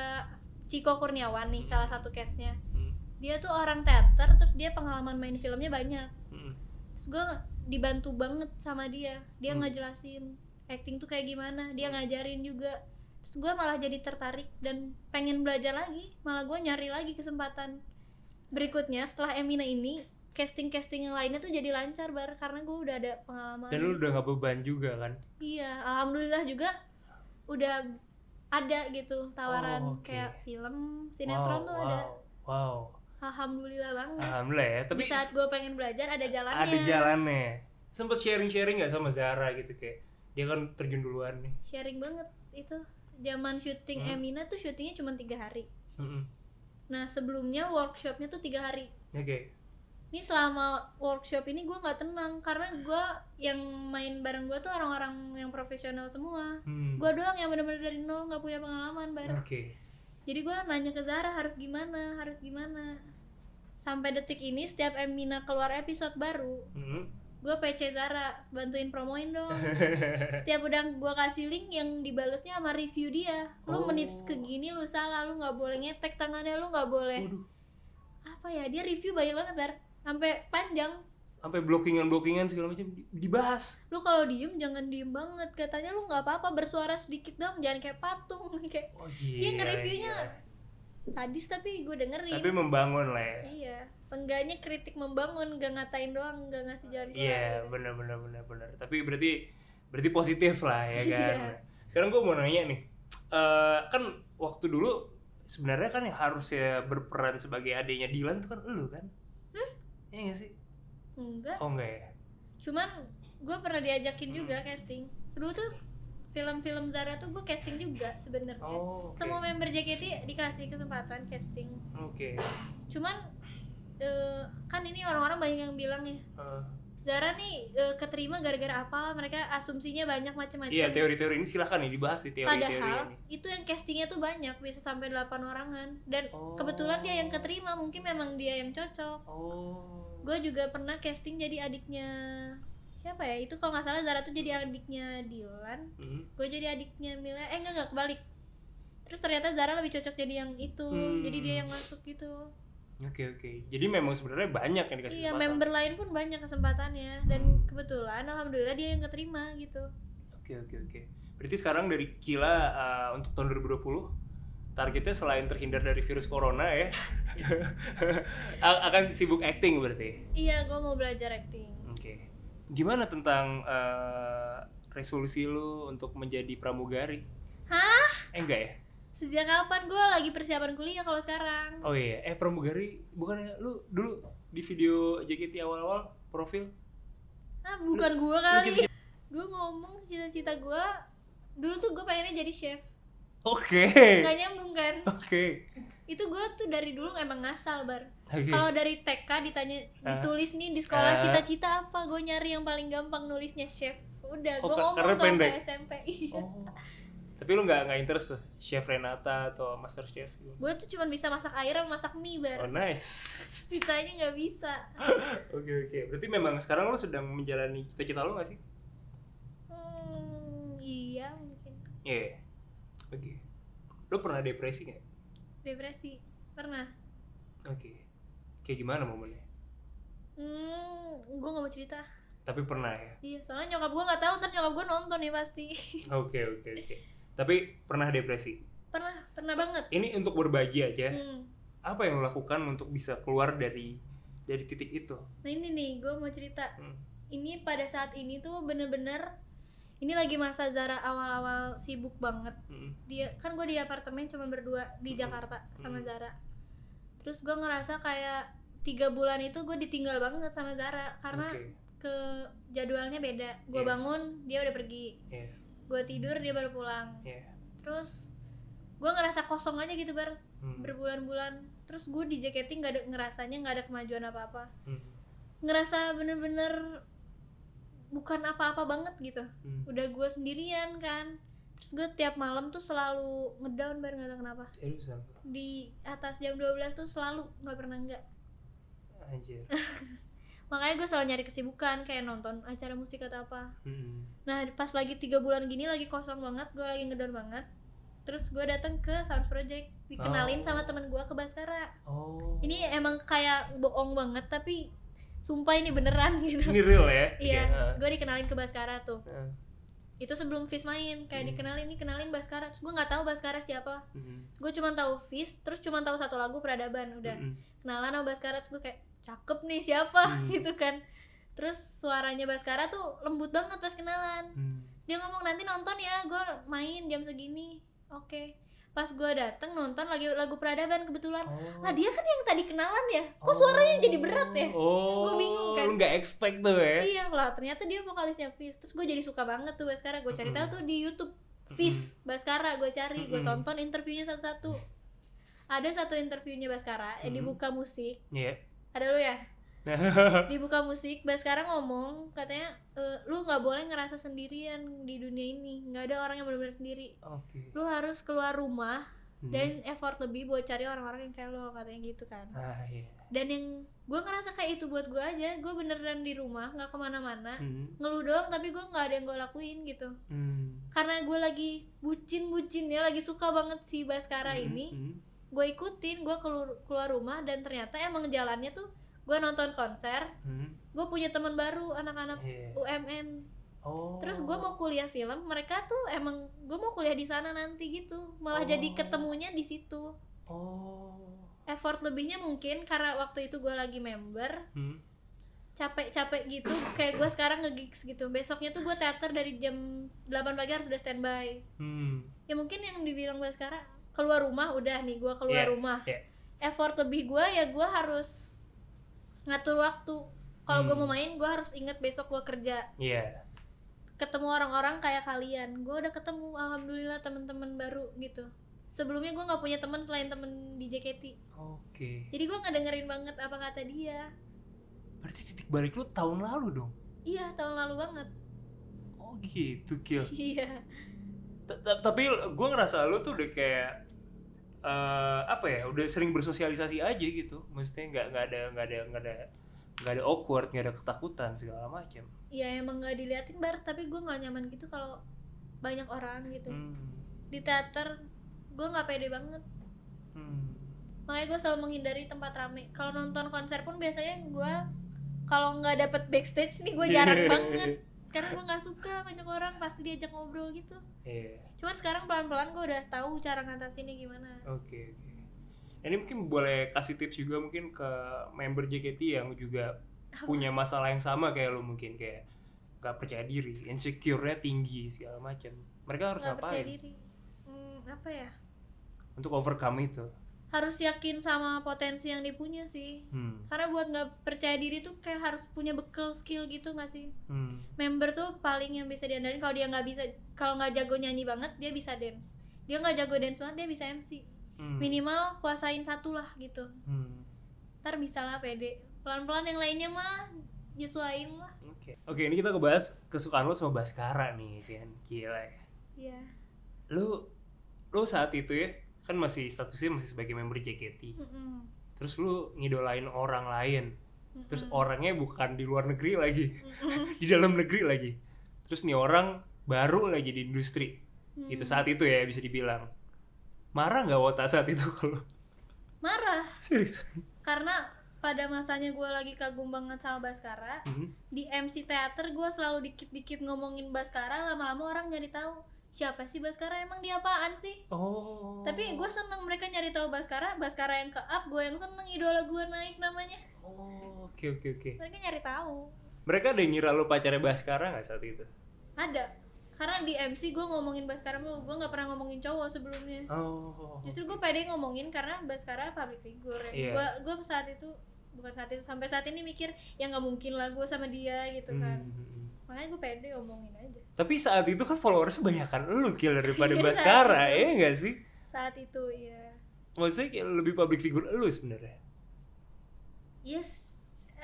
B: Ciko Kurniawan
A: Hmm.
B: nih salah satu case-nya
A: Hmm,
B: dia tuh orang teater terus dia pengalaman main filmnya banyak
A: mm,
B: terus gue dibantu banget sama dia dia
A: Hmm.
B: ngejelasin acting tuh kayak gimana dia
A: Hmm.
B: ngajarin juga terus gue malah jadi tertarik dan pengen belajar lagi malah gue nyari lagi kesempatan berikutnya setelah Emina ini casting casting yang lainnya tuh jadi lancar bar karena gue udah ada pengalaman
A: dan lu udah gak beban juga kan
B: iya alhamdulillah juga udah ada gitu tawaran
A: Oh, oke.
B: kayak film
A: wow,
B: sinetron tuh
A: wow,
B: ada
A: wow
B: alhamdulillah banget
A: alhamdulillah ya tapi
B: di saat gue pengen belajar ada jalannya
A: ada jalannya sempet sharing sharing nggak sama Zara gitu kayak dia kan terjun duluan nih
B: sharing banget itu zaman syuting
A: Hmm.
B: Emina tuh syutingnya cuma tiga hari
A: Mm, mm.
B: nah sebelumnya workshopnya tuh tiga hari
A: oke
B: ini selama workshop ini gue nggak tenang karena gue yang main bareng gue tuh orang-orang yang profesional semua
A: Hmm,
B: gue doang yang bener-bener dari nol nggak punya pengalaman bareng
A: oke
B: jadi gue nanya ke Zara harus gimana harus gimana sampai detik ini setiap Emina keluar episode baru [laughs]
A: Mm.
B: gue PC Zara bantuin promoin dong
A: [laughs]
B: setiap udah gua kasih link yang dibalesnya sama review dia
A: Oh.
B: lu menit segini lu salah lu nggak boleh ngetek tangannya lu nggak boleh
A: Waduh,
B: apa ya dia review banyak banget bar sampai panjang
A: sampai blockingan blockingan segala macam di- dibahas.
B: lu kalau diem jangan diem banget katanya lu nggak apa-apa bersuara sedikit dong jangan kayak patung [laughs] kayak
A: Oh
B: Dia
A: gila.
B: Iya, nge-reviewnya.
A: gila.
B: sadis tapi gue dengerin
A: Tapi membangun lah ya.
B: iya sengganya kritik membangun gak ngatain doang gak ngasih jalan keluar
A: Iya, benar benar benar benar. Tapi berarti berarti positif lah ya kan.
B: Iya.
A: Sekarang gue mau nanya nih. Eh, kan waktu dulu sebenarnya kan yang harusnya berperan sebagai adiknya Dilan tuh kan elu kan?
B: Hmm?
A: Iya nggak sih?
B: enggak
A: Oh enggak ya?
B: cuman gue pernah diajakin
A: Hmm.
B: juga casting dulu tuh film-film Zara tuh gue casting juga sebenarnya
A: Oh, oke.
B: semua member JKT dikasih kesempatan casting
A: Oke.
B: cuman eh, kan ini orang-orang banyak yang bilang ya
A: Eh,
B: Zara nih eh, keterima gara-gara apalah mereka asumsinya banyak macam-macam
A: iya teori-teori ini silahkan nih dibahas di teori-teori
B: Padahal
A: ini.
B: itu yang castingnya tuh banyak bisa sampai 8 orangan dan
A: Oh.
B: kebetulan dia yang keterima mungkin memang dia yang cocok.
A: Oh.
B: Gue juga pernah casting jadi adiknya siapa ya itu kalau nggak salah Zara tuh jadi adiknya Dilan,
A: Hmm.
B: gue jadi adiknya Mila. Eh enggak enggak kebalik. Terus ternyata Zara lebih cocok jadi yang itu,
A: Hmm.
B: jadi dia yang masuk gitu.
A: Oke oke. Jadi memang sebenarnya banyak yang dikasih
B: Iya
A: kesempatan.
B: member lain pun banyak kesempatannya dan
A: Hmm.
B: kebetulan alhamdulillah dia yang keterima gitu.
A: Oke oke oke. Berarti sekarang dari Kila uh, untuk tahun 2020 targetnya selain terhindar dari virus corona ya a- akan sibuk acting berarti.
B: Iya gue mau belajar acting.
A: Oke. Gimana tentang uh, resolusi lu untuk menjadi pramugari? Hah? Eh enggak ya?
B: Sejak kapan gue lagi persiapan kuliah kalau sekarang?
A: Oh iya, eh pramugari bukannya lu dulu di video JKT awal-awal profil
B: Ah, bukan gua kali.
A: Oke.
B: Gua ngomong cita-cita gua dulu tuh gua pengennya jadi chef.
A: Oke.
B: Gak nyambung kan?
A: Oke.
B: Itu gua tuh dari dulu emang ngasal, Bar.
A: Oke.
B: Kalau dari TK ditanya
A: Iya. Ah.
B: ditulis nih di sekolah
A: Ah.
B: cita-cita apa? Gua nyari yang paling gampang nulisnya chef. Udah,
A: Oh,
B: gua
A: ka-
B: ngomong
A: karena
B: tuh sampai
A: pendek.
B: SMP. Iya.
A: Oh. Tapi lu nggak nggak interest tuh Chef Renata atau Master Chef? gitu?
B: Gua tuh cuman bisa masak air sama masak mie, Bar.
A: Oh nice. [laughs]
B: Sisanya nggak bisa.
A: Oke oke. Berarti memang sekarang lu sedang menjalani cita-cita lu nggak sih?
B: Hmm, iya mungkin.
A: Iya. Oke. Lu pernah depresi nggak?
B: Depresi. Pernah.
A: Oke. Kayak gimana momennya?
B: Hmm, gua nggak mau cerita.
A: Tapi pernah ya.
B: Iya, soalnya nyokap gua nggak tahu, ntar nyokap gua nonton nih pasti. [laughs]
A: Oke oke oke. Tapi pernah depresi.
B: pernah, pernah banget.
A: Ini untuk berbagi aja.
B: Hmm.
A: Apa yang lu lakukan untuk bisa keluar dari dari titik itu?
B: Nah ini nih, gua mau cerita.
A: Hmm.
B: Ini pada saat ini tuh bener-bener ini lagi masa Zara awal-awal sibuk banget.
A: Mm.
B: Dia kan gue di apartemen cuma berdua di
A: Mm-mm.
B: Jakarta sama
A: Mm.
B: Zara. Terus gua ngerasa kayak tiga bulan itu gue ditinggal banget sama Zara karena
A: Oke.
B: ke jadwalnya beda. Gue
A: Iya.
B: bangun, dia udah pergi.
A: Iya.
B: Gue tidur, dia baru pulang.
A: Iya.
B: Terus gue ngerasa kosong aja gitu bar
A: Hmm.
B: berbulan-bulan terus gue di JKT nggak ada ngerasanya nggak ada kemajuan apa-apa
A: Hmm.
B: ngerasa bener-bener bukan apa-apa banget gitu
A: Hmm.
B: udah gue sendirian kan terus gue tiap malam tuh selalu ngedown bareng nggak tahu kenapa
A: Serius apa?
B: di atas jam 12 tuh selalu nggak pernah nggak
A: Anjir.
B: makanya gue selalu nyari kesibukan kayak nonton acara musik atau apa
A: Hmm.
B: nah pas lagi tiga bulan gini lagi kosong banget gue lagi ngedown banget terus gue datang ke Sounds Project
A: Oh.
B: dikenalin sama temen gue ke Baskara
A: Oh.
B: ini emang kayak bohong banget tapi sumpah ini beneran [laughs] gitu
A: ini real ya?
B: iya
A: Heeh.
B: gue dikenalin ke Baskara tuh
A: Heeh.
B: itu sebelum Fis main kayak
A: Hmm.
B: dikenalin nih kenalin Baskara terus gue nggak tahu Baskara siapa
A: Mm-mm.
B: gue cuma tahu Fis terus cuma tahu satu lagu peradaban udah
A: Mm-mm.
B: kenalan sama Baskara terus gue kayak cakep nih siapa
A: Hmm.
B: [laughs] gitu kan terus suaranya Baskara tuh lembut banget pas kenalan
A: Hmm.
B: dia ngomong nanti nonton ya gue main jam segini oke pas gue dateng nonton lagi lagu peradaban kebetulan
A: Oh.
B: lah dia kan yang tadi kenalan ya kok suaranya jadi berat ya
A: Oh.
B: Gua bingung kan.
A: Lu nggak expect tuh ya?
B: Iya lah, ternyata dia vokalisnya Fizz. Terus gue jadi suka banget tuh Baskara. Gue cari tahu tuh di YouTube
A: Hmm,
B: Fizz Baskara. Gue cari, gue
A: Mm-mm.
B: tonton interviewnya satu-satu. Ada satu interviewnya Baskara eh,
A: Mm.
B: dibuka musik.
A: Iya. [laughs]
B: Ada lu ya? Dibuka musik, Baskara ngomong katanya "Eh, lu nggak boleh ngerasa sendirian di dunia ini. nggak ada orang yang benar-benar sendiri.
A: Oke.
B: Lu harus keluar rumah
A: Hmm.
B: dan effort lebih buat cari orang-orang yang kayak lo katanya gitu kan.
A: Ah iya.
B: Dan yang gue ngerasa kayak itu buat gue aja. Gue beneran di rumah nggak kemana-mana
A: Hmm.
B: ngeluh doang tapi gue nggak ada yang gue lakuin gitu
A: Hmm.
B: karena gue lagi bucin bucinnya lagi suka banget si Baskara
A: Mm-mm.
B: ini
A: Mm.
B: gue ikutin gue keluar keluar rumah dan ternyata emang jalannya tuh gue nonton konser
A: Hmm.
B: gue punya teman baru anak-anak
A: Iya.
B: UMN
A: Oh.
B: terus gue mau kuliah film mereka tuh emang gue mau kuliah di sana nanti gitu malah jadi
A: Oh.
B: ketemunya di situ
A: Oh.
B: effort lebihnya mungkin karena waktu itu gue lagi member
A: Hmm.
B: capek-capek gitu kayak gue sekarang nge-gigs gitu besoknya tuh gue teater dari jam 8 pagi harus udah standby
A: Hmm.
B: ya mungkin yang dibilang gue sekarang keluar rumah udah nih gue keluar
A: Iya,
B: rumah
A: iya.
B: effort lebih gue ya gue harus ngatur waktu kalau gue
A: Hmm.
B: mau main gue harus inget besok gue kerja
A: Iya.
B: ketemu orang-orang kayak kalian gue udah ketemu alhamdulillah temen-temen baru gitu sebelumnya gue nggak punya teman selain temen di JKT
A: Oke.
B: jadi gue nggak dengerin banget apa kata dia
A: Berarti titik balik lu tahun lalu dong.
B: iya tahun lalu banget [laughs]
A: Oh gitu, Gil.
B: iya
A: Ta- ta- Tapi gue ngerasa lu tuh udah kayak eh, apa ya? Udah sering bersosialisasi aja gitu. Maksudnya nggak nggak ada nggak ada nggak ada nggak ada awkward, nggak ada ketakutan segala macam.
B: ya emang nggak diliatin bar tapi gue nggak nyaman gitu kalau banyak orang gitu
A: Hmm.
B: di teater gue nggak pede banget
A: Hmm.
B: makanya gue selalu menghindari tempat rame kalau nonton konser pun biasanya gue kalau nggak dapet backstage nih gue jarang
A: [laughs]
B: banget karena gue nggak suka banyak orang pasti diajak ngobrol gitu
A: Iya.
B: cuman sekarang pelan-pelan gue udah tahu cara ngatasinnya gimana
A: Oke, oke. Ini mungkin boleh kasih tips juga mungkin ke member JKT yang juga
B: Apa?
A: punya masalah yang sama kayak lo mungkin kayak gak percaya diri, insecure-nya tinggi segala macam. Mereka harus
B: nggak percaya
A: ngapain
B: diri Hmm, apa ya
A: untuk overcome itu?
B: harus yakin sama potensi yang dipunya sih
A: Hmm.
B: karena buat nggak percaya diri tuh kayak harus punya bekal skill gitu nggak sih
A: Hmm.
B: member tuh paling yang bisa diandalkan kalau dia nggak bisa kalau nggak jago nyanyi banget dia bisa dance dia nggak jago dance banget dia bisa MC
A: Hmm.
B: minimal kuasain satu lah gitu
A: Hmm.
B: ntar bisa lah pede pelan-pelan yang lainnya mah nyesuain lah
A: Oke. Oke, ini kita ngebahas kesukaan lo sama Baskara nih, kan. Gila ya.
B: ya
A: Lu lu saat itu ya kan masih statusnya masih sebagai member JKT.
B: Mm-mm.
A: Terus lu ngidolain orang lain. Terus
B: Mm-mm.
A: orangnya bukan di luar negeri lagi. [laughs]
B: Mm-mm.
A: di dalam negeri lagi terus nih orang baru lagi di industri
B: Mm.
A: gitu saat itu ya bisa dibilang marah nggak Wota saat itu [laughs] kalau
B: marah
A: serius
B: karena pada masanya gue lagi kagum banget sama Baskara
A: Hmm.
B: di MC teater gue selalu dikit-dikit ngomongin Baskara lama-lama orang nyari tahu siapa sih Baskara emang dia apaan sih
A: oh
B: tapi gue seneng mereka nyari tahu Baskara Baskara yang ke up gue yang seneng idola gue naik namanya
A: Oh, oke oke oke
B: mereka nyari tahu
A: mereka ada yang ngira lo pacarnya Baskara nggak saat itu
B: ada karena di MC gue ngomongin Baskara mulu gue nggak pernah ngomongin cowok sebelumnya
A: oh
B: justru gue pede ngomongin karena Baskara public figure
A: Iya.
B: gue gue saat itu bukan saat itu sampai saat ini mikir ya nggak mungkin lah gue sama dia gitu kan
A: Hmm.
B: makanya gue pede ngomongin aja
A: tapi saat itu kan followersnya banyakan lo kill daripada
B: Iya, saat
A: Baskara
B: itu.
A: ya nggak sih
B: saat itu ya
A: maksudnya kayak lebih public figure lo sebenarnya
B: yes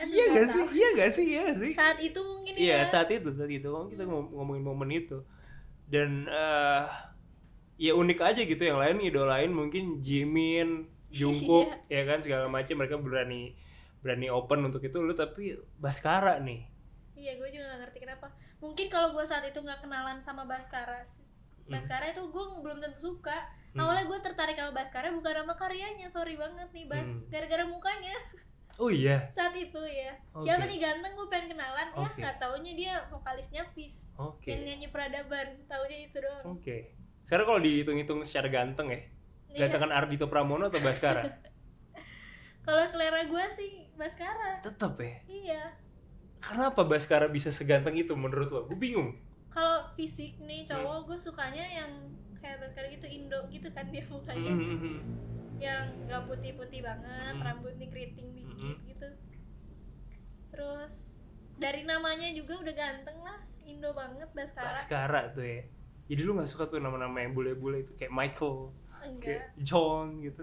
B: Aduh,
A: iya nggak
B: nggak
A: sih
B: tahu.
A: iya nggak sih iya nggak sih
B: saat itu mungkin
A: Iya
B: ya Iya.
A: saat itu saat itu kan kita ngom- ngomongin momen itu dan eh, ya unik aja gitu yang lain idolain mungkin Jimin, Jungkook
B: Iya.
A: ya kan segala macam mereka berani berani open untuk itu lu tapi Baskara nih
B: Iya, gue juga gak ngerti kenapa. Mungkin kalau gue saat itu nggak kenalan sama Baskara,
A: Hmm.
B: Baskara itu gue belum tentu suka.
A: Hmm.
B: Awalnya gue tertarik sama Baskara bukan sama karyanya, sorry banget nih Bas,
A: Hmm.
B: gara-gara mukanya
A: oh iya
B: saat itu ya.
A: Oke.
B: Siapa nih ganteng gue pengen kenalan,
A: Oke.
B: ya nggak taunya dia vokalisnya Fis
A: oke Oh,
B: yang nyanyi peradaban, taunya itu doang.
A: oke sekarang kalau dihitung-hitung secara ganteng ya
B: Iya.
A: gantengan Ardhito Pramono atau Baskara
B: Kalau selera gue sih Baskara,
A: [laughs] tetep ya
B: iya.
A: kenapa Baskara bisa seganteng itu menurut lo gue bingung
B: Kalau fisik nih cowok gue sukanya yang kayak Baskara gitu Indo gitu kan dia mukanya.
A: Mhm.
B: yang nggak putih-putih banget,
A: Mm.
B: rambut nih keriting dikit
A: Mm-mm.
B: gitu. Terus dari namanya juga udah ganteng lah, Indo banget Baskara.
A: Baskara tuh ya jadi lu nggak suka tuh nama-nama yang bule-bule itu kayak Michael
B: Enggak.
A: kayak John gitu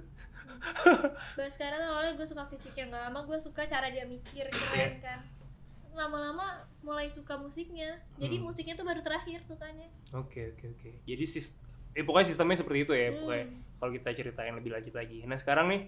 B: Baskara tuh awalnya gue suka fisiknya nggak lama, gue suka cara dia mikir
A: Iya.
B: keren kan. Terus Lama-lama mulai suka musiknya, jadi
A: Hmm.
B: musiknya tuh baru terakhir sukanya.
A: oke oke oke jadi sis eh pokoknya sistemnya seperti itu ya
B: Hmm.
A: pokoknya kalau kita ceritain lebih lanjut lagi nah sekarang nih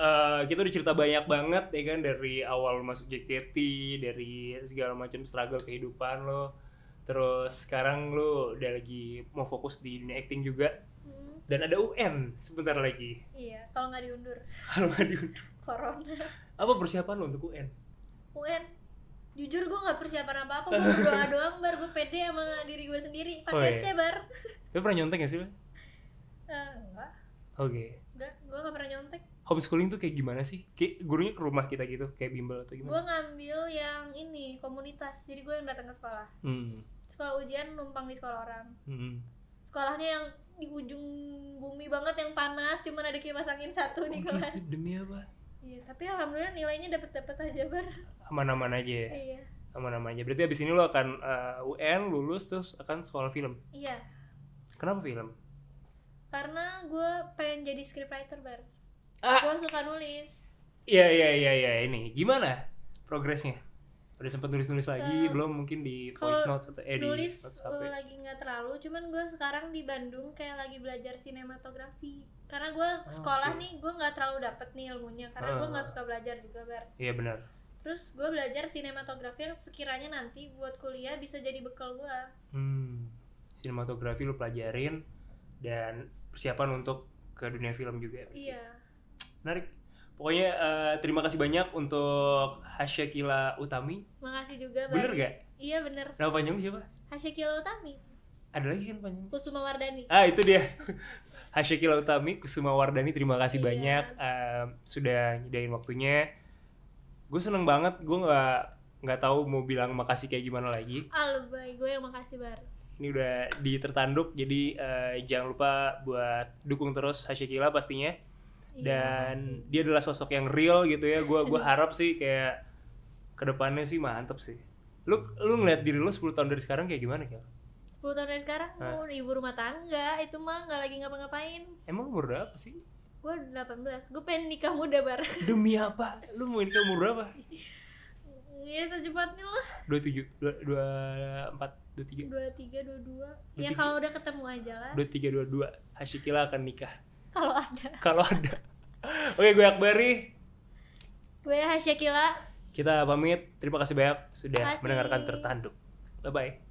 A: eh, kita udah cerita banyak banget ya kan dari awal masuk JKT dari segala macam struggle kehidupan lo terus sekarang lo udah lagi mau fokus di dunia acting juga
B: Hmm,
A: dan ada UN sebentar lagi [laughs]
B: Iya, kalau nggak diundur [laughs]
A: kalau nggak diundur
B: corona.
A: apa persiapan lo untuk UN
B: UN jujur gue nggak persiapan apa apa
A: [laughs]
B: gue berdoa doang bar gue pede sama diri gue sendiri
A: Oh,
B: pakai
A: iya.
B: C bar
A: lo pernah nyontek gak sih lo oke
B: Eh, enggak Enggak, gue gak pernah nyontek
A: homeschooling tuh kayak gimana sih kayak gurunya ke rumah kita gitu kayak bimbel atau
B: Gue
A: gimana
B: ngambil yang ini, komunitas Jadi gue yang datang ke sekolah
A: Hmm.
B: Sekolah ujian numpang di sekolah orang
A: Hmm.
B: Sekolahnya yang di ujung bumi banget yang panas Cuman ada kipas angin satu
A: Oh,
B: di kelas
A: gitu, demi apa?
B: Iya, tapi alhamdulillah nilainya dapet-dapet aja bar
A: Aman-aman aja ya,
B: Iya
A: aman-aman aja. Berarti abis ini lo akan eh, UN, lulus, terus akan sekolah film.
B: Iya,
A: Kenapa film?
B: karena gue pengen jadi scriptwriter bar
A: Ah.
B: gue suka nulis
A: Iya iya iya iya ini gimana progresnya? Udah sempet nulis-nulis lagi
B: Eh,
A: belum mungkin di
B: kalau
A: voice notes atau eh, di
B: nulis
A: WhatsApp
B: eh,
A: ya?
B: lagi nggak terlalu cuman gue sekarang di Bandung kayak lagi belajar sinematografi karena gue sekolah
A: Oh, oke.
B: nih gue nggak terlalu dapet nih ilmunya karena gue
A: Ah.
B: nggak suka belajar juga bar
A: Iya benar.
B: terus gue belajar sinematografi yang sekiranya nanti buat kuliah bisa jadi bekal gue
A: Hmm. Sinematografi lu pelajarin dan persiapan untuk ke dunia film juga.
B: iya
A: Menarik. Pokoknya eh, terima kasih banyak untuk Hasyakila Utami.
B: makasih juga bar
A: Bener gak?
B: iya bener
A: Nama panjang siapa?
B: Hasyakil Utami
A: Ada lagi kan panjang?
B: Kusuma Wardani
A: Ah itu dia [laughs] Hasyakila Utami Kusuma Wardani terima kasih
B: Iya.
A: banyak em, sudah nyediain waktunya. Gue seneng banget gue nggak nggak tahu mau bilang makasih kayak gimana lagi.
B: Alebay gue yang makasih bar
A: Ini udah di tertanduk jadi eh, jangan lupa buat dukung terus Hasyakila pastinya
B: Iya,
A: dan dia adalah sosok yang real gitu ya. Gue
B: [laughs]
A: gua harap sih kayak kedepannya sih mantep sih. Lu lu ngeliat diri lu 10 tahun dari sekarang kayak gimana Kel?
B: 10 tahun dari sekarang
A: Hah?
B: gue ibu rumah tangga itu mah nggak lagi ngapa-ngapain
A: Emang umur berapa sih?
B: gue 18 gue pengen nikah muda bar [laughs]
A: Demi apa? Lu mau nikah umur berapa?
B: ya secepatnya lah
A: dua tujuh dua dua empat dua tiga
B: 23, 22 ya
A: 23.
B: kalau udah ketemu aja lah
A: Iya. dua tiga dua dua Hashikila akan nikah [laughs]
B: kalau ada
A: kalau ada oke gue Akbari
B: gue Hasyakila
A: kita pamit terima kasih banyak sudah
B: Makasih.
A: mendengarkan tertanduk bye bye